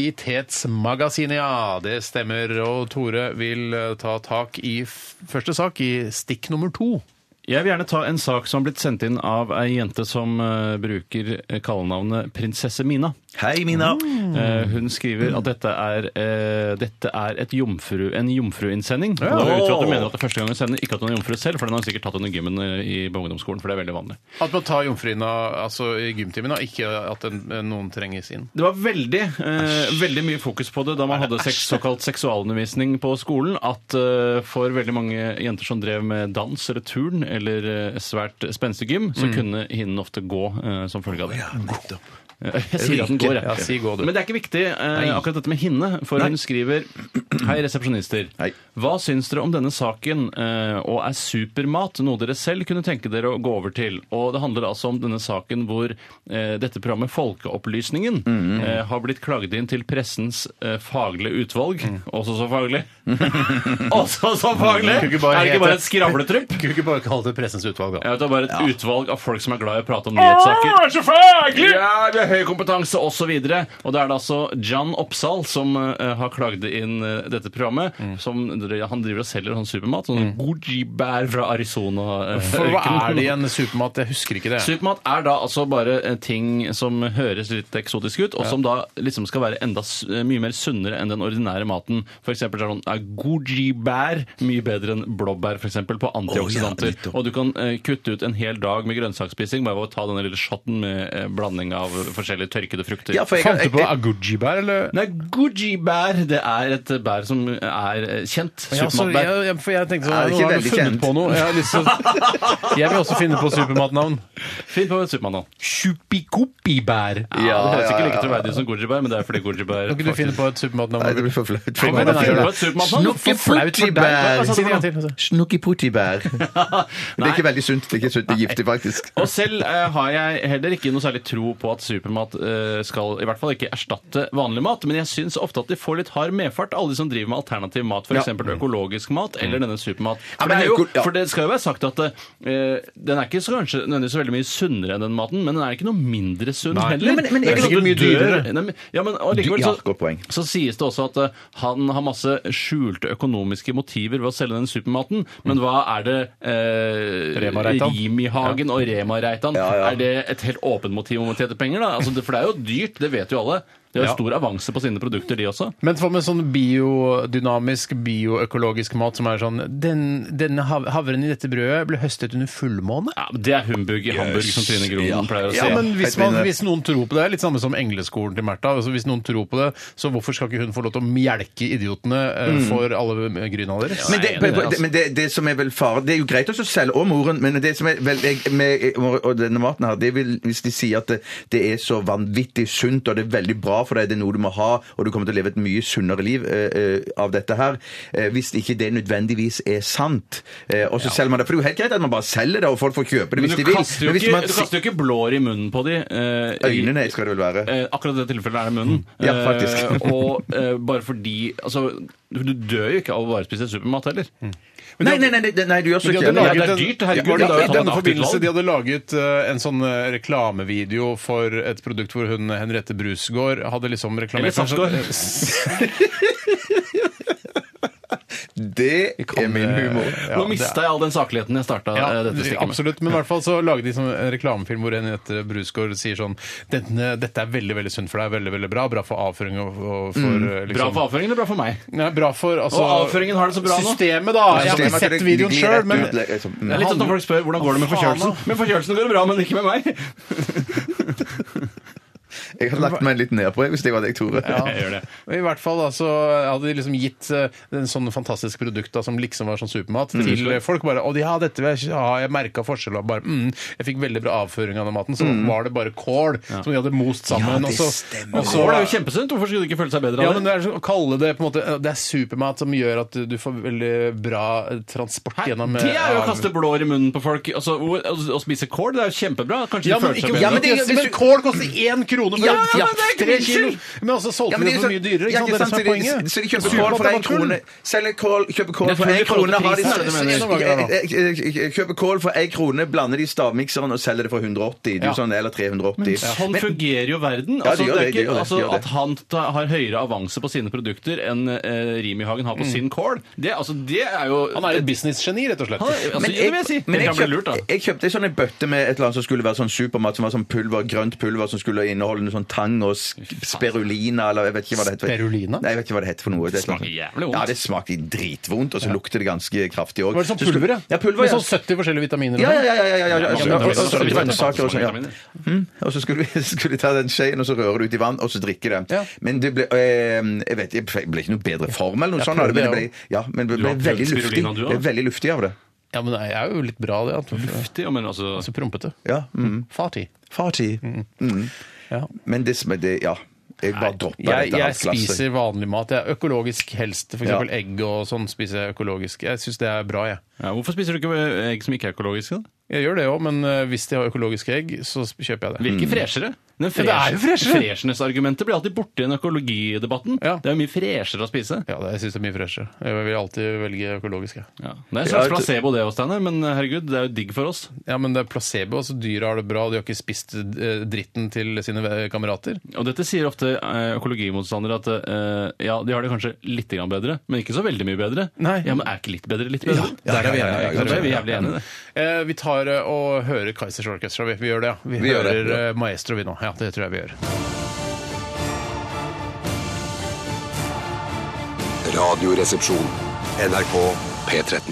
Speaker 7: Aktualitetsmagasinet, ja. Det stemmer. Og Tore vil eh, ta tak i f første sak, i stikk nummer to.
Speaker 9: Jeg vil gjerne ta en sak som har blitt sendt inn av ei jente som eh, bruker kallenavnet Prinsesse Mina.
Speaker 8: Hei, Mina.
Speaker 9: Eh, hun skriver at dette er, eh, dette er et jomfru, en jomfruinnsending. Og Da går jeg ut fra at hun mener at det er første gang hun sender, ikke at hun er jomfru selv, for den har hun sikkert tatt under gymmen eh, i på ungdomsskolen, for det er veldig vanlig.
Speaker 7: At man tar jomfruhinna altså, i gymtimen, da, ikke at en, noen trenges inn.
Speaker 9: Det var veldig, eh, veldig mye fokus på det da man hadde seks, såkalt seksualundervisning på skolen. At eh, for veldig mange jenter som drev med dans eller turn eller eh, svært spenstig gym, så kunne hinnen ofte gå eh, som følge av det. Eh, Jeg sier at den går, jeg.
Speaker 7: Ja, si gå, du.
Speaker 9: Men det er ikke viktig, eh, akkurat dette med hinne. For hun skriver Hei, resepsjonister.
Speaker 8: Hei.
Speaker 9: Hva syns dere om denne saken, eh, og er supermat noe dere selv kunne tenke dere å gå over til? Og det handler altså om denne saken hvor eh, dette programmet Folkeopplysningen
Speaker 7: Mm.
Speaker 9: eh, har blitt klagd inn til pressens eh, faglige utvalg.
Speaker 7: Mm.
Speaker 9: Også så faglig. Også så faglig! Er
Speaker 7: Kunne
Speaker 9: det
Speaker 7: ikke bare
Speaker 9: ikke
Speaker 7: hete-
Speaker 9: bare et skravletrypp?
Speaker 7: Kunne ikke bare kalle det pressens utvalg, da.
Speaker 9: Jeg vet, det er bare et utvalg av folk som er glad i å prate om nyhetssaker. Åh, så faglig! Ja, vi har høy kompetanse, og så videre. Og da er det altså Jan Oppsal som eh, har klagd inn eh, dette programmet.
Speaker 7: Mm.
Speaker 9: Som, han driver og selger sånn supermat. Sånn goji-bær fra Arizona. eh,
Speaker 7: For Mm. hva
Speaker 9: ørkenen.
Speaker 7: er det igjen? Supermat? Jeg husker ikke det.
Speaker 9: Supermat er da altså bare eh, ting som høres litt eksotisk ut, og som da liksom skal være enda s- eh, mye mer sunnere enn den ordinære maten. For eksempel så er sånn er goji-bær mye bedre enn blåbær, for eksempel, på antioksidanter. og du kan eh, kutte ut en hel dag med grønnsaksspising bare ved å ta denne lille shotten med eh, blanding av forskjellige tørkede frukter.
Speaker 8: Ja, for jeg,
Speaker 7: Fant du
Speaker 8: jeg,
Speaker 7: på
Speaker 8: jeg,
Speaker 7: agujibær, eller?
Speaker 9: Nei, goji-bær, det er et eh, bær som er eh,
Speaker 7: Ja,
Speaker 9: kjent.
Speaker 7: så jeg,
Speaker 9: Supermatbær.
Speaker 7: jeg, for jeg tenkte sånn,
Speaker 8: Er
Speaker 7: nå
Speaker 8: det ikke
Speaker 7: har du
Speaker 8: veldig
Speaker 7: funnet
Speaker 8: kjent?
Speaker 7: på noe. Jeg, har lyst til å- jeg vil også finne på supermatnavn.
Speaker 9: Finn på et supermatnavn.
Speaker 7: Chupikopibær.
Speaker 9: Ja, det høres ikke like troverdig ut som goji-bær, men det er fordi goji-bær
Speaker 7: Kan ikke du finne på et supermatnavn?
Speaker 8: Nei, det blir for flaut.
Speaker 7: Hva mener du?
Speaker 9: Finne på et supermatnavn?
Speaker 7: Hva sa du for noe til, altså?
Speaker 8: Snukkiputibær. Snukkiputibær. Det er
Speaker 9: Nei.
Speaker 8: ikke veldig sunt. Det er ikke sunt, det er giftig, faktisk.
Speaker 9: Og selv eh, har jeg heller ikke noe særlig tro på at supermat eh, skal i hvert fall ikke erstatte vanlig mat, men jeg syns ofte at de får litt hard medfart, alle de som driver med alternativ mat, f.eks. eksempel økologisk mat eller denne supermat.
Speaker 8: Mm. Ja,
Speaker 9: For,
Speaker 8: men
Speaker 9: det er jo,
Speaker 8: øko- ja.
Speaker 9: for det skal jo være sagt at eh, den er ikke så kanskje nødvendigvis så veldig mye sunnere enn den maten, men den er ikke noe mindre sunn heller.
Speaker 8: Nei, men- men
Speaker 9: det er ikke
Speaker 8: jeg-
Speaker 7: Sikkert
Speaker 9: sånn at du
Speaker 7: mye
Speaker 9: dør.
Speaker 7: dyrere.
Speaker 9: Nei, men- Ja, men allikevel
Speaker 8: Du- ja,
Speaker 9: så-
Speaker 8: godt poeng.
Speaker 9: så sies det også at eh, han har masse skjulte økonomiske motiver ved å selge den supermaten, men hva er det eh,
Speaker 7: Rema Reitan?
Speaker 9: Rimi-Hagen og Rema-Reitan, er det et helt åpent motiv om å tjene penger? da? Altså, det- for det er jo dyrt, det vet jo alle. De har
Speaker 7: Ja.
Speaker 9: jo stor avanse på sine produkter, de også.
Speaker 7: Men hva med sånn biodynamisk, bioøkologisk mat som er sånn den, Denne hav- havren i dette brødet ble høstet under fullmåne?
Speaker 9: Ja, men det er humbug i Hamburg, som Trine Gronen pleier å si.
Speaker 7: Ja, men hvis, man,
Speaker 8: enig.
Speaker 7: hvis noen tror på det, litt samme som engleskolen til Märtha. Altså, hvis noen tror på det, så hvorfor skal ikke hun få lov til å mjelke idiotene eh, for alle gryna deres?
Speaker 8: Men,
Speaker 9: Nei,
Speaker 8: det,
Speaker 9: det er det,
Speaker 8: det,
Speaker 9: altså.
Speaker 8: men det, det som er vel faren Det er jo greit også å selge om moren, men det som er vel jeg, med, og denne maten her, det er vel hvis de sier at det, det er så vanvittig sunt, og det er veldig bra for deg, det er noe du må ha, og du kommer til å leve et mye sunnere liv eh, eh, av dette her, eh, hvis ikke det nødvendigvis er sant. Eh, og så selger man det. For det er jo helt greit at man bare selger det, og folk får kjøpe det
Speaker 9: Men
Speaker 8: hvis
Speaker 9: du
Speaker 8: de vil.
Speaker 9: kaster jo
Speaker 8: Men hvis
Speaker 9: ikke,
Speaker 8: man
Speaker 9: du kaster jo ikke blår i munnen på de. eh, i-
Speaker 8: Øynene skal det vel være.
Speaker 9: Eh, akkurat i det tilfellet er det munnen.
Speaker 8: Ja, faktisk.
Speaker 9: Eh, og eh, bare fordi Altså, du dør jo ikke av å bare spise supermat heller.
Speaker 7: Mm.
Speaker 8: Nei, nei, nei, nei, nei, du gjør så
Speaker 7: Men de
Speaker 8: ikke
Speaker 7: hadde
Speaker 9: det er-
Speaker 7: laget
Speaker 9: det er
Speaker 7: en-
Speaker 9: dyrt, herregud,
Speaker 7: Var det da,
Speaker 9: det er jo tatt
Speaker 7: I
Speaker 9: et
Speaker 7: denne
Speaker 9: aktivt
Speaker 7: forbindelse
Speaker 9: valg.
Speaker 7: de hadde laget eh, en sånn eh, reklamevideo for et produkt hvor hun Henriette Brusgaard hadde liksom
Speaker 9: Eller
Speaker 7: reklamert for en sånn-
Speaker 9: Safgård.
Speaker 8: Det er eh, min humor.
Speaker 7: Ja, det
Speaker 9: Nå
Speaker 7: er-
Speaker 9: mista jeg all den sakligheten jeg starta
Speaker 7: Ja,
Speaker 9: eh, dette stikket med.
Speaker 7: absolutt. Men i hvert fall så lager de sånn en reklamefilm hvor Henriette Brusgaard sier sånn denne, Dette er veldig veldig sunt for deg, veldig veldig bra. Bra for avføring og, og for eh,
Speaker 9: Mm. Bra
Speaker 7: liksom
Speaker 9: for avføringen eller bra for meg?
Speaker 7: Nei, bra for altså,
Speaker 9: Og avføringen har det så bra nå.
Speaker 7: Systemet, da. Jeg har
Speaker 8: Systemet
Speaker 7: ikke
Speaker 8: at det
Speaker 7: sett videoen
Speaker 8: glir
Speaker 7: sjøl,
Speaker 8: rett
Speaker 7: men
Speaker 8: ut, liksom. Mm.
Speaker 9: Det er litt sånn når folk spør hvordan går det med
Speaker 7: Faen,
Speaker 9: forkjølelsen. Med forkjølelsen går det bra, men ikke med meg.
Speaker 8: Jeg hadde lagt meg litt nedpå jeg, hvis det var deg, Tore.
Speaker 9: Jeg gjør det.
Speaker 7: I hvert fall da, så hadde de liksom gitt eh, en sånn fantastisk produkt da, som liksom var sånn supermat
Speaker 8: Mm.
Speaker 7: til eh, folk. bare, Og de, ja, dette vil jeg ikke ha, jeg merka forskjell. Og bare, mm, jeg fikk veldig bra avføring av den maten. Så var det bare kål som de hadde most sammen.
Speaker 8: Mm. det
Speaker 7: og så,
Speaker 8: stemmer.
Speaker 7: Og så,
Speaker 9: Kål er jo kjempesunt. Hvorfor skulle du ikke føle seg bedre
Speaker 7: ja,
Speaker 9: av
Speaker 7: men
Speaker 9: det?
Speaker 7: det er så, Å kalle det på en måte Det er supermat som gjør at du får veldig bra transport
Speaker 9: Hæ?
Speaker 7: gjennom eh,
Speaker 9: Det er jo å
Speaker 7: av-
Speaker 9: kaste blår i munnen på folk. Altså, hvor- Å å spise kål det er jo kjempebra. Kanskje de
Speaker 7: Ja, men,
Speaker 9: føler seg
Speaker 7: ikke,
Speaker 9: bedre.
Speaker 7: ja, men, det, men kål koster én krone for
Speaker 8: Ja, ja, men
Speaker 7: for
Speaker 8: det er
Speaker 7: tre
Speaker 8: ikke
Speaker 7: kilo!
Speaker 8: min skyld.
Speaker 7: Men også solgte
Speaker 8: Ja,
Speaker 7: de
Speaker 8: men
Speaker 7: det
Speaker 8: er
Speaker 7: så
Speaker 8: så-
Speaker 7: mye dyrere.
Speaker 8: ja,
Speaker 7: Ikke sant? Det er det som er
Speaker 8: sant, så de-
Speaker 7: poenget.
Speaker 8: Så de kjøper
Speaker 7: Supermat
Speaker 8: kål for
Speaker 7: er
Speaker 8: én
Speaker 7: bare tull.
Speaker 8: krone. Selger kål, kjøper kål
Speaker 9: Det er
Speaker 8: for
Speaker 9: fordi
Speaker 8: én
Speaker 9: de får opp
Speaker 8: krone har de
Speaker 9: prisen, er det du mener?
Speaker 8: Eh, eh, Kjøper kål for én krone, blander de i stavmikseren og selger det for 180. Du,
Speaker 7: Ja.
Speaker 8: sånn, eller 380.
Speaker 9: Sånn
Speaker 8: Men-
Speaker 9: fungerer jo verden.
Speaker 8: Ja,
Speaker 9: Altså,
Speaker 8: det gjør
Speaker 9: det er
Speaker 8: det,
Speaker 9: ikke,
Speaker 8: det gjør det,
Speaker 9: altså,
Speaker 8: det gjør det.
Speaker 9: At han ta, har høyere avanse på sine produkter enn eh, Rimi-Hagen har på sin kål, det, altså, det er jo
Speaker 7: Han er et businessgeni, rett og slett.
Speaker 9: Han er- altså,
Speaker 8: men
Speaker 9: det vil jeg si.
Speaker 8: men
Speaker 9: Det
Speaker 8: jeg,
Speaker 9: kan bli lurt,
Speaker 8: kjøpte,
Speaker 9: da.
Speaker 8: jeg kjøpte en sånn en bøtte med et eller annet som skulle være sånn supermat, som var sånn pulver, grønt pulver som skulle inneholde noe sånn tang og sk- spirulina, eller jeg vet ikke hva det heter.
Speaker 7: Spirulina?
Speaker 8: Nei, jeg vet ikke hva det heter for noe. Det er
Speaker 9: smaker
Speaker 8: sånn-
Speaker 9: jævlig vondt.
Speaker 8: Ja, det smaker dritvondt, og så lukter det ganske kraftig òg.
Speaker 7: Var det sånn pulver, ja?
Speaker 8: Ja, pulver,
Speaker 7: Med
Speaker 8: ja.
Speaker 7: sånn 70 forskjellige vitaminer? og
Speaker 8: Ja, ja,
Speaker 7: sånn?
Speaker 8: ja. ja, ja, ja, ja. Og så-
Speaker 9: Ja,
Speaker 8: og- og- og- og-
Speaker 9: vitaminer.
Speaker 8: grønnsaker og sånn. Ja. Mm. Og så skulle vi, skulle vi ta den skjeen, og så røre det ut i vann, og så drikke det.
Speaker 7: Ja.
Speaker 8: Men det ble eh, Jeg vet ikke, jeg ble ikke noe bedre form eller noe
Speaker 7: Jeg
Speaker 8: sånt, av det, men det
Speaker 7: prøvde,
Speaker 8: ble, ja, men det
Speaker 9: Du
Speaker 8: ble
Speaker 9: har prøvd
Speaker 8: veldig luftig.
Speaker 9: spirulina, du, da?
Speaker 8: Det ble veldig luftig av det.
Speaker 7: sånn. Ja, men det er jo litt bra, det. At
Speaker 9: Luftig, ja, men altså,
Speaker 7: så prompete.
Speaker 8: Ja. Mm.
Speaker 7: Farty.
Speaker 8: Farty. Mm.
Speaker 7: Ja.
Speaker 8: Men det som er det Ja. Jeg bare dropper
Speaker 7: Jeg,
Speaker 8: dette
Speaker 7: jeg
Speaker 8: halvglasset.
Speaker 7: spiser vanlig mat. Jeg er økologisk helst. For
Speaker 8: Ja.
Speaker 7: eksempel egg og sånn spiser jeg økologisk. Jeg syns det er bra, jeg.
Speaker 9: ja, hvorfor spiser du ikke eh, egg som ikke er økologiske? da?
Speaker 7: Jeg gjør det òg, men eh, hvis de har økologiske egg, så sp- kjøper jeg det.
Speaker 9: Virker freshere. Den
Speaker 7: Mm. Ja, det er jo freshere.
Speaker 9: Freshness-argumentet blir alltid borte i den økologidebatten.
Speaker 7: Ja.
Speaker 9: Det er jo mye freshere å spise.
Speaker 7: Ja, det, jeg syns det er mye freshere. Jeg vil alltid velge økologisk. jeg.
Speaker 9: Ja. Det er en
Speaker 8: Ja,
Speaker 9: slags
Speaker 8: jeg-
Speaker 9: placebo, det òg, Steinar. Men eh, herregud, det er jo digg for oss.
Speaker 7: Ja, men det er placebo. altså Dyra har det bra, de har ikke spist eh, dritten til sine eh, kamerater.
Speaker 9: Og dette sier ofte eh, økologimotstandere at eh, ja, de har det kanskje litt grann bedre, men ikke så veldig mye bedre.
Speaker 7: Nei.
Speaker 9: Ja, men er ikke litt bedre litt bedre?
Speaker 7: Der er vi
Speaker 8: ja, ja,
Speaker 7: enige.
Speaker 8: ja,
Speaker 9: Så det er vi jævlig enige i det.
Speaker 7: Eh, vi tar eh, og hører Kaizers Orchestra. Vi, vi gjør det, ja. Vi, hører
Speaker 8: gjør det, ja.
Speaker 7: eh, Maestro, vi nå. Ja, det tror jeg vi gjør.
Speaker 1: Radioresepsjon. NRK P13.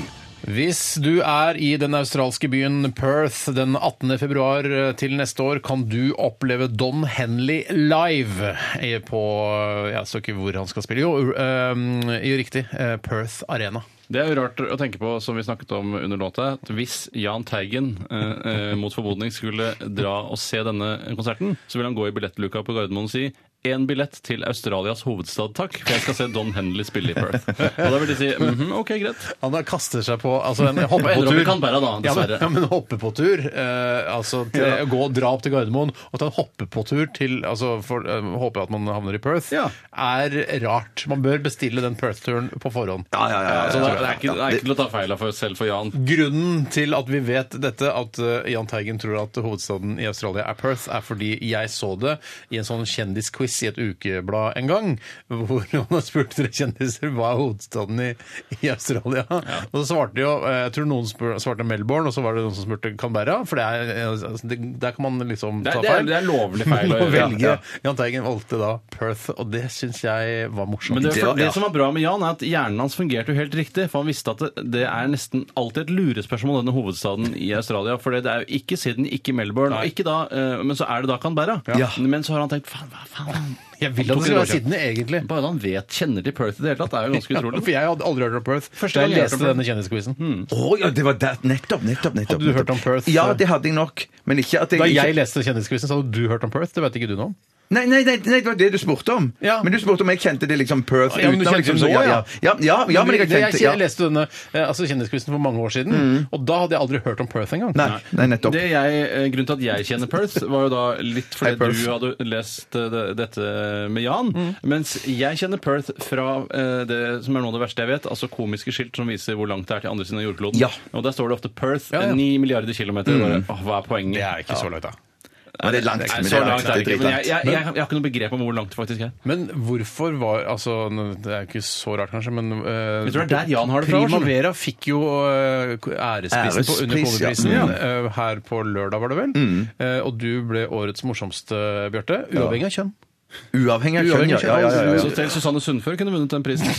Speaker 7: Hvis du er i den australske byen Perth den 18. februar eh, til neste år, kan du oppleve Don Henley live eh, på eh, Jeg så ikke hvor han skal spille. Jo, eh, jo riktig. eh, Perth Arena.
Speaker 9: Det er jo rart å tenke på, som vi snakket om under låta, at hvis Jahn Teigen eh, eh, mot formodning skulle dra og se denne konserten, så vil han gå i billettluka på Gardermoen og si én billett til Australias hovedstad, takk, for jeg skal se Don Henley spille i Perth. Og da vil de si mhm, OK, greit.
Speaker 7: Han da kaster seg på altså en hoppe på
Speaker 9: Ender opp i
Speaker 7: tur.
Speaker 9: Canberra
Speaker 7: ja,
Speaker 9: da,
Speaker 7: men,
Speaker 9: dessverre.
Speaker 7: ja, men hoppe på tur. Eh, altså til, gå og dra opp til Gardermoen og ta en hoppe på tur til altså for, eh, Håper at man havner i Perth.
Speaker 8: Ja.
Speaker 7: Er rart. Man bør bestille den Perth-turen på forhånd.
Speaker 8: Ja, ja, ja, ja,
Speaker 9: Så Altså, det
Speaker 8: ja.
Speaker 9: er, det er, ikke, det er ikke til å ta feil av for selv for Jan.
Speaker 7: Grunnen til at vi vet dette, at eh, Jahn Teigen tror at hovedstaden i Australia er Perth, er fordi jeg så det i en sånn kjendisquiz quiz i et ukeblad en gang, hvor noen spurte tre kjendiser hva er hovedstaden i, i Australia. Og så svarte jo, eh, jeg tror noen spur, svarte Melbourne, og så var det noen som spurte Canberra, for det er, eh, altså, det, der kan man liksom
Speaker 9: Det er-
Speaker 7: ta
Speaker 9: det er-
Speaker 7: feil.
Speaker 9: det er lovlig feil å
Speaker 7: å
Speaker 9: gjøre,
Speaker 7: velge.
Speaker 9: ja.
Speaker 7: Jahn Teigen valgte da Perth, og det syns jeg var morsomt.
Speaker 9: Men det,
Speaker 8: Det var-
Speaker 9: det
Speaker 8: ja.
Speaker 9: som var bra med Jan, er at hjernen hans fungerte jo helt riktig. For han visste at det, det er nesten alltid et lurespørsmål, denne hovedstaden i Australia. For det er jo ikke Sydney, ikke Melbourne, og ikke da, eh, men så er det da Canberra. Men så har han tenkt faen, hva faen?
Speaker 7: jeg vil at det skal være Sydney, egentlig.
Speaker 9: Bare at han vet, kjenner til Perth i det hele tatt, er jo ganske utrolig.
Speaker 7: For jeg hadde aldri hørt om Perth.
Speaker 9: Første
Speaker 7: da
Speaker 9: gang
Speaker 7: jeg
Speaker 9: jeg hørte
Speaker 7: leste
Speaker 9: om Perth.
Speaker 7: denne kjendisquizen.
Speaker 8: Å ja, det var der. Nettopp, nettopp, nettopp.
Speaker 7: Hadde du hørt om
Speaker 8: nettopp.
Speaker 7: Perth?
Speaker 8: Ja, det hadde jeg nok. Men ikke at jeg,
Speaker 7: Da jeg
Speaker 8: ikke...
Speaker 7: leste kjendisquizen, så hadde du hørt om Perth. Det vet ikke du noe om.
Speaker 8: Nei, nei, nei, nei, det var det du spurte om.
Speaker 7: Ja.
Speaker 8: Men du spurte om jeg kjente det liksom Perth
Speaker 7: Ja, men du
Speaker 8: utenom,
Speaker 7: kjente
Speaker 8: liksom,
Speaker 7: det nå,
Speaker 8: så ja.
Speaker 7: ja.
Speaker 8: Ja, ja, ja, men jeg
Speaker 7: Det-
Speaker 8: har kjent det. Ja.
Speaker 7: jeg leste denne eh, altså kjendisquizen for mange år siden, og da hadde jeg aldri hørt om Perth engang.
Speaker 8: Nei, nei, nettopp.
Speaker 9: Det jeg, eh, grunnen til at jeg kjenner Perth, var jo da litt
Speaker 7: Hei,
Speaker 9: fordi
Speaker 7: Perth.
Speaker 9: du hadde lest eh, det- dette med Jan.
Speaker 8: Mm.
Speaker 9: Mens jeg kjenner Perth fra eh, det som er noe av det verste jeg vet, altså komiske skilt som viser hvor langt det er til andre siden av jordkloden.
Speaker 8: Ja. Mm.
Speaker 9: Og der står det ofte Perth,
Speaker 7: Ja, ja.
Speaker 9: 9 milliarder kilometer. Bare, åh, hva er poenget?
Speaker 7: Det er ikke så langt, da.
Speaker 8: Men det er langt.
Speaker 9: Nei,
Speaker 8: men det
Speaker 9: så
Speaker 8: er
Speaker 9: langt er det
Speaker 8: det er
Speaker 9: ikke. Men jeg,
Speaker 8: dritlangt.
Speaker 9: jeg, jeg, jeg har ikke noe begrep om hvor langt det faktisk er.
Speaker 7: Men hvorfor var altså, n- Det er ikke så rart, kanskje, men eh,
Speaker 9: Jeg tror det er der Jan har det fra.
Speaker 7: Prima
Speaker 9: skjønner du.
Speaker 7: Vera fikk jo eh, æresprisen på, under
Speaker 8: Ærespris, ja.
Speaker 7: Komiprisen
Speaker 8: Mm.
Speaker 7: eh, her på lørdag, var det vel? Eh, og du ble årets morsomste, Bjarte. Uavhengig av kjønn.
Speaker 8: Uavhengig av kjønn,
Speaker 7: Uavhengig
Speaker 8: ja.
Speaker 7: av
Speaker 8: ja, ja, ja, ja.
Speaker 9: Så selv Susanne Sundfør kunne vunnet den prisen.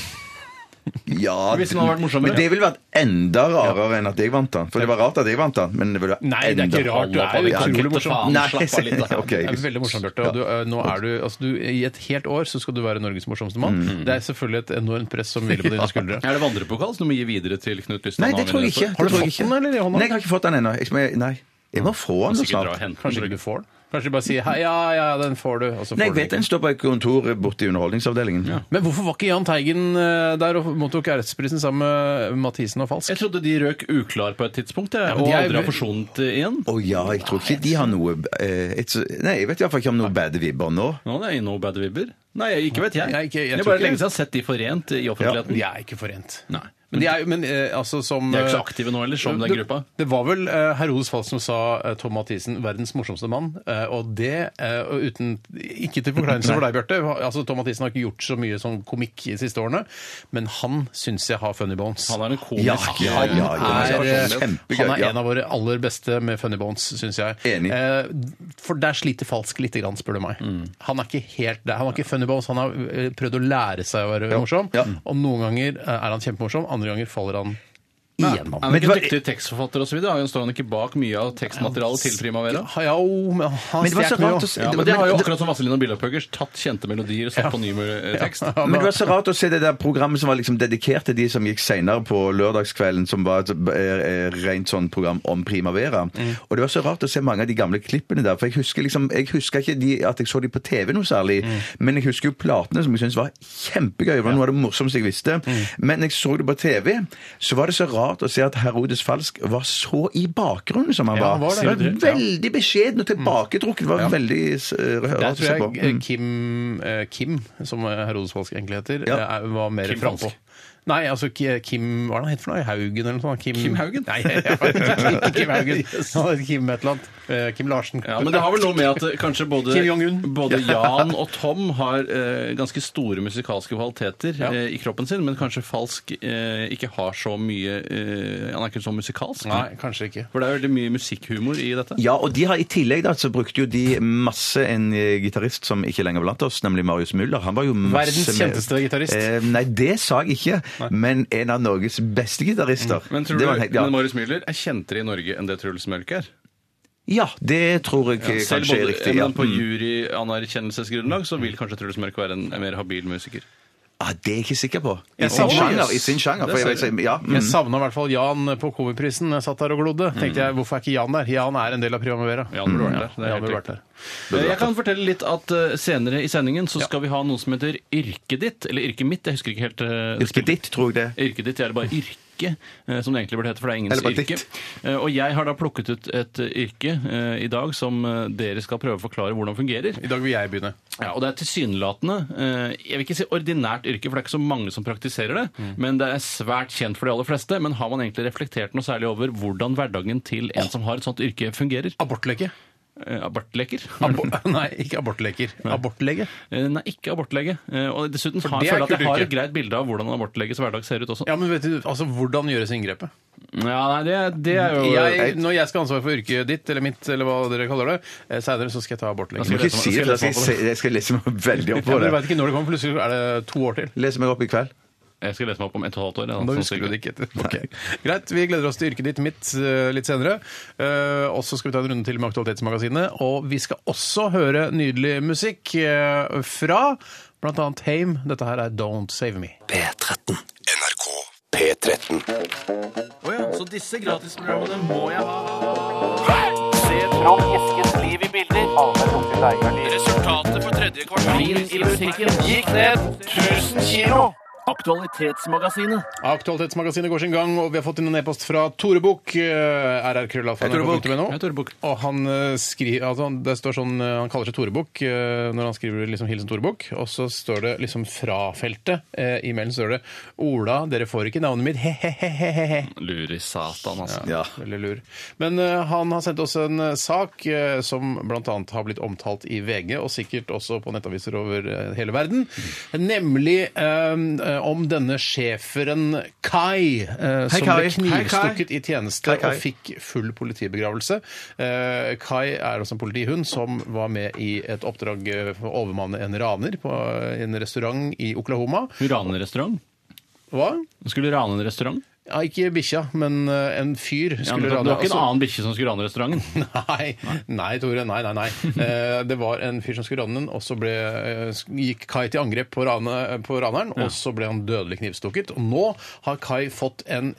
Speaker 8: Ja,
Speaker 9: Hvis den hadde vært morsommere.
Speaker 8: Men det ville vært enda rarere enn at jeg vant den. For det var rart at jeg vant den, men det ville vært
Speaker 7: Nei, det er ikke
Speaker 8: enda
Speaker 7: rart. Du er jo
Speaker 8: rarere.
Speaker 7: utrolig
Speaker 9: kutte
Speaker 7: morsom.
Speaker 9: faen.
Speaker 8: Nei,
Speaker 9: Slapp av litt, da.
Speaker 8: ok.
Speaker 7: Det er veldig morsomt, Bjarte. og Du, eh, nå er du, altså, du, I et helt år så skal du være Norges morsomste mann.
Speaker 9: Mm.
Speaker 7: Det er selvfølgelig et enormt press som hviler på dine skuldre.
Speaker 9: Er det vandrepokal som du må gi videre til Knut Lystad?
Speaker 8: Nei, det tror jeg ikke.
Speaker 7: Har du
Speaker 8: Det tror jeg
Speaker 7: fått
Speaker 8: ikke.
Speaker 7: den, eller, i hånda?
Speaker 8: Nei, jeg har ikke fått den ennå. Jeg skal- Nei. Jeg må få den så
Speaker 9: Kanskje ikke dra og
Speaker 8: snart.
Speaker 9: hente
Speaker 7: Kanskje
Speaker 9: den.
Speaker 7: ikke du får den? Kanskje de bare sier hei, ja, ja, den får du. Og så får
Speaker 8: Nei, jeg
Speaker 7: du den
Speaker 8: vet
Speaker 7: ikke.
Speaker 8: den står på et kontor borte i Underholdningsavdelingen.
Speaker 7: Men hvorfor var ikke Jahn Teigen eh, der og mottok æresprisen sammen med Mathisen og Falsk?
Speaker 9: Jeg trodde de røk uklar på et tidspunkt, jeg,
Speaker 7: Ja, men
Speaker 9: og
Speaker 7: de er-
Speaker 9: aldri har forsonet eh, igjen.
Speaker 8: Å ja, jeg tror ikke de har noe eh, et, Nei, jeg vet iallfall ikke om noe bad vibber nå.
Speaker 9: Nå er det no bad vibber. Nei, ikke vet jeg.
Speaker 7: Nei, ikke- jeg
Speaker 9: det er
Speaker 7: tror
Speaker 9: bare
Speaker 7: ikke-
Speaker 9: lenge siden jeg har sett de forent i offentligheten.
Speaker 7: De er ikke forent.
Speaker 9: Nei.
Speaker 7: Men de er, jo- men, eh, altså, som,
Speaker 9: De er jo ikke så
Speaker 7: eh,
Speaker 9: aktive nå heller, som den
Speaker 7: det-
Speaker 9: gruppa.
Speaker 7: Det var vel eh, Herodes Falk som sa eh, Tom Mathisen 'verdens morsomste mann', eh, og det eh, og uten Ikke til forkleinelse for deg, Bjarte. Altså, Tom Mathisen har ikke gjort så mye sånn komikk de siste årene, men han syns jeg har funny bones.
Speaker 9: Han er en
Speaker 8: Ja,
Speaker 9: komisk
Speaker 8: ja, ja, ja,
Speaker 7: er,
Speaker 8: ja.
Speaker 7: eh,
Speaker 8: Kjempegøy.
Speaker 7: han er
Speaker 8: ja.
Speaker 7: en av våre aller beste med funny bones, syns jeg.
Speaker 8: Enig.
Speaker 7: Eh, for der sliter Falsk lite grann, spør du meg.
Speaker 9: Mm.
Speaker 7: Han er ikke helt der. Han har ikke funny bones, han har eh, prøvd å lære seg å være morsom.
Speaker 8: ja.
Speaker 7: Og noen ganger eh, er han kjempemorsom, andre ganger faller han igjennom.
Speaker 9: Han er
Speaker 8: Men
Speaker 9: ikke en
Speaker 8: det var-
Speaker 9: dyktig tekstforfatter osv. Står han ikke bak mye av tekstmaterialet til Primavera?
Speaker 7: Ja, Ja, jo, men han
Speaker 8: Men det var så
Speaker 7: stjek meg
Speaker 8: rart
Speaker 7: jo.
Speaker 8: å se-
Speaker 9: Ja,
Speaker 8: det
Speaker 9: men
Speaker 8: var-
Speaker 9: det har jo
Speaker 8: men-
Speaker 9: akkurat som Vazelina Bilopphøggers tatt kjente melodier og satt på ny eh, tekst.
Speaker 8: Men det var så rart å se det der programmet som var liksom dedikert til de som gikk senere på lørdagskvelden, som var et eh, eh, rent sånn program om Primavera.
Speaker 7: Mm.
Speaker 8: Og det var så rart å se mange av de gamle klippene der, for jeg husker liksom, jeg husker ikke de, at jeg så de på TV noe særlig,
Speaker 7: Mm.
Speaker 8: men jeg husker jo platene som jeg syntes var kjempegøy, det var noe av det morsomste jeg visste.
Speaker 7: Mm.
Speaker 8: Men når jeg så det på TV, så var det så rart å se at Herodes Falsk var så i bakgrunnen som han
Speaker 7: Ja, han
Speaker 8: var.
Speaker 7: var det.
Speaker 8: det. var veldig beskjeden og tilbaketrukken, det var veldig
Speaker 7: Der
Speaker 8: eh,
Speaker 7: tror
Speaker 8: rart å se
Speaker 7: jeg
Speaker 8: på.
Speaker 7: eh, Kim, eh, Kim som eh, Herodes Falsk egentlig heter,
Speaker 8: Ja.
Speaker 7: eh, var mer
Speaker 9: Kim
Speaker 7: frampå.
Speaker 9: Falsk.
Speaker 7: Nei, altså Ki- Kim Hva er det han het for noe? Haugen eller noe sånt? Kim,
Speaker 9: Kim Haugen?
Speaker 7: Nei, jeg vet ikke, ikke Kim Haugen. Han het Kim et eller annet. Eh, Kim Larsen.
Speaker 9: Ja, men det har vel noe med at eh, kanskje både,
Speaker 7: Kim Jong-un.
Speaker 9: både Jan og Tom har eh, ganske store musikalske kvaliteter eh, i kroppen sin, men kanskje Falsk eh, ikke har så mye eh, Han er ikke så musikalsk.
Speaker 7: Nei, kanskje ikke.
Speaker 9: For det er veldig mye musikkhumor i dette.
Speaker 8: Ja, og de har i tillegg da, så brukte jo de masse en eh, gitarist som ikke lenger er blant oss, nemlig Marius Müller. Han var jo masse
Speaker 7: Verdens
Speaker 8: med-
Speaker 7: kjenteste gitarist.
Speaker 8: Eh, nei, det sa jeg ikke, men en av Norges beste gitarister.
Speaker 9: Mm. Men, tror
Speaker 8: det
Speaker 9: du,
Speaker 8: var en helt- ja.
Speaker 9: men Marius Müller er kjentere i Norge enn det Truls Mørk er.
Speaker 8: ja, det tror jeg eh,
Speaker 9: Selv
Speaker 8: kanskje er
Speaker 9: både,
Speaker 8: riktig.
Speaker 9: ja,
Speaker 8: Ja. Mm.
Speaker 9: men på juryanerkjennelsesgrunnlag så vil kanskje Truls Mørk være en, en mer habil musiker.
Speaker 8: Ah, det er jeg ikke sikker på. I
Speaker 7: Jeg
Speaker 8: sin
Speaker 7: savner-
Speaker 8: sjanger. I sin sjanger for jeg, vil si- ja, mm.
Speaker 7: Jeg savna i hvert fall Jan på Komiprisen. Jeg satt der og
Speaker 9: Mm.
Speaker 7: glodde. Tenkte jeg, hvorfor er ikke Jan der? Jan er en del av Primavera.
Speaker 9: Jan burde vært der. Det
Speaker 7: Jan
Speaker 9: er helt
Speaker 7: burde
Speaker 9: riktig.
Speaker 7: vært der.
Speaker 9: Eh, Jeg kan fortelle litt at eh, senere i sendingen så skal vi ha noe som heter Yrket ditt, eller Yrket mitt, jeg husker ikke helt. eh, det
Speaker 8: Mm. Yrket ditt, tror jeg det.
Speaker 9: Yrket ditt er det bare yrke, eh, som det egentlig burde hete, for det er ingens
Speaker 8: Eller bare
Speaker 9: yrke.
Speaker 8: ditt.
Speaker 9: Eh, Og jeg har da plukket ut et eh, yrke eh, i dag som eh, dere skal prøve å forklare hvordan fungerer.
Speaker 7: I dag vil jeg begynne.
Speaker 9: Ja, og det er tilsynelatende eh, Jeg vil ikke si ordinært yrke, for det er ikke så mange som praktiserer det.
Speaker 7: Mm.
Speaker 9: Men det er svært kjent for de aller fleste. Men har man egentlig reflektert noe særlig over hvordan hverdagen til en som har et sånt yrke, fungerer?
Speaker 7: Abortleke.
Speaker 9: Eh, Abortleker?
Speaker 7: Abor nei, ikke abortleger. Abortlege.
Speaker 9: Eh, Nei, ikke abortlege. Eh, Og dessuten har,
Speaker 7: det er
Speaker 9: føler jeg at jeg
Speaker 7: kult
Speaker 9: har
Speaker 7: yrke.
Speaker 9: et greit bilde av hvordan en abortleges hverdag ser ut også.
Speaker 7: Ja, men vet du, altså, Hvordan gjøres inngrepet?
Speaker 9: Ja, nei, det, det er jo
Speaker 7: Jeg, når jeg skal ha ansvar for yrket ditt eller mitt, eller hva dere kaller det, eh, senere så skal jeg ta
Speaker 9: Altså,
Speaker 7: abortlege.
Speaker 8: Du kan ikke si
Speaker 7: sånn-
Speaker 8: det, for jeg skal, se- jeg skal lese meg veldig opp
Speaker 7: Ja,
Speaker 8: på
Speaker 7: men du
Speaker 8: det.
Speaker 7: vet ikke når det kommer, plutselig er det to år til.
Speaker 8: Lese meg opp i kveld.
Speaker 9: Jeg skal lese meg opp om et og et halvt år. ja,
Speaker 7: Da
Speaker 9: sånn
Speaker 7: husker du
Speaker 9: cirka.
Speaker 7: det ikke. Ok. Greit, vi gleder oss til yrket ditt mitt eh, litt senere. Eh, og så skal vi ta en runde til med Aktualitetsmagasinet. Og vi skal også høre nydelig musikk eh, fra bl.a. Hame. Dette her er Don't Save Me.
Speaker 3: P13.
Speaker 1: NRK P13.
Speaker 7: Aktualitetsmagasinet går sin gang, og vi har fått inn en e-post fra Tore Bukk. eh, rrkrøllalfa.nrk.no.
Speaker 9: Hei, Tore Bukk.
Speaker 7: Og han eh, skriver altså, han- Det står sånn eh, Han kaller seg Tore Bukk eh, når han skriver liksom 'Hilsen Tore Bukk', og så står det liksom fra feltet. eh, I mailen står det 'Ola, dere får ikke navnet mitt, he-he-he-he-he'.
Speaker 9: Lur i satan, altså.
Speaker 7: Ja. Veldig lur. Men eh, han har sendt oss en eh, sak eh, som bl.a. har blitt omtalt i VG, og sikkert også på nettaviser over eh, hele verden, nemlig eh, eh, om denne schæferen Kai, eh, som
Speaker 8: Kai.
Speaker 7: ble
Speaker 8: Hei, Kai.
Speaker 7: knivstukket i tjeneste
Speaker 8: Kai, Kai.
Speaker 7: og fikk full politibegravelse. Eh, Kai er også en politihund som var med i et oppdrag eh, for å overmanne en raner på eh, en restaurant i Oklahoma.
Speaker 9: Hun raner en restaurant.
Speaker 7: Hva?
Speaker 9: Hun skulle rane en restaurant.
Speaker 7: Ja, ikke bikkja, men eh, en fyr
Speaker 9: Ja,
Speaker 7: skulle
Speaker 9: men det var ikke en
Speaker 7: altså-
Speaker 9: annen bikkje som skulle rane restauranten.
Speaker 7: Nei, nei, Tore. Nei, nei, nei. Eh, det var en fyr som skulle rane den, og så ble, eh, gikk Kai til angrep på, rane, på raneren, og så ble han dødelig knivstukket. Og nå har Kai fått en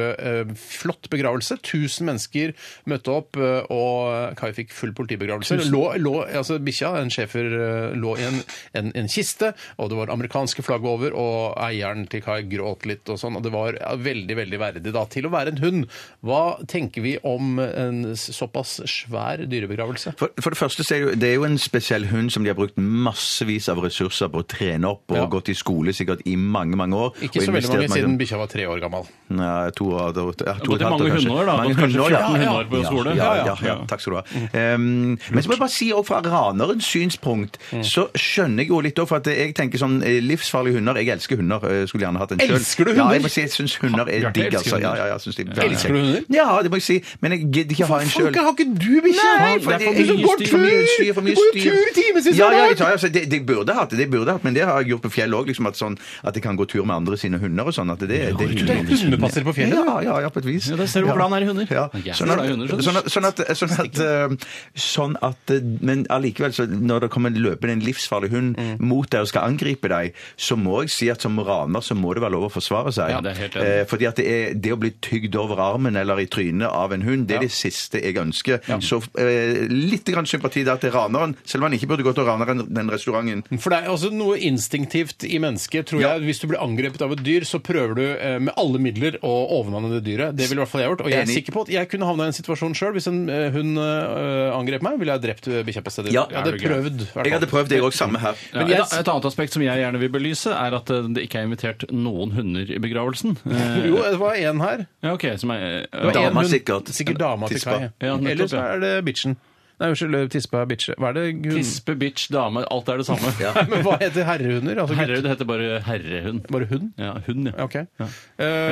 Speaker 7: kjempeflott begravelse. 1000 mennesker møtte opp, eh, og Kai fikk full politibegravelse. Lå, lå, altså Bikkja, en schæfer, eh, lå i en, en, en kiste, og det var amerikanske flagg over, og eieren til Kai gråt litt og sånn, og det var ja, veldig, veldig verdig da, til å være en hund. Hva tenker vi om en såpass svær dyrebegravelse?
Speaker 8: For, for det første så er det, jo, det er jo en spesiell hund som de har brukt massevis av ressurser på å trene opp og
Speaker 7: Ja.
Speaker 8: gått i skole sikkert i mange, mange år.
Speaker 7: Ikke
Speaker 8: og
Speaker 7: så veldig mange
Speaker 8: investert
Speaker 7: siden bikkja var tre år gammel.
Speaker 8: Nei, to år, da, ja,
Speaker 9: gått
Speaker 8: to og et
Speaker 9: i
Speaker 8: halvt
Speaker 9: mange
Speaker 8: år, kanskje.
Speaker 9: hundeår, da.
Speaker 8: Mange
Speaker 9: Gått kanskje
Speaker 8: hundeår, ja.
Speaker 9: 14 hundeår på skole.
Speaker 8: Ja, ja, ja,
Speaker 9: Ja,
Speaker 8: ja,
Speaker 9: ja.
Speaker 8: takk skal du ha. Ehm, men så må jeg bare si også fra ranerens synspunkt,
Speaker 7: Mm.
Speaker 8: så skjønner jeg jo litt òg, for at jeg tenker sånn eh, livsfarlige hunder Jeg elsker hunder, eh, skulle gjerne hatt en selv.
Speaker 7: Elsker du hunder?
Speaker 8: Ja, jeg må si jeg syns hunder er
Speaker 9: Bjarte,
Speaker 8: digg,
Speaker 9: elsker
Speaker 8: altså.
Speaker 9: hunder.
Speaker 8: Ja, ja, ja, synes de er veldig
Speaker 7: Elsker du hunder?
Speaker 8: kjekke. Ja, det må jeg si. Men jeg gidder ikke ha en sjøl.
Speaker 7: Folke, har ikke du bikkje?
Speaker 8: Nei, for
Speaker 9: Det er
Speaker 8: det
Speaker 9: for
Speaker 8: er
Speaker 9: mye
Speaker 8: for mye
Speaker 9: styr,
Speaker 8: styr, for mye
Speaker 7: styr.
Speaker 8: styr, for mye
Speaker 7: Du går jo
Speaker 8: styr.
Speaker 7: tur i timen, synes
Speaker 8: ja,
Speaker 7: jeg,
Speaker 8: ja,
Speaker 7: da.
Speaker 8: jeg tar, altså, det, det burde jeg hatt det, det burde jeg hatt, men det har jeg gjort på fjell òg. Liksom, at, sånn, at jeg kan gå tur med andre sine hunder og sånn. At det, det, det,
Speaker 7: Du er hundepasser på fjellet?
Speaker 8: Ja, ja, ja, på et vis.
Speaker 9: Ja, der ser du hvor glad han er i hunder.
Speaker 8: Ja.
Speaker 9: Han er jævlig
Speaker 8: Sånn at,
Speaker 9: glad i hunder, skjønner du.
Speaker 8: sånn at, sånn at, sånn at, eh, sånn at eh, Men allikevel, så når det kommer løpende en livsfarlig hund
Speaker 9: Mm.
Speaker 8: mot deg og skal angripe deg, så må jeg si at som raner så må det være lov å forsvare seg.
Speaker 9: Ja, det er helt enig.
Speaker 8: Eh, fordi at det, er, det å bli tygd over armen eller i trynet av en hund, det er det siste jeg ønsker. Så eh, litt grann sympati der til raneren, selv om han ikke burde gått og rane den- den restauranten.
Speaker 7: For det er også noe instinktivt i mennesket, tror jeg. Hvis du blir angrepet av et dyr, så prøver du eh, med alle midler å overmanne det dyret. Det ville i hvert fall jeg gjort. Og jeg er
Speaker 8: Enig.
Speaker 7: sikker på at jeg kunne havna i en situasjon sjøl. Hvis en eh, hund eh, angrep meg, ville jeg drept eh, bikkja på stedet.
Speaker 8: Ja.
Speaker 7: jeg hadde
Speaker 9: Er du gæren?
Speaker 7: prøvd. i hvert
Speaker 8: Jeg hadde
Speaker 7: fall.
Speaker 8: prøvd det òg, samme her.
Speaker 9: Ja,
Speaker 7: Men jeg-
Speaker 9: et, et annet aspekt som jeg gjerne vil belyse, er at eh, det ikke er invitert noen hunder i begravelsen. Eh,
Speaker 7: Jo, det var én her.
Speaker 9: ja, ok, som er... eh,
Speaker 7: Det var
Speaker 8: Dama
Speaker 7: en hund.
Speaker 8: sikkert.
Speaker 7: Sikkert dama til
Speaker 8: Tispa.
Speaker 7: Kai.
Speaker 9: Ja, nettopp,
Speaker 7: Eller så
Speaker 9: ja.
Speaker 7: er det bitchen. Nei, unnskyld. Tispa er bitche. Hva er det hun-
Speaker 9: Tispe, bitch, dame, alt er det samme.
Speaker 7: Men hva heter herrehunder? Altså,
Speaker 9: Herre,
Speaker 7: gutt-
Speaker 9: det heter bare herrehund.
Speaker 7: Bare hund?
Speaker 9: Ja, hund, ja.
Speaker 7: OK.
Speaker 9: Eller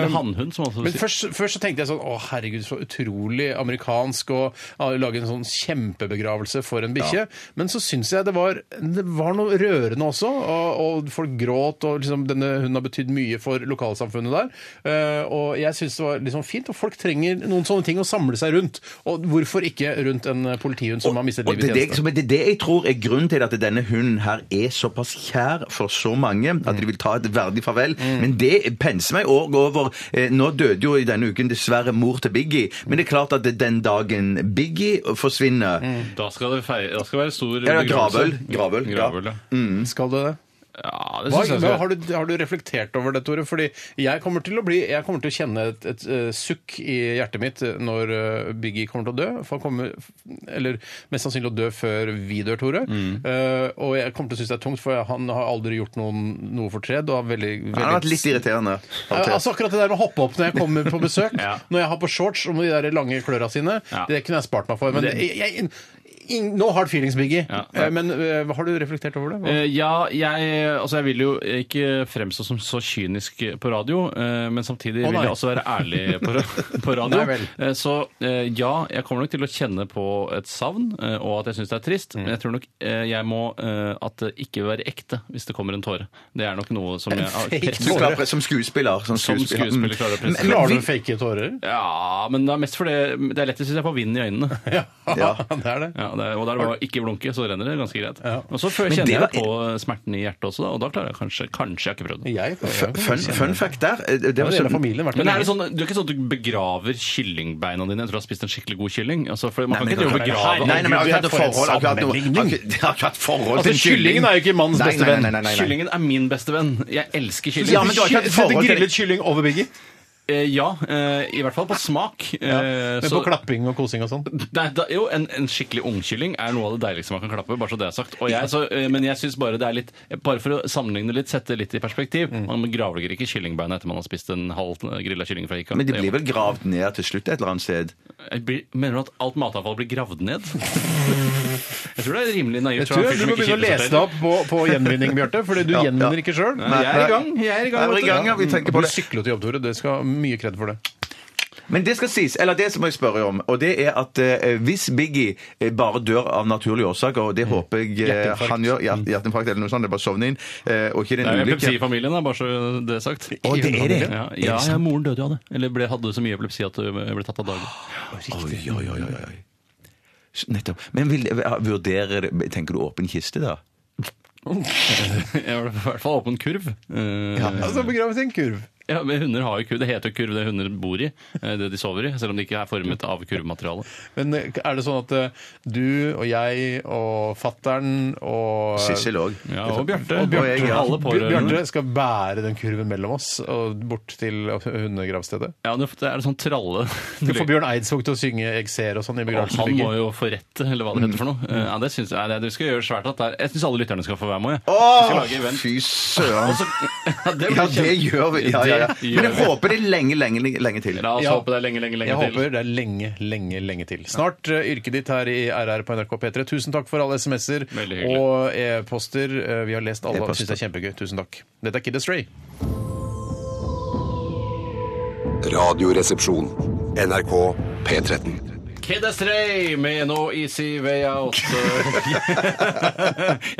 Speaker 7: Eh,
Speaker 9: hannhund, som altså
Speaker 7: Men først, først så tenkte jeg sånn Å, herregud, så utrolig amerikansk å ja, lage en sånn kjempebegravelse for en bikkje. Men så syns jeg det var, det var noe rørende også, og, og folk gråt, og liksom denne hunden har betydd mye for lokalsamfunnet der. Eh, og jeg syns det var liksom fint, og folk trenger noen sånne ting å samle seg rundt. Og hvorfor ikke rundt en politihund som har mistet
Speaker 8: Og
Speaker 7: livet i
Speaker 8: det, er det,
Speaker 7: tjeneste?
Speaker 8: som er- det er det jeg tror er grunnen til at denne hunden her er såpass kjær for så mange
Speaker 7: Mm.
Speaker 8: at de vil ta et verdig farvel. Men det penser meg òg over eh, Nå døde jo i denne uken dessverre mor til Biggie, men det er klart at den dagen Biggie forsvinner
Speaker 7: Mm.
Speaker 9: Da skal det feire, da skal det være stor
Speaker 8: Ja, ja,
Speaker 9: begravelse.
Speaker 8: gravøl, gravøl, ja.
Speaker 9: Gravøl, ja.
Speaker 7: Skal det det?
Speaker 9: Ja, det
Speaker 7: Hva,
Speaker 9: synes jeg
Speaker 7: men
Speaker 9: skal-
Speaker 7: har, du, har du reflektert over det, Tore? Fordi jeg kommer til å, bli, jeg kommer til å kjenne et, et, eh, sukk i hjertet mitt eh, når eh, Biggie kommer til å dø. For han kommer, eller mest sannsynlig å dø før vi dør, Tore. Eh, og jeg kommer til å synes det er tungt, for han har aldri gjort noen, noe fortred. Og har veldig, veldig
Speaker 8: Han har vært litt irriterende.
Speaker 7: Ja, altså akkurat det der med å hoppe opp når jeg kommer på besøk,
Speaker 9: Ja.
Speaker 7: når jeg har på shorts og med de der lange kløra sine,
Speaker 9: Ja.
Speaker 7: det kunne jeg spart meg for. Men
Speaker 9: Men det-
Speaker 7: jeg, jeg, ing- no hard feelings, Biggie.
Speaker 9: Ja.
Speaker 7: Eh, Men eh, har du reflektert over det? Hva-
Speaker 9: Eh, ja, jeg, altså jeg vil jo ikke fremstå som så kynisk på radio, eh, men samtidig
Speaker 7: Å,
Speaker 9: vil
Speaker 7: nei.
Speaker 9: jeg også være ærlig på, ra- på radio.
Speaker 7: Nei vel.
Speaker 9: Eh, så eh, ja, jeg kommer nok til å kjenne på et savn, eh, og at jeg syns det er trist, men jeg tror nok eh, jeg må eh, at det ikke vil være ekte hvis det kommer en tåre. Det er nok noe som jeg har
Speaker 7: fake
Speaker 8: Du klarer, pre- som skuespiller. Som skuespiller,
Speaker 9: skuespiller klarer å
Speaker 8: Mm.
Speaker 9: prestere.
Speaker 8: Men- men
Speaker 7: Klarer
Speaker 8: vi-
Speaker 7: du å fake tårer?
Speaker 9: Ja, men det er mest fordi det er lettest hvis jeg får vind i øynene.
Speaker 7: Ja,
Speaker 8: Ja.
Speaker 7: det er det.
Speaker 9: Ja, det er, og der var ikke blunke, så renner det ganske greit.
Speaker 7: Ja.
Speaker 9: Og så fø-
Speaker 8: Men det
Speaker 9: kjenner
Speaker 8: var-
Speaker 9: jeg på smerten i hjertet også, da, og da klarer jeg kanskje Kanskje jeg har ikke prøvd det.
Speaker 7: Jeg
Speaker 8: Fun, fun fact der eh, Det var
Speaker 7: det gjelder
Speaker 8: sånn
Speaker 7: familien. Vært
Speaker 9: Men er det
Speaker 7: lenge.
Speaker 9: sånn, du er ikke sånn at du begraver kyllingbeina dine etter å ha spist en skikkelig god kylling? Altså, for man
Speaker 8: Nei, men
Speaker 9: kan ikke drive og
Speaker 8: det kan
Speaker 9: begrave
Speaker 8: Nei, nei, men
Speaker 7: Gud,
Speaker 8: akkurat
Speaker 7: jeg
Speaker 8: det
Speaker 7: får en
Speaker 8: forhold akkurat noe-
Speaker 7: sammenligning.
Speaker 8: akkurat- det har akkurat forhold
Speaker 7: Altså,
Speaker 8: til kylling.
Speaker 7: kyllingen er jo ikke mannens
Speaker 8: Nei,
Speaker 7: beste
Speaker 8: nei,
Speaker 7: venn.
Speaker 8: Nei, nei, nei, nei.
Speaker 9: Kyllingen er min beste venn. Jeg elsker kylling.
Speaker 8: Ja, men du har ikke hatt
Speaker 7: Ky- setter
Speaker 8: forhold til-
Speaker 7: grillet kylling over Biggie?
Speaker 9: Eh, ja, eh, i hvert fall på smak. Eh,
Speaker 7: Men på
Speaker 9: så-
Speaker 7: klapping og kosing og sånn?
Speaker 9: Nei, da, jo, en, en skikkelig ungkylling er noe av det deiligste man kan klappe. bare så det er sagt. Og jeg, så, eh, men jeg synes bare det er litt Bare for å sammenligne litt, sette litt i perspektiv
Speaker 8: Mm.
Speaker 9: Man gravlegger ikke kyllingbeina etter man har spist en halv grilla kylling fra Ikea.
Speaker 8: Men de blir vel gravd ned til slutt et eller annet sted?
Speaker 9: Jeg blir, mener du at alt matavfall blir gravd ned? Jeg tror det er rimelig naivt.
Speaker 7: Jeg tror du må begynne å lese deg opp på, på gjenvinning, Bjarte, fordi du
Speaker 8: Ja, ja.
Speaker 7: gjenvinner ikke sjøl.
Speaker 9: Nei, jeg er i gang. Jeg er i gang.
Speaker 8: Jeg er i
Speaker 9: vet du.
Speaker 8: gang, ja, vi tenker
Speaker 7: Du
Speaker 8: på det.
Speaker 7: sykler jo til jobb, Tore. Det skal ha mye kred for det.
Speaker 8: Men det skal sies, eller det må jeg spørre om, og det er at eh, hvis Biggie eh, bare dør av naturlige årsaker, og
Speaker 9: Mm.
Speaker 8: det håper jeg eh,
Speaker 7: Hjerteinfarkt.
Speaker 8: han gjør, hjert- hjerteinfarkt eller noe sånt, det er bare å sovne inn, eh, og ikke det en
Speaker 9: Det er jo
Speaker 8: ulykke
Speaker 9: epilepsi i familien, da, bare så det er sagt.
Speaker 8: Å, det er det?
Speaker 9: Ja,
Speaker 8: Er det
Speaker 9: ja, ja,
Speaker 8: sant?
Speaker 9: moren døde jo av det. Eller ble, hadde så mye epilepsi at du ble tatt av dage.
Speaker 8: Oi, oi, oi, oi, oi. S- Nettopp. Men vil, eh, vurderer Tenker du åpen kiste, da?
Speaker 9: Jeg var i hvert fall åpen kurv. Eh,
Speaker 7: Altså, begraves i en kurv.
Speaker 9: Ja, men Hunder har jo kurv. Det heter jo kurv det hunder bor i. eh, Det de sover i. Selv om de ikke er formet av kurvmateriale.
Speaker 7: Men eh, er det sånn at eh, du og jeg og fattern og
Speaker 8: Sissel òg.
Speaker 9: Ja, og Bjarte.
Speaker 7: Og Bjarte.
Speaker 9: Og jeg, ja. Alle
Speaker 7: Bj-
Speaker 9: pårørende.
Speaker 7: Bjarte skal bære den kurven mellom oss og bort til hundegravstedet.
Speaker 9: Ja, det er det sånn tralle.
Speaker 7: Du får Bjørn Eidsvåg til å synge 'Jeg ser' og sånn i
Speaker 9: Og han må
Speaker 7: begravelsen.
Speaker 9: jo få rett, eller hva det heter for noe. Eh, Ja, det synes jeg, nei, det skal gjøre svært at det er, Jeg syns alle lytterne skal få være med. jeg. Vi skal lage event.
Speaker 8: fy søren.
Speaker 9: Ja, det, blir
Speaker 8: Ja, det
Speaker 9: kjempe-
Speaker 8: gjør vi. Ja, ja, ja.
Speaker 9: Det gjør
Speaker 8: Men jeg
Speaker 9: vi.
Speaker 8: håper det er lenge, lenge, lenge til.
Speaker 9: La oss
Speaker 7: Ja.
Speaker 9: håpe det er lenge, lenge, lenge
Speaker 7: Jeg
Speaker 9: til.
Speaker 7: håper det er lenge, lenge lenge til. Snart eh, yrket ditt her i RR på NRK P3. Tusen takk for alle SMS-er
Speaker 9: Veldig hyggelig.
Speaker 7: og e-poster. Eh, Vi har lest alle og
Speaker 8: E-poster.
Speaker 7: syns det er kjempegøy. Tusen takk. Dette er Kid Astray.
Speaker 1: Radioresepsjon. NRK P13.
Speaker 9: Kid Astray med No Easy Way Out. jeg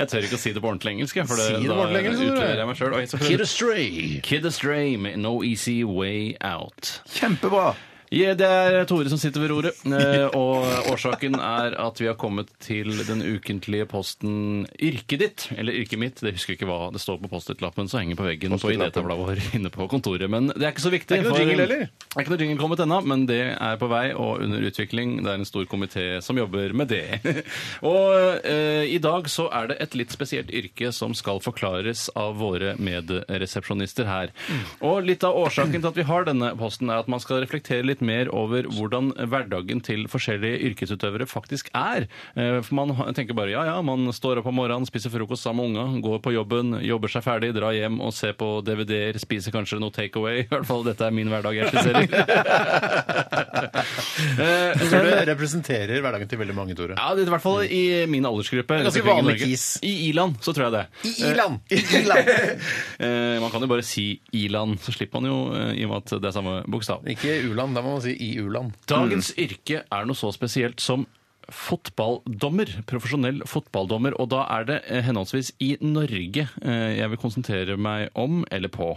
Speaker 9: tør ikke å si det på ordentlig engelsk, jeg, for det,
Speaker 7: Si det på
Speaker 9: da
Speaker 7: ordentlig engelsk, Tore.
Speaker 9: utleverer jeg meg sjøl.
Speaker 7: Astray.
Speaker 9: Kid Astray med No Easy Way Out.
Speaker 8: Kjempebra.
Speaker 9: Ja, det er Tore som sitter ved roret, eh, og årsaken er at vi har kommet til den ukentlige posten Yrket ditt, eller Yrket mitt, det husker jeg ikke hva det står på Post-It-lappen som henger på veggen på idétavla vår inne på kontoret, men det er ikke så viktig.
Speaker 7: Det er ikke noe
Speaker 9: for-
Speaker 7: jingle heller.
Speaker 9: Det er ikke noe jingle kommet ennå, men det er på vei og under utvikling. Det er en stor komité som jobber med det. og eh, i dag så er det et litt spesielt yrke som skal forklares av våre medresepsjonister her.
Speaker 7: Mm.
Speaker 9: Og litt av årsaken til at vi har denne posten, er at man skal reflektere litt mer over hvordan hverdagen til forskjellige yrkesutøvere faktisk er. Eh, For man ha- tenker bare ja, ja, man står opp om morgenen, spiser frokost sammen med unga, går på jobben, jobber seg ferdig, drar hjem og ser på DVD-er, spiser kanskje noe takeaway. I hvert fall dette er min hverdag jeg
Speaker 7: Så det
Speaker 9: skisserer. Eh,
Speaker 7: representerer hverdagen til veldig mange, Tore.
Speaker 9: Ja, det er I hvert fall i min aldersgruppe.
Speaker 7: Ganske
Speaker 9: rundt omkring i
Speaker 7: vanlig
Speaker 9: Norge.
Speaker 7: kis.
Speaker 9: I Iland, så tror jeg det. Eh,
Speaker 7: Iland!
Speaker 9: Eh, man kan jo bare si i-land, så slipper man jo, eh, i og med at det er samme bokstav.
Speaker 7: Ikke u-land, da må man si i u-land.
Speaker 9: Dagens yrke er noe så spesielt som fotballdommer. Profesjonell fotballdommer. Og da er det eh, henholdsvis i Norge eh, jeg vil konsentrere meg om eller på.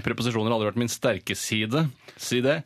Speaker 9: Preposisjoner har aldri vært min sterke side. Si det.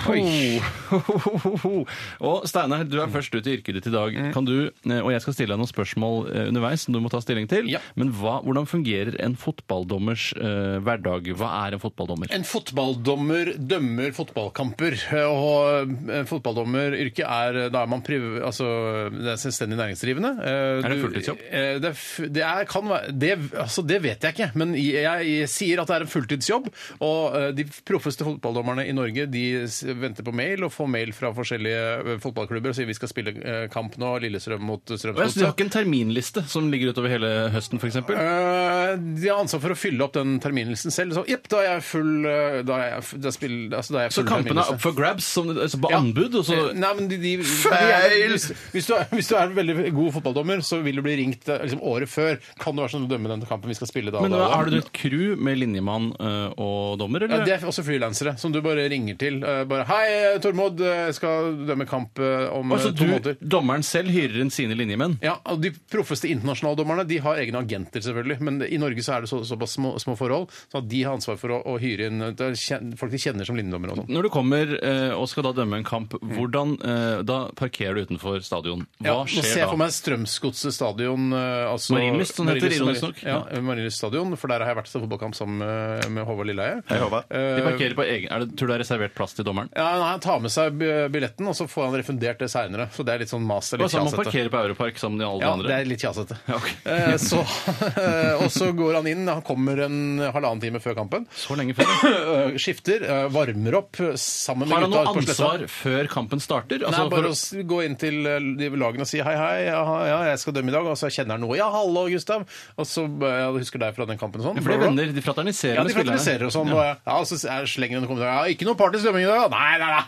Speaker 9: Ho-ho-ho-ho. Og Steinar, du er først ut i yrket ditt i dag. Kan du, eh, og jeg skal stille deg noen spørsmål eh, underveis som du må ta stilling til.
Speaker 7: Ja.
Speaker 9: Men hva, hvordan fungerer en fotballdommers eh, hverdag? Hva er en fotballdommer?
Speaker 7: En fotballdommer dømmer fotballkamper. Og eh, fotballdommeryrket er eh, Da er man priv... Altså, det er selvstendig næringsdrivende. Eh,
Speaker 9: Er det
Speaker 7: du-
Speaker 9: fulltidsjobb?
Speaker 7: eh, Det, er f- det er, kan være det, altså, det vet jeg ikke, men jeg, jeg sier at det er en fulltidsjobb. Og eh, de proffeste fotballdommerne i Norge de s- venter på mail og får mail fra forskjellige eh, fotballklubber og sier vi skal spille eh, kamp nå, Lillestrøm mot
Speaker 9: Og jeg synes Du har
Speaker 7: Strømsgodset.
Speaker 9: ikke en terminliste som ligger utover hele høsten, f.eks.?
Speaker 7: Eh, de har ansvar for å fylle opp den terminlisten selv. Så jepp, da er jeg full eh, Da er jeg, f- da spiller, altså, da er jeg
Speaker 9: Så
Speaker 7: full
Speaker 9: kampene er
Speaker 7: terminliste.
Speaker 9: opp for grabs som, altså på
Speaker 7: Ja.
Speaker 9: anbud? Og så,
Speaker 7: Eh, Nei, men de, de, de,
Speaker 8: Feil!
Speaker 7: Hvis, hvis, du er, hvis du er en veldig god fotballdommer, så vil du bli ringt eh, liksom, året før. Kan du være sånn å dømme denne kampen vi skal spille da?
Speaker 9: men
Speaker 7: da,
Speaker 9: nå,
Speaker 7: da?
Speaker 9: Har du et crew med linjemann eh, og dommer,
Speaker 7: Ja,
Speaker 9: eller?
Speaker 7: det er også frilansere som du bare ringer til. eh, Bare 'Hei, Tormod, eh, jeg skal dømme kamp eh, om
Speaker 9: Altså,
Speaker 7: eh, to
Speaker 9: du,
Speaker 7: måneder'.
Speaker 9: dommeren selv hyrer inn sine linjemenn?
Speaker 7: Ja, og De proffeste internasjonale dommerne de har egne agenter, selvfølgelig. Men i Norge så er det så, såpass små, små forhold, så at de har ansvar for å, å hyre inn eh, det er kjen- folk de kjenner som linjedommere. og sånn.
Speaker 9: Når du kommer eh, og skal da dømme en kamp, hvordan, eh, da parkerer du utenfor stadion.
Speaker 7: Mm. Ja,
Speaker 9: Hva
Speaker 7: nå ser
Speaker 9: skjer
Speaker 7: jeg for
Speaker 9: da?
Speaker 7: meg Strømsgodset stadion. eh, Altså,
Speaker 9: Marienlyst, som det heter, ironisk nok.
Speaker 7: Ja, Marienlyst stadion, for der har jeg vært til fotballkamp sammen med, med Håvard Lilleheie.
Speaker 8: Hei, Håvard.
Speaker 9: De parkerer på egen, er det, Tror du det er reservert plass til dommeren?
Speaker 7: Ja, nei, Han tar med seg bi- billetten, og så får han refundert det seinere. Så det er litt sånn mas. det er
Speaker 9: Det
Speaker 7: Litt
Speaker 9: er sånn man
Speaker 7: kjasete.
Speaker 9: parkerer på Europark som de alle
Speaker 7: Ja, det
Speaker 9: andre.
Speaker 7: er litt kjasete.
Speaker 9: Ja, ok.
Speaker 7: Eh, så, eh, og så går han inn, han kommer en halvannen time før kampen.
Speaker 9: Så lenge før. da.
Speaker 7: Eh, Skifter, eh, varmer opp eh, sammen med
Speaker 9: Har han
Speaker 7: gutta
Speaker 9: noe
Speaker 7: ute på sletta.
Speaker 9: ansvar før kampen starter? Altså,
Speaker 7: Nei, bare
Speaker 9: for-
Speaker 7: å s- gå inn til eh, de lagene og si hei, hei, ja, ja, jeg skal dømme i dag. Og så kjenner han noe. Ja, hallo, Gustav. Og så eh, ja, du husker deg fra den kampen og sånn.
Speaker 9: for de venner, de fraterniserer
Speaker 7: Ja,
Speaker 9: med
Speaker 7: de
Speaker 9: spillerne.
Speaker 7: fraterniserer og sånn. Og jeg- ja, så er- slenger han en kommentar. Ja, ikke noe partisk dømming i dag. Nei, nei, nei.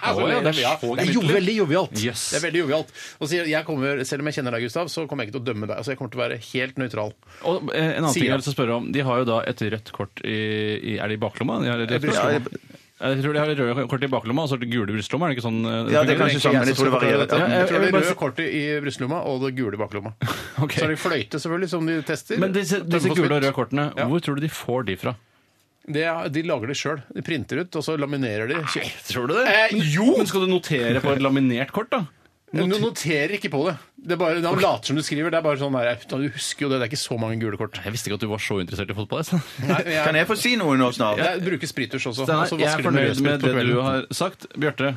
Speaker 7: Så,
Speaker 9: Oi,
Speaker 7: ja, det, er- ja,
Speaker 9: så
Speaker 7: det er jo
Speaker 9: gemyttlig.
Speaker 7: veldig jovialt.
Speaker 9: Yes.
Speaker 7: Det er veldig jovialt. Og så sier jeg kommer, selv om jeg kjenner deg, Gustav, så kommer jeg ikke til å dømme deg. Altså, jeg kommer til å være helt nøytral.
Speaker 9: Og eh, en annen
Speaker 7: Sier
Speaker 9: ting jeg
Speaker 7: han.
Speaker 9: har lyst til å spørre om. De har jo da et rødt kort i, i Er det i baklomma? De har et rødt
Speaker 7: brystlomma.
Speaker 9: kort. Jeg tror de har et rødt kort i baklomma, og så er det gule i brystlomma. Er det ikke sånn? eh,
Speaker 8: Ja, det er
Speaker 9: fungerer?
Speaker 8: kanskje sånn, men jeg tror det
Speaker 7: Ja,
Speaker 8: varierer. Ja.
Speaker 7: jeg, tror det
Speaker 9: jeg vil
Speaker 7: er
Speaker 9: bare
Speaker 7: røde
Speaker 9: si-
Speaker 7: kortet i brystlomma og det gule i baklomma.
Speaker 9: Ok.
Speaker 7: Så er det fløyte, selvfølgelig, som de tester.
Speaker 9: Men disse,
Speaker 7: Tømmer
Speaker 9: disse
Speaker 7: på
Speaker 9: gule og
Speaker 7: spytt.
Speaker 9: røde kortene,
Speaker 7: Ja.
Speaker 9: hvor tror du de får de fra?
Speaker 7: Det, er- de lager det sjøl. De printer ut, og så laminerer de.
Speaker 9: Tror du det?
Speaker 7: Eh, jo!
Speaker 9: Men skal du notere på et laminert kort, da?
Speaker 7: Du noterer ikke på det. Det er bare, Han later som du skriver. Det er bare sånn der, Du husker jo det. Det er ikke så mange gule kort.
Speaker 9: Jeg visste ikke at du var så interessert i fotball. Jeg,
Speaker 7: Nei, jeg,
Speaker 8: Kan jeg få si noe nå snart?
Speaker 7: Jeg bruker sprittusj også. og så
Speaker 9: Steinar, jeg
Speaker 7: vasker
Speaker 9: er
Speaker 7: de med
Speaker 9: fornøyd
Speaker 7: rødsprit
Speaker 9: med
Speaker 7: på
Speaker 9: det
Speaker 7: kvelden.
Speaker 9: du har sagt. Bjarte,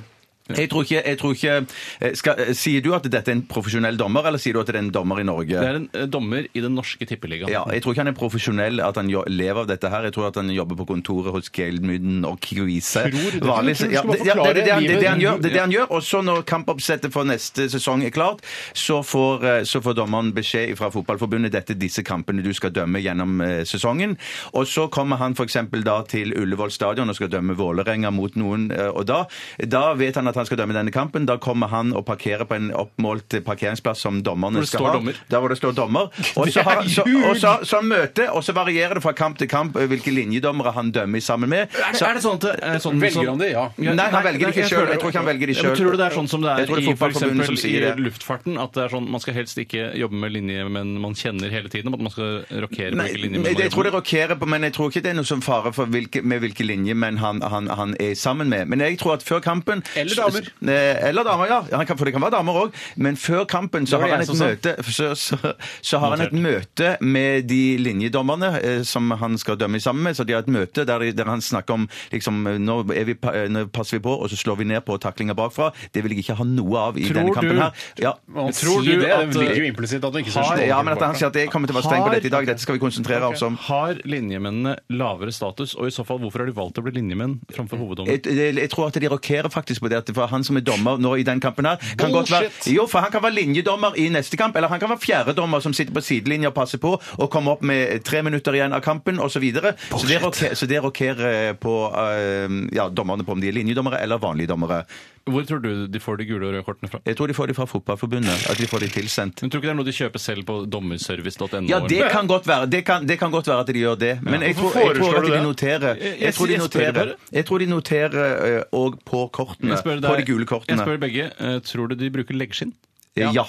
Speaker 8: Jeg tror ikke, jeg tror ikke eh, skal, eh, Sier du at dette er en profesjonell dommer, eller sier du at det er en dommer i Norge?
Speaker 9: det er en eh, dommer i den norske tippeligaen.
Speaker 8: Ja, jeg tror ikke han er profesjonell, at han jo- lever av dette her. Jeg tror at han jobber på kontoret hos Geldmyden og Kikvise.
Speaker 7: du det?
Speaker 8: Vanlig-
Speaker 7: Jeg tror du
Speaker 8: ja,
Speaker 7: skal bare
Speaker 8: det- ja, det er det han- det er det han
Speaker 7: forklare
Speaker 8: gjør. Det er det han gjør. Og så når kampoppsettet for neste sesong er klart, så får, eh, så får dommeren beskjed fra Fotballforbundet dette er disse kampene du skal dømme gjennom eh, sesongen. Og så kommer han f.eks. da til Ullevål stadion og skal dømme Vålerenga mot noen. eh, Og da, da vet han at han skal dømme denne kampen. Da kommer han og parkerer på en oppmålt parkeringsplass som dommerne
Speaker 9: det
Speaker 8: skal
Speaker 9: står
Speaker 8: ha.
Speaker 9: dommer.
Speaker 8: Der hvor det står dommer. Og så, har, så, og så, så møte, og så varierer det fra kamp til kamp eh, hvilke linjedommere han dømmer sammen med.
Speaker 9: Er det,
Speaker 8: Så,
Speaker 9: er det sånn at det er sånn
Speaker 7: Velger
Speaker 9: som-
Speaker 7: han det? Ja.
Speaker 8: Nei, han velger det ikke
Speaker 9: jeg
Speaker 8: selv.
Speaker 9: føler-
Speaker 8: Jeg tror ikke han velger det
Speaker 9: Ja, men
Speaker 8: selv.
Speaker 9: Tror du det er sånn som det
Speaker 8: Jeg
Speaker 9: er
Speaker 8: tror det er
Speaker 9: i for
Speaker 8: Fotballforbundet
Speaker 9: eksempel,
Speaker 8: som sier
Speaker 9: i
Speaker 8: det.
Speaker 9: luftfarten? At det er sånn, man skal helst ikke jobbe med linjemenn man kjenner hele tiden? men At man skal rokere på
Speaker 8: Nei,
Speaker 9: hvilke linjemenn man
Speaker 8: jeg tror
Speaker 9: jobber
Speaker 8: det
Speaker 9: med?
Speaker 8: rokerer på, men jeg tror ikke det er noe som fare for hvilke, med hvilke linjemenn han, han, han er sammen med. Men jeg tror at før kampen
Speaker 7: Eller damer.
Speaker 8: Eh, Eller damer, ja. Han kan, for det kan være damer òg. Men før kampen så
Speaker 9: Det var
Speaker 8: har han
Speaker 9: jeg
Speaker 8: et
Speaker 9: som sa.
Speaker 8: møte så, så, så har han et møte med de linjedommerne eh, som han skal dømme sammen med. Så de har et møte der, de, der han snakker om liksom, eh, nå, er vi, pa- eh, nå passer vi på, og så slår vi ned på taklinga bakfra. Det vil jeg ikke ha noe av i
Speaker 9: Tror
Speaker 8: denne kampen
Speaker 9: du-
Speaker 8: her. Ja.
Speaker 7: Man
Speaker 9: Tror
Speaker 7: sier
Speaker 9: du
Speaker 7: det,
Speaker 9: at- eh,
Speaker 7: det ligger jo implisitt at du ikke skal slå
Speaker 8: Ja,
Speaker 7: over
Speaker 8: men at han
Speaker 7: tilbake.
Speaker 8: sier at jeg kommer til å være streng på
Speaker 9: Har-
Speaker 8: dette i dag. Dette skal vi konsentrere oss om.
Speaker 9: Har linjemennene lavere status, og i så fall hvorfor har de valgt å bli linjemenn
Speaker 8: Eh,
Speaker 9: framfor hoveddommer?
Speaker 8: Jeg, jeg, jeg tror at de rokerer faktisk på det at for han som er dommer nå i den kampen her kan godt være,
Speaker 7: Bullshit!
Speaker 8: Jo, for han kan være linjedommer i neste kamp, eller han kan være fjerdedommer som sitter på sidelinja og passer på og kommer opp med tre minutter igjen av kampen osv. Så, videre. så det rokerer, så det rokerer på eh, ja, dommerne på om de er linjedommere eller vanlige dommere.
Speaker 9: Hvor tror du de får de gule og røde kortene fra?
Speaker 8: Jeg tror de får de fra Fotballforbundet, at de får de tilsendt.
Speaker 9: Men tror du ikke det er noe de kjøper selv på dommerservice.no?
Speaker 8: Ja, det kan godt være Det kan, det kan godt være at de gjør det. Men jeg tror,
Speaker 9: Hvorfor
Speaker 8: jeg tror
Speaker 9: foreslår
Speaker 8: at
Speaker 9: du
Speaker 8: de
Speaker 9: det?
Speaker 8: noterer
Speaker 9: Jeg-
Speaker 8: Jeg tror de
Speaker 9: jeg spør
Speaker 8: noterer
Speaker 9: bare.
Speaker 8: Jeg tror de noterer eh, og på kortene.
Speaker 9: Jeg spør deg-
Speaker 8: På de gule
Speaker 9: Jeg spør
Speaker 8: kortene. Eh,
Speaker 9: begge. eh, Tror du de bruker leggskinn?
Speaker 8: Ja.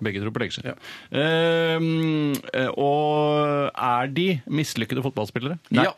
Speaker 9: Begge tror på Ehm, leggskinn. Eh, og er de mislykkede fotballspillere?
Speaker 7: Ja.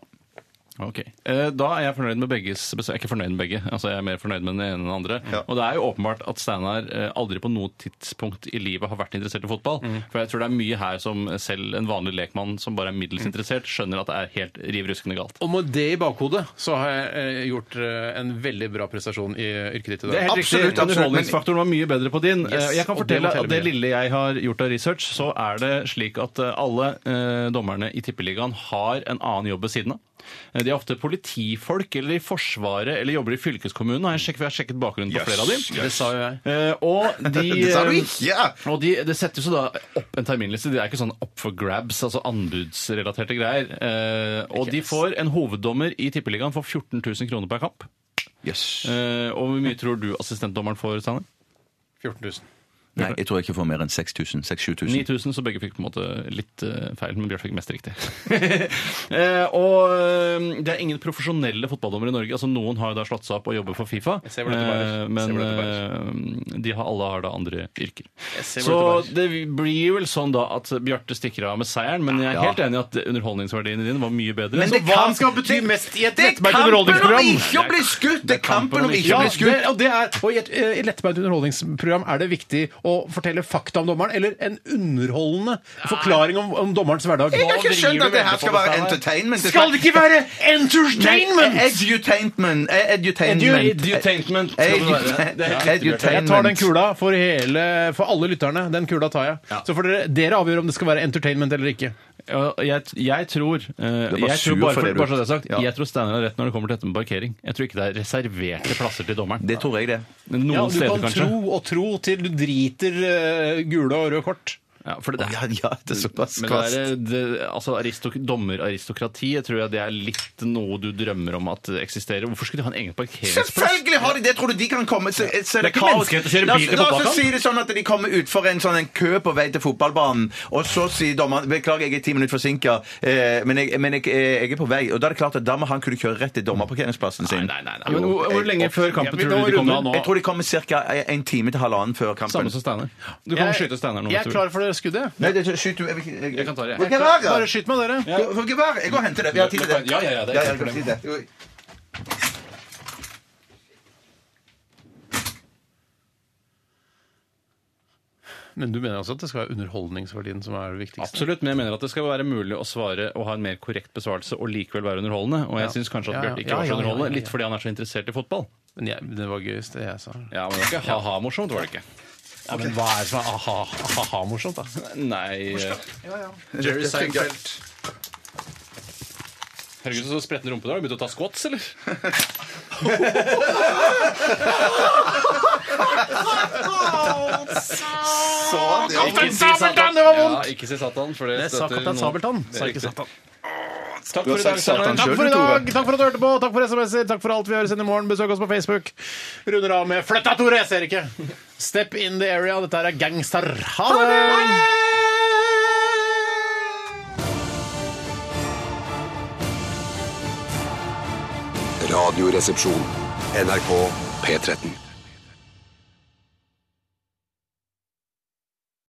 Speaker 9: Ok. Eh, Da er jeg fornøyd med begges besøk. Jeg er ikke fornøyd med begge. Altså, jeg er mer fornøyd med den ene enn den andre. Og det er jo åpenbart at Steinar eh, aldri på noe tidspunkt i livet har vært interessert i fotball. For jeg tror det er mye her som selv en vanlig lekmann som bare er middels interessert, skjønner at det er helt riv ruskende galt.
Speaker 7: Og med det i bakhodet så har jeg eh, gjort eh, en veldig bra prestasjon i yrket ditt i dag.
Speaker 9: Det er helt
Speaker 8: Absolutt,
Speaker 9: riktig.
Speaker 8: absolutt.
Speaker 9: Underholdningsfaktoren var mye bedre på din.
Speaker 7: Yes,
Speaker 9: Eh, jeg kan
Speaker 7: og det
Speaker 9: fortelle
Speaker 7: må telle
Speaker 9: at det
Speaker 7: mye.
Speaker 9: lille jeg har gjort av research, så er det slik at eh, alle eh, dommerne i Tippeligaen har en annen jobb ved siden av. Eh, De er ofte politifolk eller i Forsvaret eller jobber i fylkeskommunen. Har jeg sjekket, for jeg har sjekket bakgrunnen på
Speaker 8: Yes,
Speaker 9: flere av dem.
Speaker 7: Det sa jo jeg.
Speaker 9: Eh, og de,
Speaker 8: Det sa du
Speaker 9: eh,
Speaker 8: ikke!
Speaker 9: Og de, Det settes jo da opp en terminliste. Det er ikke sånn up for grabs, altså anbudsrelaterte greier. Eh, og de får en hoveddommer i Tippeligaen for 14 000 kroner per kamp.
Speaker 8: Yes.
Speaker 9: Eh, og hvor mye tror du assistentdommeren får, Steinar?
Speaker 7: 14 000.
Speaker 10: Nei, jeg tror jeg ikke får mer enn 6000. 6000-7000.
Speaker 9: 9000, så begge fikk på en måte litt eh, feil, men Bjørn fikk mest riktig. Eh, og eh, det er ingen profesjonelle fotballdommere i Norge. altså Noen har jo da slått seg opp og jobber for Fifa,
Speaker 7: Jeg ser hvor dette bærer.
Speaker 9: eh,
Speaker 7: Jeg ser
Speaker 9: men
Speaker 7: hvor
Speaker 9: eh, de har, alle har da andre yrker.
Speaker 7: ser
Speaker 9: Så
Speaker 7: hvor dette
Speaker 9: det blir vel sånn da at Bjarte stikker av med seieren, men jeg er helt enig i at underholdningsverdiene dine var mye bedre.
Speaker 8: det
Speaker 7: Hva
Speaker 8: kan-
Speaker 7: skal bety
Speaker 8: det-
Speaker 7: mest i et
Speaker 8: Det er
Speaker 7: lettbeint
Speaker 8: kampen om
Speaker 7: underholdningsprogram?
Speaker 8: ikke å bli skutt! Det er kampen om ikke
Speaker 7: Ja,
Speaker 8: å bli
Speaker 7: det,
Speaker 8: skutt!
Speaker 7: og det er, og I et, eh, i lettbeint underholdningsprogram er det viktig å fortelle fakta om dommeren, eller en underholdende forklaring om, om dommerens hverdag.
Speaker 8: Jeg har ikke skjønt at det her skal være entertainment.
Speaker 7: Skal det ikke være
Speaker 8: Nei, eh,
Speaker 7: entertainment?!
Speaker 8: Edutainment. Edutainment.
Speaker 9: Edutainment!
Speaker 7: Jeg tar den
Speaker 8: Edutainment.
Speaker 7: kula for, hele, for alle lytterne. Den kula tar jeg. Så får dere, dere avgjøre om det skal være entertainment eller ikke.
Speaker 9: Ja, Jeg, jeg tror eh, jeg
Speaker 8: sur
Speaker 9: tror bare,
Speaker 8: for
Speaker 9: for,
Speaker 8: det du-
Speaker 9: bare så det er sagt,
Speaker 8: Ja.
Speaker 9: jeg tror Steinar har rett når det kommer til dette med parkering. Jeg tror ikke det er reserverte plasser til dommeren.
Speaker 10: Det tror jeg, det.
Speaker 9: Noen
Speaker 7: Ja, du
Speaker 9: steder,
Speaker 7: kan
Speaker 9: kanskje.
Speaker 7: tro og tro til du driter eh, gule og røde kort.
Speaker 9: Ja, for det,
Speaker 8: Ja, ja, det er såpass
Speaker 9: men det
Speaker 8: kvast.
Speaker 9: er, det, altså, aristok, dommeraristokrati jeg tror jeg det er litt noe du drømmer om at det eksisterer. Hvorfor skulle de ha en egen parkeringsplass?
Speaker 8: Selvfølgelig har de det! Tror du de kan komme så, så, det er
Speaker 9: Det er
Speaker 8: ikke
Speaker 9: kaos,
Speaker 8: mennesker-
Speaker 9: greit å kjøre
Speaker 8: La oss-
Speaker 9: bil til
Speaker 8: La
Speaker 9: fotballkamp.
Speaker 8: oss si det sånn at de kommer utfor en sånn en kø på vei til fotballbanen, og så sier dommeren 'Beklager, jeg er ti minutter forsinka, eh, men, jeg, men jeg, eh, jeg er på vei.' Og da er det klart at da må han kunne kjøre rett til dommerparkeringsplassen sin.
Speaker 9: Nei, nei, nei. Men hvor, hvor lenge
Speaker 8: Jeg-
Speaker 9: før kampen
Speaker 7: Ja, men
Speaker 9: tror
Speaker 7: nå
Speaker 9: du de kommer
Speaker 7: runder-
Speaker 9: nå?
Speaker 8: Jeg tror de kommer ca. en time til halvannen før kampen.
Speaker 9: Samme som Steinar. Du kan skyte Steinar nå.
Speaker 7: Jeg er
Speaker 9: hvis du vil.
Speaker 7: klar for det skuddet.
Speaker 8: Nei, det, skyt du jeg vil ikke-
Speaker 9: Jeg kan ta det, jeg.
Speaker 8: Hvor gevær, ja?
Speaker 7: Bare skyt meg, dere.
Speaker 8: Hvor gevær? Jeg går og henter det. Vi har tid til det.
Speaker 9: Ja, ja, ja, det er ikke noe
Speaker 8: tid til det. Jo.
Speaker 7: Men du mener altså at det skal være underholdningsverdien som er det viktigste?
Speaker 9: Absolutt, men jeg mener at det skal være mulig å svare og ha en mer korrekt besvarelse og likevel være underholdende. Og jeg synes syns kanskje at
Speaker 7: Ja, ja.
Speaker 9: Bjarte ikke
Speaker 7: Ja,
Speaker 9: var
Speaker 7: ja,
Speaker 9: så
Speaker 7: ja,
Speaker 9: underholdende,
Speaker 7: ja, ja.
Speaker 9: litt fordi han er så interessert i fotball.
Speaker 7: Men jeg, det var gøyest, det jeg sa.
Speaker 9: Ja, men det var ikke ha-ha-morsomt, var det ikke?
Speaker 7: Ja, men hva er det som er aha-morsomt, da?
Speaker 9: Nei
Speaker 7: Jerry
Speaker 8: Seinfeld.
Speaker 9: Herregud, så spretten rumpe du har. Begynt å ta squats, eller? Kaptein Sabeltann! Det var vondt! Ja, ikke si Satan, for det
Speaker 7: Det sa kaptein Sabeltann. Sa ikke Satan.
Speaker 9: Takk for i dag, Steinar.
Speaker 7: Takk for i dag! Takk for at du hørte på! Takk for SMS-er! Takk for alt vi høres inn i morgen! Besøk oss på Facebook! Runder av med 'Flytt deg, Tore! Jeg ser ikke!' Step in the area. Dette her er Gangster. Ha det!
Speaker 1: Radioresepsjon. NRK P13.